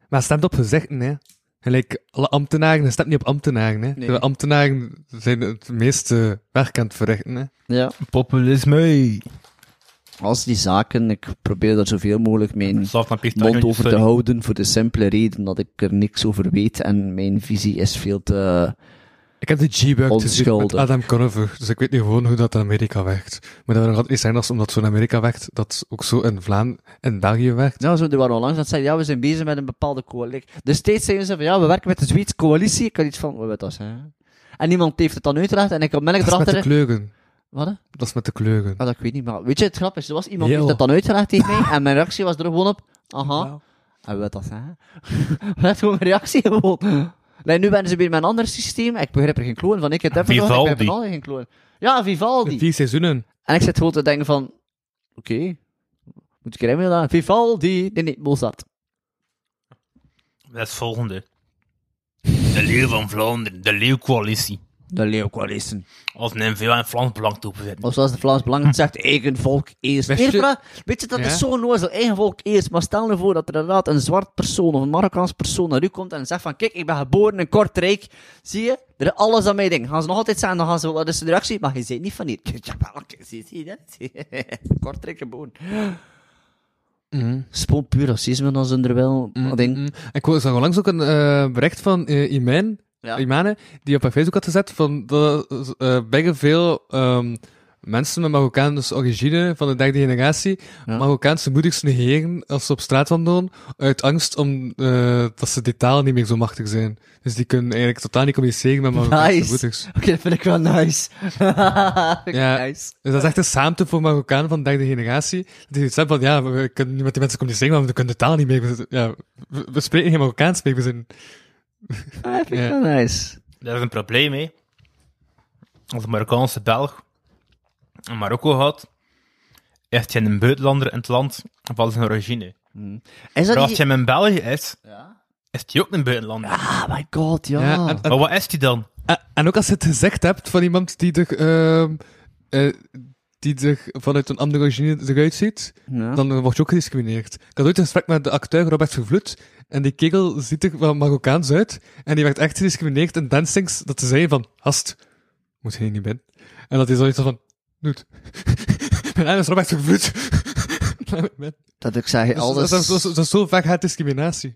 Speaker 3: Maar stemt op gezegden, hè. Gelijk, alle ambtenaren, je stemt niet op ambtenaren, hè.
Speaker 2: Nee.
Speaker 3: De ambtenaren zijn het meeste werk aan het verrichten, hè.
Speaker 2: Ja,
Speaker 4: Populisme.
Speaker 2: als die zaken, ik probeer daar zoveel mogelijk mijn
Speaker 4: Zelf naar
Speaker 2: mond over te houden voor de simpele reden dat ik er niks over weet en mijn visie is veel te...
Speaker 3: Ik heb de G-Bug gezien met
Speaker 2: Onschuldig.
Speaker 3: Adam Conover, dus ik weet nu gewoon hoe dat in Amerika werkt. Maar dat wil nog altijd niet zijn als omdat zo in Amerika werkt, dat ook zo in Vlaam en België werkt.
Speaker 2: Ja, zo, die waren onlangs aan het zeggen, ja, we zijn bezig met een bepaalde coalitie. Dus steeds zeggen ze van, ja, we werken met de Zweedse coalitie. Ik had iets van, wat wil dat zijn? En niemand heeft het dan uitgelegd en ik onmiddellijk
Speaker 3: Dat is met de
Speaker 2: erachter...
Speaker 3: kleuren.
Speaker 2: Wat? hè?
Speaker 3: Dat is met de kleuren.
Speaker 2: Ah, dat ik weet niet, maar weet je, het grap is, er was iemand die
Speaker 3: Yo.
Speaker 2: heeft dat dan uitgelegd tegen mij en mijn reactie was er gewoon op, aha, en wat Ah, dat zijn? Dat is gewoon mijn reactie gewoon. Nee, nu ben ze bij mijn ander systeem, ik begrijp er geen kloon van, ik heb het even nog, ik begrijp er
Speaker 4: Vivaldi.
Speaker 2: nog geen kloon. Ja, Vivaldi.
Speaker 3: De vier seizoenen.
Speaker 2: En ik zit gewoon te denken van, oké, moet ik er dan? Vivaldi, nee, nee, Mozart.
Speaker 4: Dat is volgende. De Leeuw van Vlaanderen, de Leeuwcoalitie.
Speaker 2: De leeuwkoalissen.
Speaker 4: Als een NVA en Vlaams belang te opzetten.
Speaker 2: Of zoals de Vlaams Belang het zegt, eigen volk eerst.
Speaker 3: Wist
Speaker 2: Nee,
Speaker 3: je-
Speaker 2: maar weet je, dat
Speaker 3: Ja?
Speaker 2: is zo'n nozel, eigen volk eerst. Maar stel nou voor dat er inderdaad een zwart persoon of een Marokkaans persoon naar u komt en zegt van, kijk, ik ben geboren in Kortrijk. Zie je? Er is alles aan mijn ding. Gaan ze nog altijd zeggen, dan gaan ze, wat is de reactie? Maar je zit niet van hier. Ja, maar oké, zie zie je dat? Kortrijk geboren. Spoon puur racisme dan zonder wel, dat ding.
Speaker 3: Mm. Ik zag onlangs ook een eh, bericht van eh Iman,
Speaker 2: Ja.
Speaker 3: Imane, die op haar Facebook had gezet van dat eh bijna veel ehm, mensen met Marokkaanse origine van de derde generatie
Speaker 2: Ja.
Speaker 3: Marokkaanse moeders negeren als ze op straat wandelen uit angst om eh, dat ze die taal niet meer zo machtig zijn. Dus die kunnen eigenlijk totaal niet communiceren met Marokkaanse
Speaker 2: Nice.
Speaker 3: moeders.
Speaker 2: Oké, dat vind ik wel nice. ja.
Speaker 3: Ja.
Speaker 2: Nice.
Speaker 3: Dus dat is echt een saamte voor Marokkanen van de derde generatie. Die iets hebben van, ja, we- we kunnen niet met die mensen communiceren, want we kunnen de taal niet meer. We- Ja, we, we spreken geen Marokkaans meer, we zijn...
Speaker 2: Ah, dat vind ik
Speaker 3: Ja.
Speaker 2: wel nice.
Speaker 4: Daar is een probleem mee. Als een Marokkaanse Belg in Marokko gaat, heeft hij een buitenlander in het land van zijn origine.
Speaker 2: Is
Speaker 4: Maar
Speaker 2: dat
Speaker 4: als
Speaker 2: niet...
Speaker 4: hij in België is,
Speaker 2: Ja.
Speaker 4: is hij ook een buitenlander.
Speaker 2: Ah, my god, ja.
Speaker 3: Ja, en- en-
Speaker 4: Maar wat is hij dan?
Speaker 3: En, Eh, en ook als je het gezegd hebt van iemand die er, ehm, eh, die er vanuit een andere origine eruit ziet,
Speaker 2: Ja.
Speaker 3: dan eh, word je ook gediscrimineerd. Ik had ooit een gesprek met de acteur Robert Vervloed, en die kerel ziet er wel Marokkaans uit, en die werd echt gediscrimineerd in dancings, dat ze zeiden van, hast, moet je hier niet binnen. En dat hij zoiets had van, doet. Mijn naam is Robert Vervloed. Laat me binnen.
Speaker 2: Dat ik zei,
Speaker 3: Dus Dat is-
Speaker 2: alles...
Speaker 3: dat is- dat is- dat is zo vaak gaat discriminatie.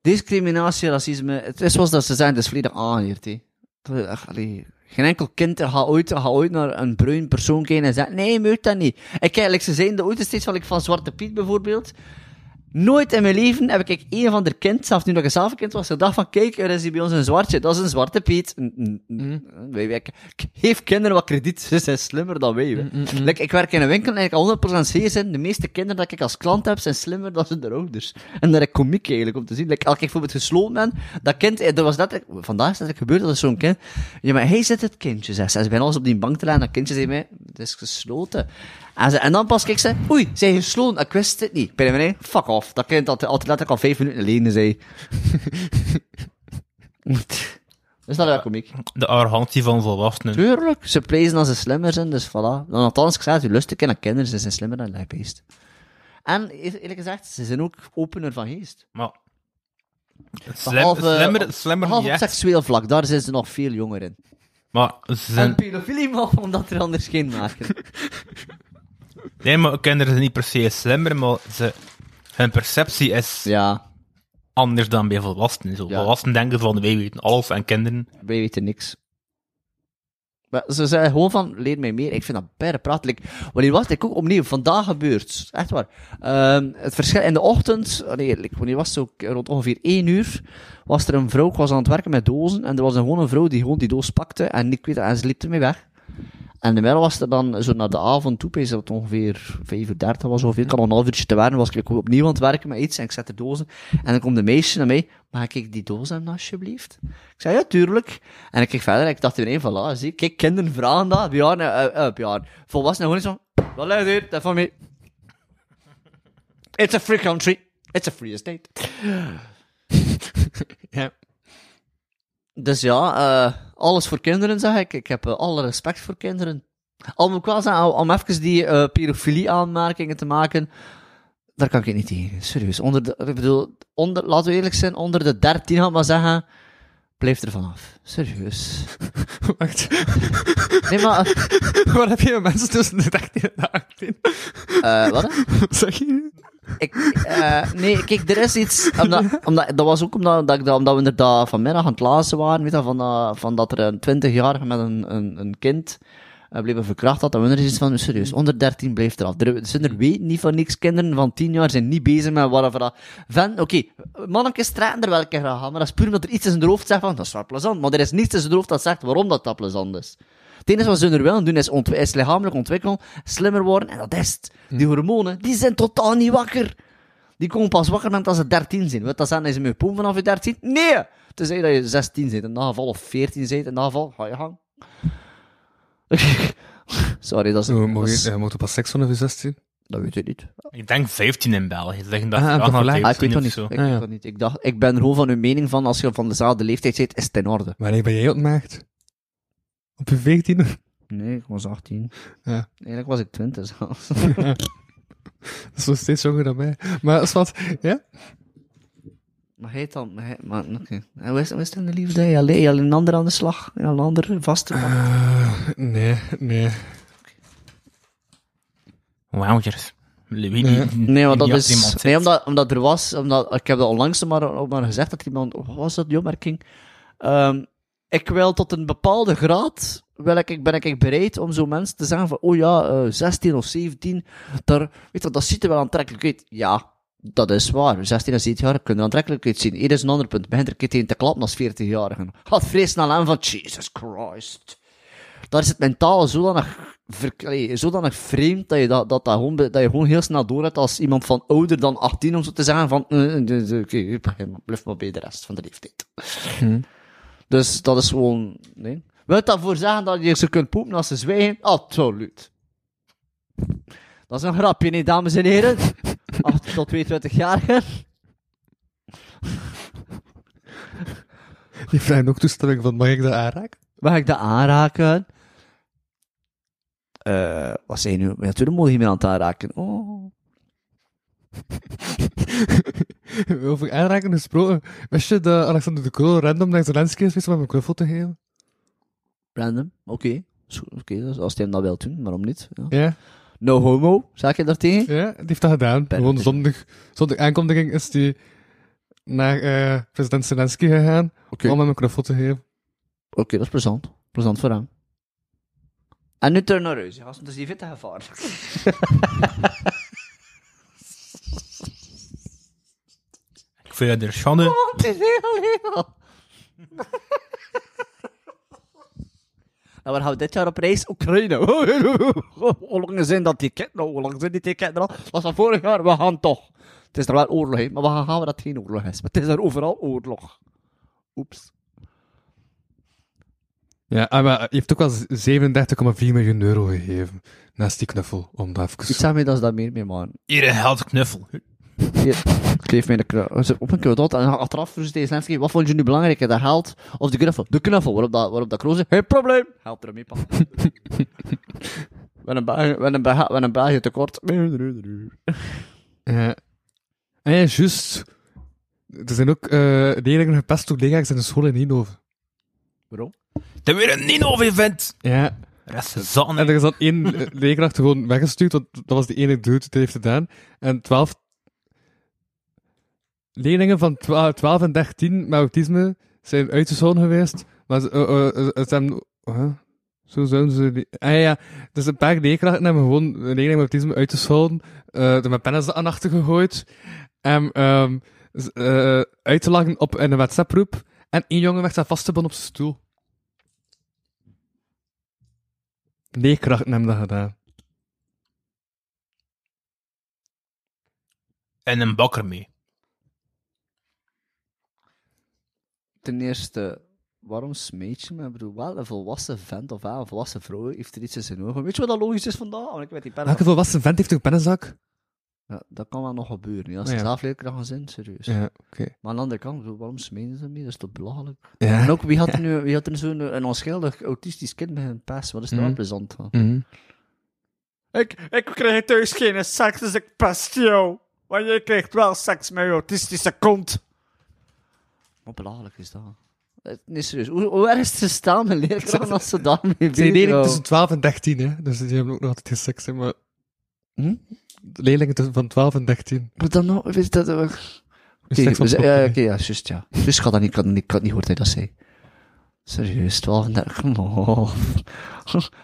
Speaker 2: Discriminatie, racisme... Het is zoals dat ze zijn, het is volledig aangeheerd, hè. Dat is echt, allee, Geen enkel kind gaat ooit, gaat ooit naar een bruin persoon kijken en zeggen, nee, je moet dat niet. Ik kijk, like, ze zijn de ooit steeds van, like, van Zwarte Piet bijvoorbeeld. Nooit in mijn leven heb ik een van de kind, zelfs nu dat ik zelf een kind was, gedacht van, kijk, er is hier bij ons een zwartje, dat is een Zwarte Piet. Mm, mm, mm. Wij, wij- k- geef kinderen wat krediet, ze zijn slimmer dan wij. hè. Like, ik werk in een winkel en ik kan 100% zeker zijn, de meeste kinderen dat ik als klant heb, zijn slimmer dan hun ouders. En dat is komiek eigenlijk, om te zien. Like, als ik bijvoorbeeld gesloten ben, dat kind, eh, dat was dat, vandaag is dat gebeurd, dat is zo'n kind. Ja, maar hij zit het kindje, zegt ze. En ze beginnen alles op die bank te leggen, dat kindje zei mij, het is gesloten. En, ze- en dan pas kijk ze, oei, zij gesloten, ik wist het niet. Ben mij, fuck off. Dat kind had altijd letterlijk al vijf minuten geleden zei. Is dat wel komiek?
Speaker 4: De arrogantie van volwassenen.
Speaker 2: Tuurlijk, ze plezen als ze slimmer zijn, dus voilà. Dan althans, ik zei het, u lust ik naar kinderen, ze zijn slimmer dan lijpbeest. En eer- eerlijk gezegd, ze zijn ook opener van geest.
Speaker 4: Maar... Slim,
Speaker 2: Behalve,
Speaker 4: slimmer,
Speaker 2: op-
Speaker 4: slimmer
Speaker 2: behalve
Speaker 4: niet
Speaker 2: op
Speaker 4: echt.
Speaker 2: seksueel vlak, daar zijn ze nog veel jonger in.
Speaker 4: Maar ze
Speaker 2: En
Speaker 4: zijn...
Speaker 2: pedofilie, maar omdat er anders geen maken.
Speaker 4: Nee, maar kinderen zijn niet per se slimmer, maar ze, hun perceptie is
Speaker 2: ja,
Speaker 4: anders dan bij volwassenen. Zo,
Speaker 2: Ja.
Speaker 4: Volwassenen denken van, wij weten alles, en kinderen...
Speaker 2: Wij weten niks. Maar ze zeggen gewoon van, leer mij meer. Ik vind dat bijna prachtig. Wanneer was het? Ik ook opnieuw, vandaag gebeurd. Echt waar. Ehm, het verschil in de ochtend, oh nee, like, wanneer was het ook rond ongeveer 1 uur, was er een vrouw, ik was aan het werken met dozen, en er was gewoon een vrouw die gewoon die doos pakte, en ik weet het, en ze liep ermee weg. En de middag was er dan zo naar de avond toe, bezig dat het ongeveer 5 uur 30 was, ongeveer. Ik had nog een half uurtje te werken, was ik like, opnieuw aan het werken met iets, en ik zet de dozen. En dan komt de meisje naar mij, mag ik die doos hebben alsjeblieft? Ik zei, ja, tuurlijk. En ik keek verder en ik dacht ineens van, ah, zie, kijk, kinderen vragen dat, Bjarne, eh eh Bjarne. Volwassenen gewoon zo, wat luidt hier, dat van mij. It's a free country, it's a free estate.
Speaker 4: Ja.
Speaker 2: Dus ja, eh, alles voor kinderen, zeg ik. Ik heb eh, alle respect voor kinderen. Al moet ik wel zeggen, om even die eh pedofilie-aanmerkingen te maken, daar kan ik niet tegen. Serieus. Onder de, ik bedoel, onder, laten we eerlijk zijn, onder de 13, had ik maar zeggen, blijf er vanaf. Serieus.
Speaker 3: Wacht,
Speaker 2: Nee, maar,
Speaker 3: waar heb je mensen tussen de 13 en de 18?
Speaker 2: eh, eh, wat? hè?
Speaker 3: Zeg je?
Speaker 2: Ik, eh, nee, kijk, er is iets. Omdat, omdat, dat was ook omdat, omdat, ik dat- omdat we inderdaad vanmiddag aan het lazen waren. Weet je, van, dat- van dat er een 20-jarige met een, een, een kind eh, bleven verkracht had. En we er iets van, serieus, onder 13 bleef eraf. Er zijn er weet niet van niks. Kinderen van 10 jaar zijn niet bezig met waarvan dat. Van, oké, mannetjes straten er wel een keer aan gaan. Maar dat is puur omdat er iets in zijn hoofd zegt van, dat is wel plezant. Maar er is niets in zijn hoofd dat zegt waarom dat, dat plezant is. Het enige wat ze er wel aan doen is, ontwi- is lichamelijk ontwikkelen, slimmer worden. En dat is het. Die hormonen, die zijn totaal niet wakker. Die komen pas wakker moment als ze 13 zijn. Wat dat zijn, is mijn poem vanaf je 13? Nee! Tenzij dat je 16 bent, in dat geval, of 14 bent, in dat geval, ga je gang. Sorry, dat is...
Speaker 3: Zo,
Speaker 2: dat,
Speaker 3: mogen
Speaker 2: is-
Speaker 3: je, mogen pas seks vanaf je 16?
Speaker 2: dat weet ik niet.
Speaker 4: Ik denk 15 in België. Ze zeggen dat
Speaker 3: Ah,
Speaker 4: vooral
Speaker 3: toch
Speaker 4: naar
Speaker 3: gelijk.
Speaker 2: Ah, ik weet
Speaker 4: 15
Speaker 2: dat
Speaker 4: of
Speaker 2: niet.
Speaker 4: zo.
Speaker 2: Ik,
Speaker 3: Ah,
Speaker 2: weet
Speaker 3: ja.
Speaker 2: dat niet. Ik, dacht, ik ben gewoon van uw mening van, als je van dezelfde leeftijd zit, is het in orde.
Speaker 3: Wanneer ben jij ontmaagd? Op je 14?
Speaker 2: Nee, ik was 18.
Speaker 3: Ja.
Speaker 2: Eigenlijk was ik 20 zelfs.
Speaker 3: Dat is nog steeds jonger dan mij. Maar dat is wat, ja?
Speaker 2: Maar hij dan, maar hij, maar, oké. En hoe is, hoe is het in de liefde? Je alleen, alleen een ander aan de slag, en een ander vaste.
Speaker 3: Eh, nee, nee.
Speaker 4: Wauwtjes. Louis,
Speaker 3: Nee.
Speaker 4: die-
Speaker 2: Eh, Nee, want dat
Speaker 4: die had
Speaker 2: is.
Speaker 4: iemand
Speaker 2: Nee,
Speaker 4: zit.
Speaker 2: omdat, omdat er was. Omdat, ik heb dat onlangs maar, ook maar gezegd dat iemand. Wat was dat, die opmerking? Ehm, ik wil tot een bepaalde graad. Wil ik, ben ik bereid om zo mensen te zeggen van. Oh ja, eh, 16 of 17. Daar, weet je, dat ziet er wel aantrekkelijk uit. Ja, dat is waar. 16 en 17 jaar kunnen er aantrekkelijk uitzien. Hier is een ander punt. Begint er een keer tegen te klappen als 40-jarigen. Gaat vrees snel aan van. Jesus Christ daar is het mentaal zodanig, ver, allee, zodanig vreemd dat je, dat, dat, dat, gewoon, be- dat je gewoon heel snel door hebt als iemand van ouder dan 18, om zo te zeggen, van eh, eh, dus, oké, begin maar, blijf maar bij de rest van de leeftijd. Dus dat is gewoon... Nee. Wil dat voor zeggen dat je ze kunt poepen als ze zwijgen? Absoluut. Dat is een grapje, nee, dames en heren? 18 tot 22-jarigen?
Speaker 3: Je vraagt ook toestemming van, mag ik dat aanraken?
Speaker 2: Mag ik dat aanraken? Eh, wat zei je nu? Ja, natuurlijk mogen je meer aan het aanraken. Oh...
Speaker 3: Over aanraken gesproken. Wist je dat Alexander de Croo random naar Zelensky is geweest om hem een knuffel te geven?
Speaker 2: Random, oké. Is goed, Oké, dus als hij hem dat wil doen, waarom niet? Ja.
Speaker 3: Ja,
Speaker 2: No homo, zeg je daartegen?
Speaker 3: ja die heeft dat gedaan. Gewoon zondag, zondag aankondiging is die naar eh, president Zelensky gegaan
Speaker 2: Oké,
Speaker 3: om hem een knuffel te geven.
Speaker 2: Oké, dat is plezant. Plezant voor hem. En nu terug naar huis, ja, dat is die witte gevaar.
Speaker 4: Ik vind dat er schande.
Speaker 2: Oh, Het is heel heel. En Nou, waar gaan we dit jaar op reis? Oekraïne. Oh, Hoe lang zijn dat ticket nou? Hoe lang zijn die ticket er al? Dat was van vorig jaar, we gaan toch. Het is er wel oorlog in, maar we gaan gaan we dat het geen oorlog is. Maar het is er overal oorlog. Oeps.
Speaker 3: Ja, ah, maar je heeft ook wel 37,4 miljoen euro gegeven. Naast die knuffel, om dat even...
Speaker 2: Ik zeg me dat ze daar meer mee maken.
Speaker 4: Hier, een heldknuffel.
Speaker 2: Hier, geef mij de knuffel. Ze- Op een keer dat. En achteraf vroeg ze tegen Zelensky, wat vond je nu belangrijker, de geld of de knuffel? De knuffel, waarop dat, waarop dat Kroos zei, geen probleem, help ermee, papa. We hebben een België tekort.
Speaker 3: Ja. En ja, juist. Er zijn ook eh leerlingen gepest door collega's in de school in Eindhoven.
Speaker 2: Waarom?
Speaker 4: Er weer een Ninov-event.
Speaker 3: Ja.
Speaker 4: Rest zon.
Speaker 3: En er is dan één eh, leerkracht gewoon weggestuurd, want dat was de ene dude die het heeft gedaan. En twaalf... leerlingen van 12, 12 en 13 met autisme zijn uitgezonden geweest, maar ze, eh, eh, eh, ze hebben... huh? Zo zouden ze... die- Ah ja, ja, dus een paar leerkrachten hebben gewoon leerlingen met autisme uitgescholden, eh er met pennen aan achter gegooid, en ehm z- eh, uit te lachen op in een WhatsApp-groep, en één jongen werd daar vastgebonden op zijn stoel. Leerkrachten hebben dat gedaan.
Speaker 4: En een bakker mee.
Speaker 2: Ten eerste, waarom smeet je me? Ik bedoel, wel een volwassen vent of wel een volwassen vrouw heeft er iets in zijn ogen. Weet je wat dat logisch is vandaag? Want ik weet die pennen.
Speaker 3: Elke volwassen vent heeft een pennenzak?
Speaker 2: Ja, dat kan wel nog gebeuren. ja. Als ze
Speaker 3: Ja.
Speaker 2: zelf leerkracht gaan zijn, serieus.
Speaker 3: Ja, oké.
Speaker 2: Maar aan de andere kant, ik bedoel, waarom smeden ze mee? Dat is toch belachelijk?
Speaker 3: Ja.
Speaker 2: En ook, wie had er nu, wie had er zo'n eh, een onschuldig autistisch kind met een pest? Wat is daar
Speaker 3: Mhm.
Speaker 2: plezant van?
Speaker 3: Mhm.
Speaker 6: Ik, ik kreeg thuis geen seks, dus ik pest jou. Maar jij krijgt wel seks met je autistische kont.
Speaker 2: Wat belachelijk is dat? Eh, Nee, serieus. Hoe, hoe erg is het gestaan met leerkrachten als ze daarmee
Speaker 3: Het zijn
Speaker 2: bezig
Speaker 3: leerlingen
Speaker 2: houden?
Speaker 3: tussen 12 en 13, hè? Dus die hebben ook nog altijd geen seks, hè? Maar.
Speaker 2: Hm?
Speaker 3: De leerlingen tussen van 12 en 13.
Speaker 2: Wat dan nog? Weet je dat... eh, Oké,
Speaker 3: Seks op
Speaker 2: we zijn-
Speaker 3: school.
Speaker 2: ja, oké, ja, juist, ja. Dus ik had dat niet, ik had, niet- ik had niet gehoord dat je dat zei. Serieus, 12 en 13, come on.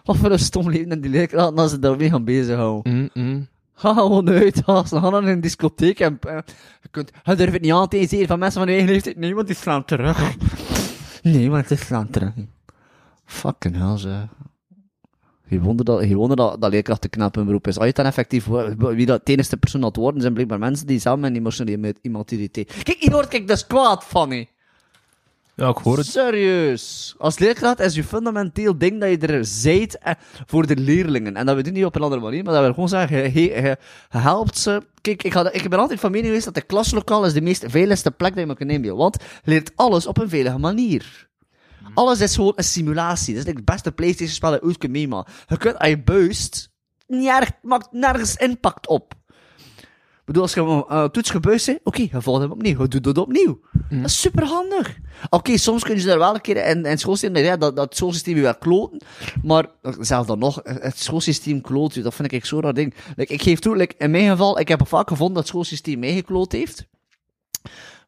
Speaker 2: Wat voor een stom leven en die leerkrachten als ze daarmee gaan bezighouden.
Speaker 3: Mm, mm.
Speaker 2: Ga gewoon uit, gast. Ga dan in een discotheek en... eh, je, kunt, je durft het niet aan te zien van mensen van je eigen leeftijd. Nee, want die slaan terug. Nee, want die slaan terug. Fucking hell, zeg. Geen wonder dat, geen wonder dat, dat leerkrachten knap hun beroep is. Als je het dan effectief... wo- wo- Wie dat de enige persoon dat worden, zijn blijkbaar mensen die samen een emotionele immaturiteeit... Kijk, hier word ik dus kwaad van, hè.
Speaker 4: Ja, ik hoor het.
Speaker 2: Serieus. Als leerkracht is je fundamenteel ding dat je er zijt eh, voor de leerlingen. En dat we doen niet op een andere manier, maar dat we gewoon zeggen, je, je, je helpt ze. Kijk, ik, had, ik ben altijd van mening geweest dat de klaslokaal is de meest veiligste plek dat je maar kunt nemen. Want je leert alles op een veilige manier. Alles is gewoon een simulatie. Dat is het beste Playstation-spel dat je ooit kunt meemaken. Je kunt, als je buist, niet erg- maakt nergens impact op. Ik bedoel, als je een eh, toets gebuist bent, oké, je volgt hem opnieuw, je doet dat opnieuw. Dat is superhandig. Oké, soms kun je daar wel een keer in, in het schoolsysteem, nou ja, dat, dat het schoolsysteem je wel kloten, maar eh, zelfs dan nog, eh, het schoolsysteem kloot je, dat vind ik echt zo'n raar ding. Like, ik geef toe, like, in mijn geval, ik heb vaak gevonden dat het schoolsysteem mij gekloot heeft.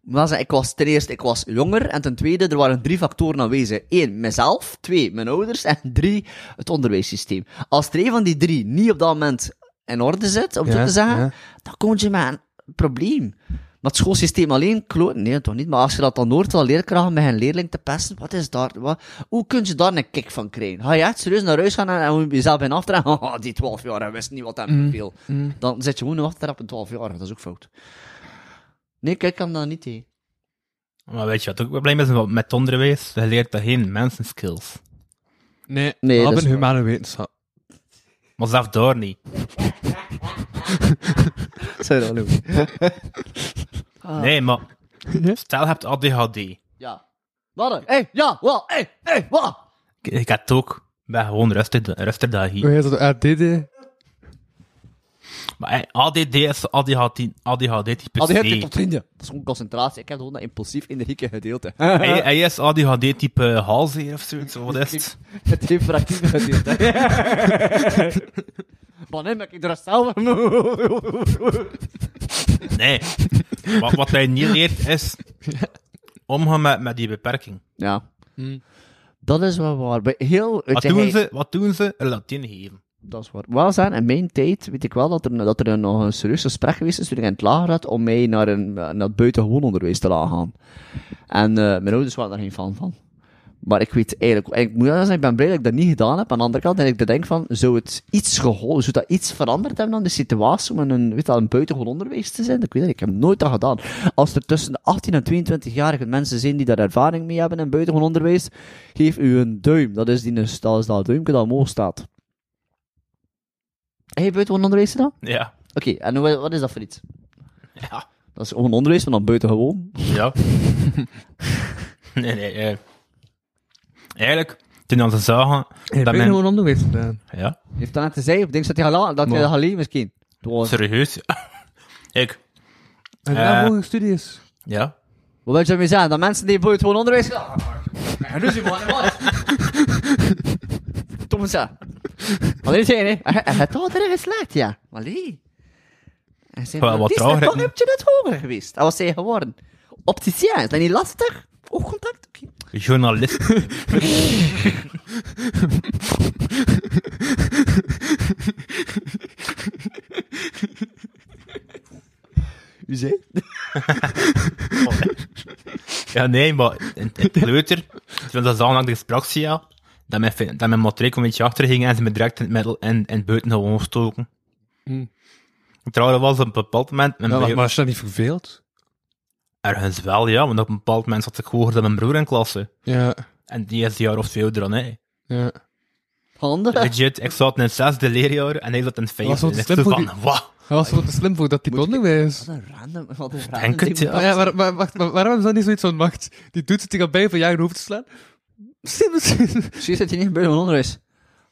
Speaker 2: Maar ze- ik was ten eerste ik was jonger en ten tweede er waren drie factoren aanwezig. Eén, mezelf. Twee, mijn ouders. En drie, het onderwijssysteem. Als er een van die drie niet op dat moment in orde zit, om zo
Speaker 3: Ja,
Speaker 2: te zeggen,
Speaker 3: ja.
Speaker 2: dan kom je met een probleem. Maar het schoolsysteem alleen kloten, nee, toch niet. Maar als je dat dan hoort van leerkrachten met een leerling te pesten, wat is daar, wat, hoe kun je daar een kick van krijgen? Ga je echt serieus naar huis gaan en, en moet je jezelf in aftrekken? Haha, die 12 jaar, hij wist niet wat hem beviel. Dan zit je gewoon achter op een 12 jaar, dat is ook fout. Nee, kijk, ik kan dat niet tegen.
Speaker 4: Maar weet je wat ook probleem is met het onderwijs? Je leert daar geen mensenskills.
Speaker 3: Nee,
Speaker 2: Nee,
Speaker 3: nee
Speaker 2: dat
Speaker 3: dat
Speaker 2: is
Speaker 3: een humane wetenschap.
Speaker 4: Maar zelf daar niet.
Speaker 2: Sorry, hallo.
Speaker 4: Nee, maar stel je hebt ADHD. Ik-
Speaker 2: Ja. Wat? Hé, ja, wat? Hé, hé, wat?
Speaker 4: Ik had het ook. Ik ben gewoon rustig, rustig daar hier.
Speaker 3: Hoe heet dat? Ah, ADD?
Speaker 4: Maar eh, ADD is ADHD, ADHD type
Speaker 2: Al die
Speaker 4: C.
Speaker 2: hele tot vrienden. Dat is gewoon concentratie. Ik heb gewoon dat impulsief energieke gedeelte.
Speaker 4: Hij, hij is ADHD type halsheer of zoiets. of Wat is het?
Speaker 2: Het hyperactieve gedeelte. Maar nee, maar ik er zelf
Speaker 4: Nee. wat, wat hij niet leert is omgaan met, met die beperking.
Speaker 2: Ja. Dat is wel waar. Bij heel...
Speaker 4: Hm. Wat doen, ze, wat doen ze? Een Latijn geven.
Speaker 2: Dat is waar. Wel zijn, in mijn tijd weet ik wel dat er, dat er een- nog een serieus gesprek geweest is toen ik in het lager had om mij naar, een, naar het buitengewoon onderwijs te laten gaan. En eh, mijn ouders waren daar geen fan van. Maar ik weet eigenlijk, en ik moet zeggen, ik ben blij dat ik dat niet gedaan heb. Aan de andere kant, en ik denk van, zou het iets geholpen, zou dat iets veranderd hebben aan de situatie om in een, weet je wel, een buitengewoon onderwijs te zijn? Ik weet het, niet, ik heb nooit dat gedaan. Als er tussen de 18 en 22-jarige mensen zijn die daar ervaring mee hebben in buitengewoon onderwijs, geef u een duim. Dat is, die, dat, is dat duimpje dat omhoog staat. Heb je buitengewoon onderwijs gedaan?
Speaker 4: Ja.
Speaker 2: Oké, en hoe, wat is dat voor iets?
Speaker 4: Ja.
Speaker 2: Dat is gewoon onderwijs, maar dan buitengewoon.
Speaker 4: Ja. nee, nee. eh. Eigenlijk, toen ze zagen dat
Speaker 3: ben
Speaker 4: men...
Speaker 3: gewoon onderwijs gedaan.
Speaker 4: Ja,
Speaker 2: Je hebt dat net gezegd, of denk je dat hij gala- dat hij
Speaker 3: Maar-
Speaker 2: dat alleen misschien? Het was-
Speaker 4: serieus. Ik,
Speaker 3: En
Speaker 4: daarna
Speaker 3: daarna
Speaker 4: Eh.
Speaker 3: volgende studies.
Speaker 4: ja.
Speaker 2: Wat wil je ermee zeggen? Dat mensen die buitengewoon onderwijs gedaan hebben? Ruzie, man. wat? Tom eens aan. Maar dit zijn, hè. Hij- Hij heeft altijd erin geslaagd, ja. Maar nee. En zei,
Speaker 4: Wel, wat
Speaker 2: wat
Speaker 4: trager,
Speaker 2: Waarom
Speaker 4: hè?
Speaker 2: heb je net hoger geweest? Dat was zij geworden. Opticien, is dat niet lastig? Oogcontact? Oké.
Speaker 4: Journalist.
Speaker 2: U zei?
Speaker 4: Ja, nee, maar in, in het kleuter, toen dat zaal ik sprak, zie je, dat mijn, fi- dat mijn matriek een beetje achter ging en ze me direct in het middel en, en buiten gewoon stoken.
Speaker 3: Hmm.
Speaker 4: Trouwens, was op een bepaald moment, mijn
Speaker 3: Ja, maar,
Speaker 4: broer-
Speaker 3: maar als je dat niet verveelt.
Speaker 4: ergens wel, ja, want op een bepaald moment zat ik hoger dan mijn broer in klasse.
Speaker 3: Ja,
Speaker 4: En die is een jaar of twee ouder dan hij.
Speaker 3: ja.
Speaker 2: Handen?
Speaker 4: Legit, ik zat in het zesde leerjaar en hij zat in het
Speaker 3: Was
Speaker 4: vijfde.
Speaker 3: dat
Speaker 4: En ik
Speaker 3: slim
Speaker 4: dacht
Speaker 3: voor
Speaker 4: van, wauw.
Speaker 3: Hij was wel te slim voor dat die blonde bij is.
Speaker 2: Wat een random, wat een random
Speaker 4: Denk het,
Speaker 2: ding.
Speaker 4: ja.
Speaker 3: Maar ja, waar, waar- wacht, maar waarom hebben ze dan niet zoiets van macht? Die doet het, die gaat bij van jou in je hoofd te slaan. Misschien, misschien.
Speaker 2: Precies dat je niet gebeurt van onderwijs.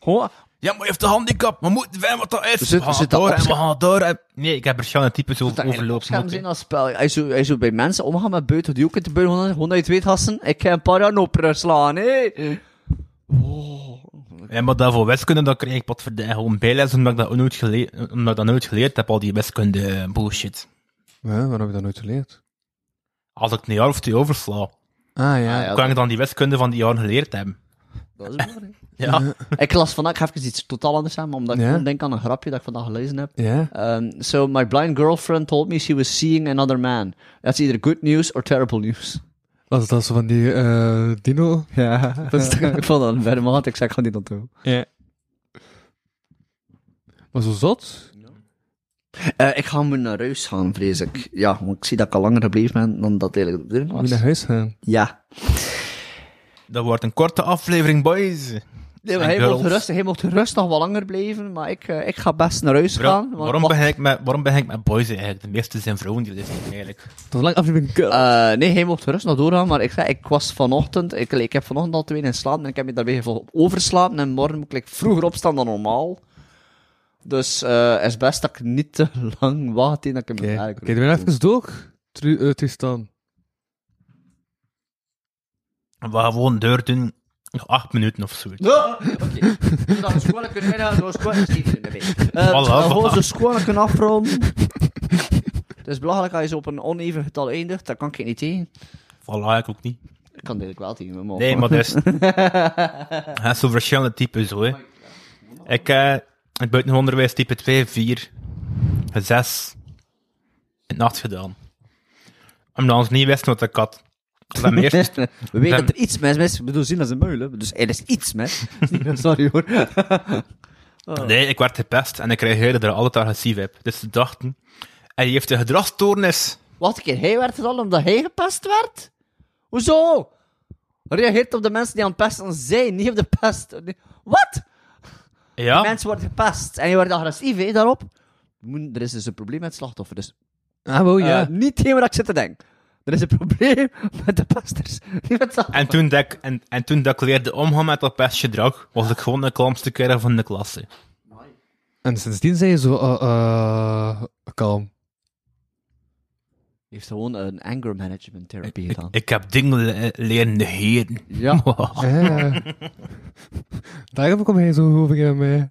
Speaker 2: Gewoon,
Speaker 4: Ja, maar je hebt een handicap. We moeten weten wat dat is.
Speaker 2: Zit-
Speaker 4: we gaan
Speaker 2: zit dat
Speaker 4: door en we
Speaker 2: opscha-
Speaker 4: gaan door. En... Nee, ik heb er gewoon een type zo
Speaker 2: dat eigenlijk
Speaker 4: overlopen.
Speaker 2: opschermen zijn als spel. Hij zou, hij zou bij mensen omgaan met buiten, die ook in de buiten gaan. Gewoon dat je het weet, gasten, ik ga een paranoper slaan, hé.
Speaker 4: Ja, maar dat voor wiskunde, dat kreeg ik potverdij gewoon bijles, omdat ik dat nooit, gele- omdat ik dat nooit geleerd heb, al die wiskunde bullshit.
Speaker 3: Ja, waarom heb je dat nooit geleerd?
Speaker 4: Als ik een jaar of twee oversla,
Speaker 3: Ah
Speaker 2: Ah,
Speaker 3: ja.
Speaker 2: ja,
Speaker 4: kan ik dan die wiskunde van die jaren geleerd hebben.
Speaker 2: dat is waar, hè.
Speaker 4: Ja.
Speaker 2: Ik las vandaag, ik ga even iets totaal anders aan, maar omdat ik
Speaker 3: Ja?
Speaker 2: gewoon denk aan een grapje dat ik vandaag gelezen heb.
Speaker 3: Ja?
Speaker 2: Um, so, my blind girlfriend told me she was seeing another man. That's either good news or terrible news.
Speaker 3: Was dat zo van die eh, dino?
Speaker 2: Ja. ik vond dat een verre maat, ik zeg, ik ga niet naartoe.
Speaker 3: Ja. Maar zo zot?
Speaker 2: Eh ik ga maar naar huis gaan, vrees ik. Ja, want ik zie dat ik al langer gebleven ben dan dat eigenlijk de bedoeling
Speaker 3: Moet je naar huis
Speaker 2: was.
Speaker 3: gaan?
Speaker 2: Ja.
Speaker 4: Dat wordt een korte aflevering, boys.
Speaker 2: Nee, maar hij
Speaker 4: En girls.
Speaker 2: mocht, gerust, hij mocht gerust nog wel langer blijven, maar ik, eh, ik ga best naar huis
Speaker 4: Bro,
Speaker 2: gaan. want-
Speaker 4: waarom,
Speaker 2: want-
Speaker 4: begin ik met, waarom begin ik met boys eigenlijk? De meeste zijn vrouwen die luisteren eigenlijk.
Speaker 3: Dat is lang aflevering. Girl.
Speaker 2: Eh, nee, hij mocht gerust nog doorgaan, maar ik, zei, ik was vanochtend, ik, ik heb vanochtend al twee in slaap en ik heb me daarbij gevolg- overslapen en morgen moet ik vroeger opstaan dan normaal. Dus eh, het is best dat ik niet te lang wacht in dat ik hem
Speaker 3: Oké, okay. okay, ben even door. Tru- eh, Tristan.
Speaker 4: We gaan gewoon deur doen, nog acht minuten of zoiets.
Speaker 2: Oké, dat is gewoon kunnen winnen, dat is gewoon een stiefje erbij. Eh,
Speaker 4: Voilà,
Speaker 2: we gaan gewoon
Speaker 4: voilà.
Speaker 2: zo schoon kunnen afronden. Het is belangrijk als je op een oneven getal eindigt, dat kan ik niet tegen.
Speaker 4: Voilà, ik ook niet.
Speaker 2: Ik kan dit ook wel tegen mijn
Speaker 4: Nee, maar dus. Hij is zo verschillende types, hoor. Ik, eh, in het buitenonderwijs type 2, 4, 6, in nacht gedaan. Omdat ons niet wisten wat ik had. Dat mijn eerste,
Speaker 2: We weten dat er iets mis is. Ik bedoel, zien als een muil, hè. Dus er is iets mis. Sorry hoor.
Speaker 4: nee, ik werd gepest en ik reageerde er altijd agressief op. Dus ze dachten, hij heeft een gedragsstoornis.
Speaker 2: Wacht een keer, hij werd het al omdat hij gepest werd? Hoezo? Reageert op de mensen die aan het pesten zijn, niet op de pest. Nee. Wat?
Speaker 4: Ja,
Speaker 2: Mensen worden gepest en je wordt agressief hè, daarop. Je moet- Er is dus een probleem met het slachtoffer. Dus
Speaker 3: Ah, wow,
Speaker 2: eh,
Speaker 3: ja.
Speaker 2: niet helemaal dat ik zit te denken. Er is een probleem met de pesters. Niet met het slachtoffer.
Speaker 4: en toen, dat ik, en, en toen dat ik leerde omgaan met dat pestgedrag, was ik gewoon de klamste kerel van de klasse.
Speaker 3: En sindsdien zijn je zo eh, eh, kalm.
Speaker 2: Hij heeft gewoon een anger management therapie gedaan.
Speaker 4: Ik heb dingen le- leren negeren.
Speaker 2: Ja.
Speaker 3: Ja. Daarom kom jij zo over hem. eh.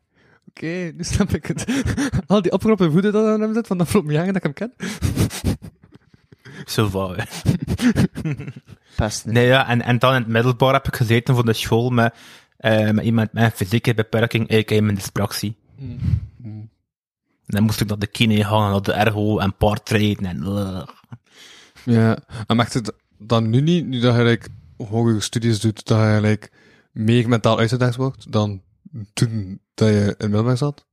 Speaker 3: Oké, nu snap ik het. Al die opgeroepen woede dat aan hem zit van de afgelopen jaren dat ik hem ken.
Speaker 4: Zo van, hè.
Speaker 2: Pesten.
Speaker 4: Nee, ja, en, en dan in het middelbaar heb ik gezeten voor de school met, eh, met iemand met een fysieke beperking, a.k.a. mijn dyspraxie. En dan moest ik naar de kine gaan, en naar de ergo en paardrijden en... eh,
Speaker 3: Ja, en maakt het dan nu niet, nu dat je like, hogere studies doet, dat je like, meer mentaal uitgedaagd wordt dan toen dat je in middelbaar zat?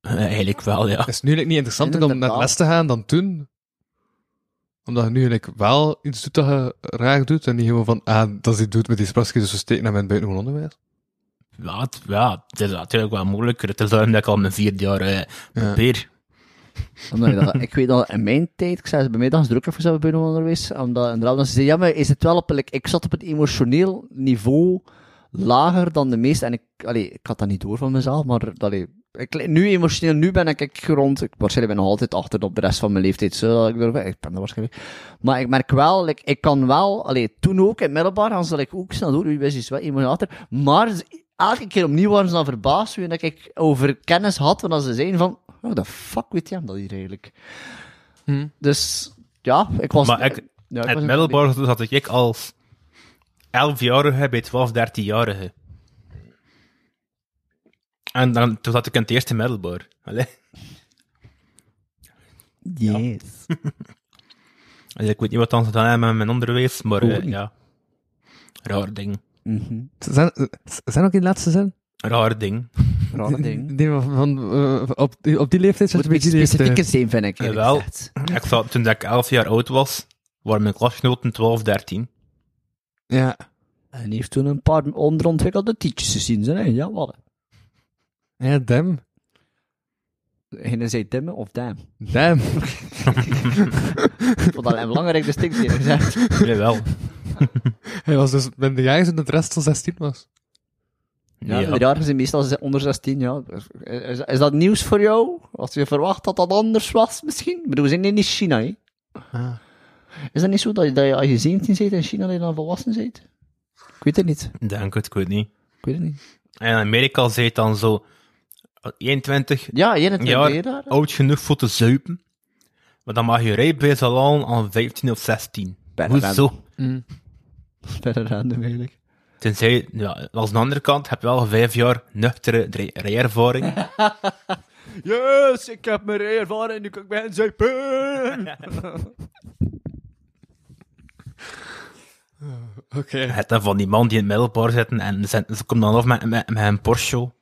Speaker 4: Eh, eigenlijk wel, ja.
Speaker 3: Is het nu like, niet interessanter om naar
Speaker 2: Inderdaad.
Speaker 3: de les te gaan dan toen? Omdat je nu like, wel iets doet dat je raar doet en niet gewoon van, ah, dat is die doet met die spraksjes, dus we steken naar mijn buitengewoon onderwijs.
Speaker 4: Ja, het, ja, het is natuurlijk wel moeilijker. Het is daarom dat ik al mijn vierde jaar eh, probeer.
Speaker 2: Omdat je dat- ik weet dat in mijn tijd, ik zei het bij mij, dat is drukker voor zelf binnen onderwijs. Omdat inderdaad, dan ze zeiden, ja, maar is het wel op, like, ik zat op het emotioneel niveau lager dan de meeste. En ik, allee, ik had dat niet door van mezelf, maar allee, ik, nu emotioneel, nu ben ik, ik rond, ik waarschijnlijk ben nog altijd achter op de rest van mijn leeftijd. Zo, ik, durf, ik ben er waarschijnlijk. Maar ik merk wel, like, ik kan wel, allee, toen ook in het middelbaar, dan zal ik ook snel door, u wist iets wat emotioneel achter. Maar elke keer opnieuw waren ze dan verbaasd hoe dat ik over kennis had, want als ze zeiden van, oh, de fuck weet jij hem dat hier eigenlijk? Dus, ja, ik was...
Speaker 4: Hm. Maar ik-
Speaker 2: ja, ik was
Speaker 4: het
Speaker 2: een-
Speaker 4: middelbaar zat ik als 11-jarige bij 12, 13-jarige. En dan, toen zat ik in het eerste middelbaar. Allee.
Speaker 2: Yes.
Speaker 4: Dus ik weet niet wat dan gedaan hebben met mijn onderwijs, maar eh,
Speaker 2: Ook niet.
Speaker 4: ja. Raar ding.
Speaker 2: Mhm.
Speaker 3: Zijn, zijn ook in de laatste zin?
Speaker 4: Raar ding.
Speaker 2: Rare ding.
Speaker 3: Die van, van, eh, op, die- op die leeftijd zat
Speaker 2: Moet
Speaker 3: een beetje
Speaker 2: iets
Speaker 3: die leeftijd.
Speaker 2: specifieker zijn, vind ik. eerlijk
Speaker 4: Jawel.
Speaker 2: gezegd.
Speaker 4: Ik zat, toen ik 11 jaar oud was, waren mijn klasgenoten 12, 13.
Speaker 3: Ja.
Speaker 2: En die heeft toen een paar onderontwikkelde tietjes gezien, zijn hè? Ja, wat?
Speaker 3: Ja, damn.
Speaker 2: Gingen zij dimmen of damn?
Speaker 3: Damn.
Speaker 2: Ik vond dat een belangrijke distinctie, eerlijk gezegd.
Speaker 4: Jawel.
Speaker 3: Hij was dus met de jaren toen het rest van 16 was.
Speaker 2: Ja, inderdaad, ze zijn meestal ze- onder 16, ja. Is, is dat nieuws voor jou? Als je verwacht dat dat anders was, misschien? Ik bedoel, we zijn in China, hè? Ah. Is dat niet zo dat je, dat je als je 17 bent in China, dat je dan volwassen bent? Ik weet het niet.
Speaker 4: Denk het, ik weet niet.
Speaker 2: Ik weet het niet.
Speaker 4: En in Amerika zei het dan zo, eh, 21
Speaker 2: Ja, jij het
Speaker 4: jaar
Speaker 2: daar?
Speaker 4: oud genoeg voor te zuipen, maar dan mag je rijbewijs al halen aan 15 of 16.
Speaker 2: Bijna
Speaker 4: Hoezo?
Speaker 2: Verder random, eigenlijk.
Speaker 4: Tenzij, ja, als de andere kant, heb je wel vijf jaar nuchtere dri- rijervaring.
Speaker 6: Yes, ik heb mijn ervaring, nu kan ik mijn zuipen.
Speaker 3: Oké.
Speaker 4: Het dan van die man die in het middelbaar zitten en ze, ze komen dan af met, met, met een Porsche.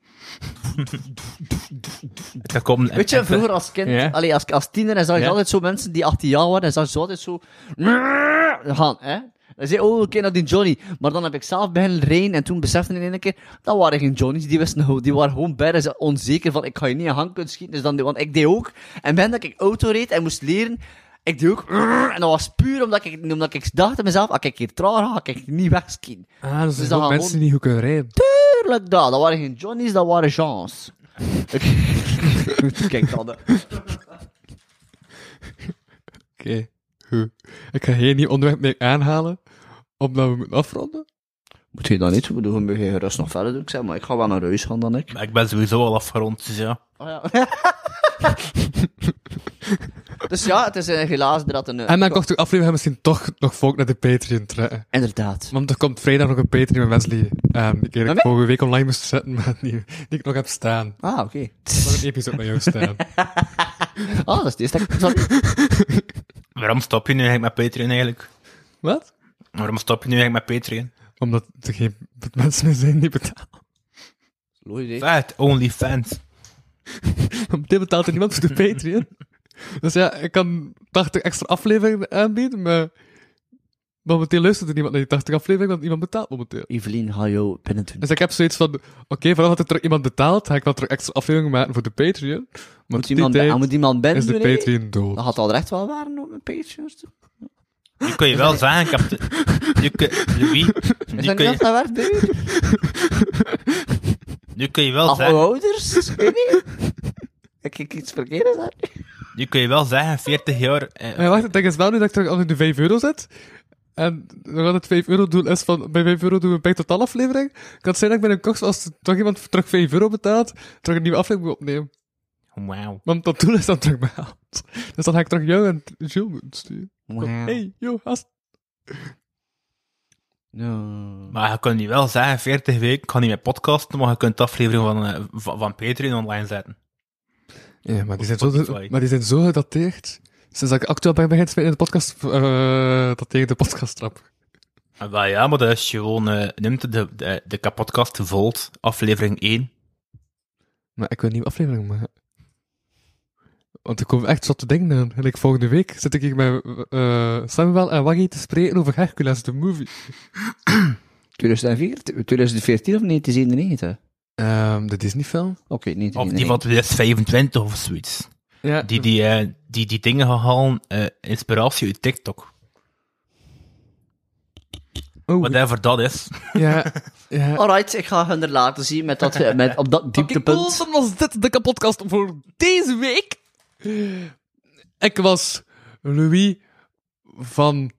Speaker 4: Ze komen-
Speaker 2: Weet je, vroeger als kind,
Speaker 3: Ja.
Speaker 2: allee, als, als tiener, dan zag je
Speaker 3: Ja.
Speaker 2: altijd zo mensen die 18 jaar waren, en zag je altijd zo gaan, hè. Dan zei je, oh, oké, dat die Johnny. Maar dan heb ik zelf beginnen rijden en toen besefte ik in één keer, dat waren geen Johnny's, die wisten gewoon, die waren gewoon bijna zo onzeker van, ik ga je niet aan hang kunnen schieten, dus dan, want ik deed ook. En ben dat ik auto reed en moest leren, ik deed ook, en dat was puur omdat ik, omdat ik dacht aan mezelf, als ik hier traag ga, kan ik niet wegschieten.
Speaker 3: Ah, dus
Speaker 2: Dus
Speaker 3: er
Speaker 2: dan
Speaker 3: zijn ook
Speaker 2: gaan
Speaker 3: mensen
Speaker 2: gewoon-
Speaker 3: die niet goed kunnen rijden.
Speaker 2: Tuurlijk dat, dat waren geen Johnny's, dat waren Jeans. Kijk dan, hè.
Speaker 3: Oké. Goed. Ik ga hier niet onderwerp mee aanhalen, omdat we moeten afronden.
Speaker 2: Moet je dat niet doen? Doe een je rust nog verder doen. Ik zeg maar, ik ga wel naar huis gaan dan ik.
Speaker 4: Maar Ik ben sowieso al afgerond, dus ja.
Speaker 2: Oh dus ja, het is eh, helaas dat een...
Speaker 3: En dan komt de aflevering misschien toch nog volk naar de Patreon trekken.
Speaker 2: Inderdaad.
Speaker 3: Want er komt vrijdag nog een Patreon met Wesley. ehm, die ik
Speaker 2: Met
Speaker 3: eigenlijk
Speaker 2: mij?
Speaker 3: vorige week online moest zetten, maar die, die ik nog heb staan.
Speaker 2: Ah, oké.
Speaker 3: Nog een episode met jou staan.
Speaker 2: Ah, dat is de eerste. Sorry.
Speaker 4: Waarom stop je nu eigenlijk met Patreon eigenlijk?
Speaker 3: Wat?
Speaker 4: Waarom stop je nu eigenlijk met Patreon?
Speaker 3: Omdat er geen mensen meer zijn die betalen.
Speaker 4: Vet, OnlyFans.
Speaker 3: Op dit betaalt er niemand voor de Patreon. Dus ja, ik kan 80 extra afleveringen aanbieden, maar momenteel luistert er niemand naar die 80 afleveringen, want niemand betaalt momenteel.
Speaker 2: Evelien, ga jou binnen doen.
Speaker 3: Dus ik heb zoiets van, oké, vanaf dat er terug iemand betaalt, ga ik wel terug extra afleveringen maken voor de Patreon. Maar
Speaker 2: Moet
Speaker 3: tot die
Speaker 2: iemand,
Speaker 3: tijd
Speaker 2: ah, moet iemand binnen
Speaker 3: is de
Speaker 2: doen, hè?
Speaker 3: Patreon dood.
Speaker 2: Dat had al recht wel waren op een Patreon.
Speaker 4: Nu kun je wel zeggen, ik heb... De, nu kun, Louis,
Speaker 2: Is
Speaker 4: nu
Speaker 2: dat
Speaker 4: kun,
Speaker 2: niet dat
Speaker 4: je,
Speaker 2: dat werkt, baby?
Speaker 4: nu kun je wel
Speaker 2: Of
Speaker 4: zeggen...
Speaker 2: ouders? Ik weet niet. Ik ik iets verkeerds daar.
Speaker 4: Nu kun je wel zeggen, 40 jaar... eh,
Speaker 3: Maar wacht, het ding is wel nu dat ik terug al in de 5 euro zit. En dan gaat het 5 euro doel is van, bij 5 euro doen we een bij totaal aflevering. Kan het zijn dat ik bij een koks, als er toch iemand terug 5 euro betaalt, terug een nieuwe aflevering moet opnemen.
Speaker 4: Wauw.
Speaker 3: Want dat doel is dan terug behaald. Dus dan ga ik terug jou en Jules moeten sturen. Van, Hey, yo, gast.
Speaker 2: Ja.
Speaker 4: Maar je kunt nu wel zeggen, 40 weken, ik ga niet meer podcasten, maar je kunt de aflevering van, eh, van, van Patreon online zetten.
Speaker 3: Ja, maar die, zijn
Speaker 4: Spotify.
Speaker 3: zo, maar die zijn zo gedateerd. Sinds dat ik actueel ben beginnen te spelen in de podcast, eh, dat tegen de podcast trap.
Speaker 4: Ah, Wel ja, maar dat is gewoon... eh, neemt de, de, de podcast Volt, aflevering 1.
Speaker 3: Maar ik wil een nieuwe aflevering maken. Want er komen echt zotte dingen aan. En ik, volgende week zit ik hier met eh, Samuel en Waggy te spreken over Hercules, de movie.
Speaker 2: 2004? 2014 of 1997? Oké,
Speaker 3: Ehm, de Disney-film.
Speaker 4: Of
Speaker 2: 1997.
Speaker 4: die van 2025 of zoiets.
Speaker 3: Ja,
Speaker 4: Die die, eh, die, die dingen gaan halen, eh, inspiratie uit TikTok.
Speaker 3: Oh,
Speaker 4: Whatever dat is.
Speaker 3: ja, ja.
Speaker 2: Alright, ik ga hun er laten zien met dat, met, op dat dieptepunt.
Speaker 3: Oké, cool, dan was dit de podcast voor deze week. Ik was Louis van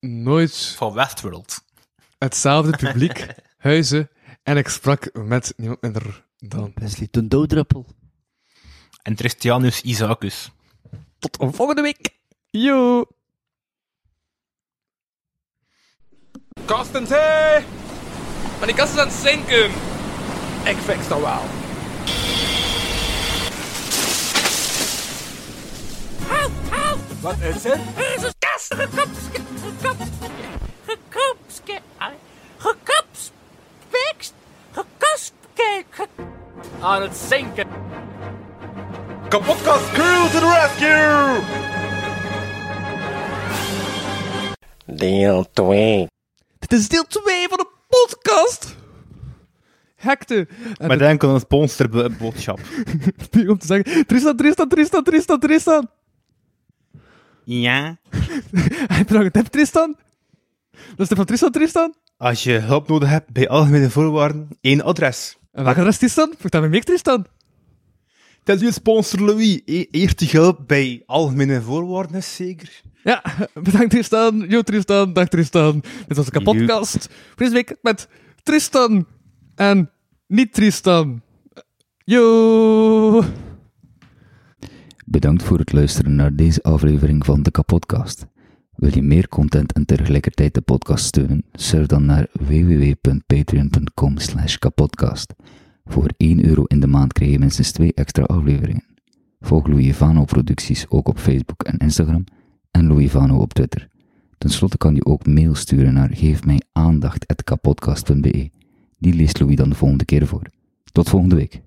Speaker 3: nooit
Speaker 4: Van Westworld.
Speaker 3: hetzelfde publiek, huizen En ik sprak met niemand minder dan.
Speaker 2: Wesley, de dooddruppel.
Speaker 4: En Tristianus Isaacus.
Speaker 3: Tot volgende week! Yo!
Speaker 7: Kastentee! Maar die kast is aan het zinken! Ik fix dat wel. Wat is het?
Speaker 8: Deze kast gekapske, gekapske, gekapske, gekapspekst, gekaspkeek, ge-
Speaker 7: Aan het zinken!
Speaker 5: Kapotkast crew to the rescue!
Speaker 9: Deel 2.
Speaker 3: Dit is deel 2 van de podcast! Hekte! En
Speaker 4: Maar denk aan een sponsorboodschap.
Speaker 3: het is om te zeggen: Tristan, Tristan, Tristan, Tristan, Tristan!
Speaker 4: Ja?
Speaker 3: Heb je nog een tip, Tristan? Dat is de van Tristan, Tristan?
Speaker 5: Als je hulp nodig hebt bij algemene voorwaarden, één adres.
Speaker 3: En welke rest Tristan? Vraag dat bij Mick, Tristan.
Speaker 5: Tenzij je sponsor Louis e- eerste hulp bij algemene voorwaarden is zeker.
Speaker 3: Ja, bedankt Tristan. Yo Tristan, dag Tristan. Dit was de kapotkast. Deze week met Tristan en niet Tristan. Yo!
Speaker 10: Bedankt voor het luisteren naar deze aflevering van de Kapodcast. Wil je meer content en tegelijkertijd de podcast steunen? Surf dan naar www.patreon.com slash kapodcast. Voor 1 euro in de maand krijg je minstens 2 extra afleveringen. Volg Louis Vano producties ook op Facebook en Instagram en Louis Vano op Twitter. Ten slotte kan je ook mail sturen naar geefmijaandacht.kapodcast.be. Die leest Louis dan de volgende keer voor. Tot volgende week.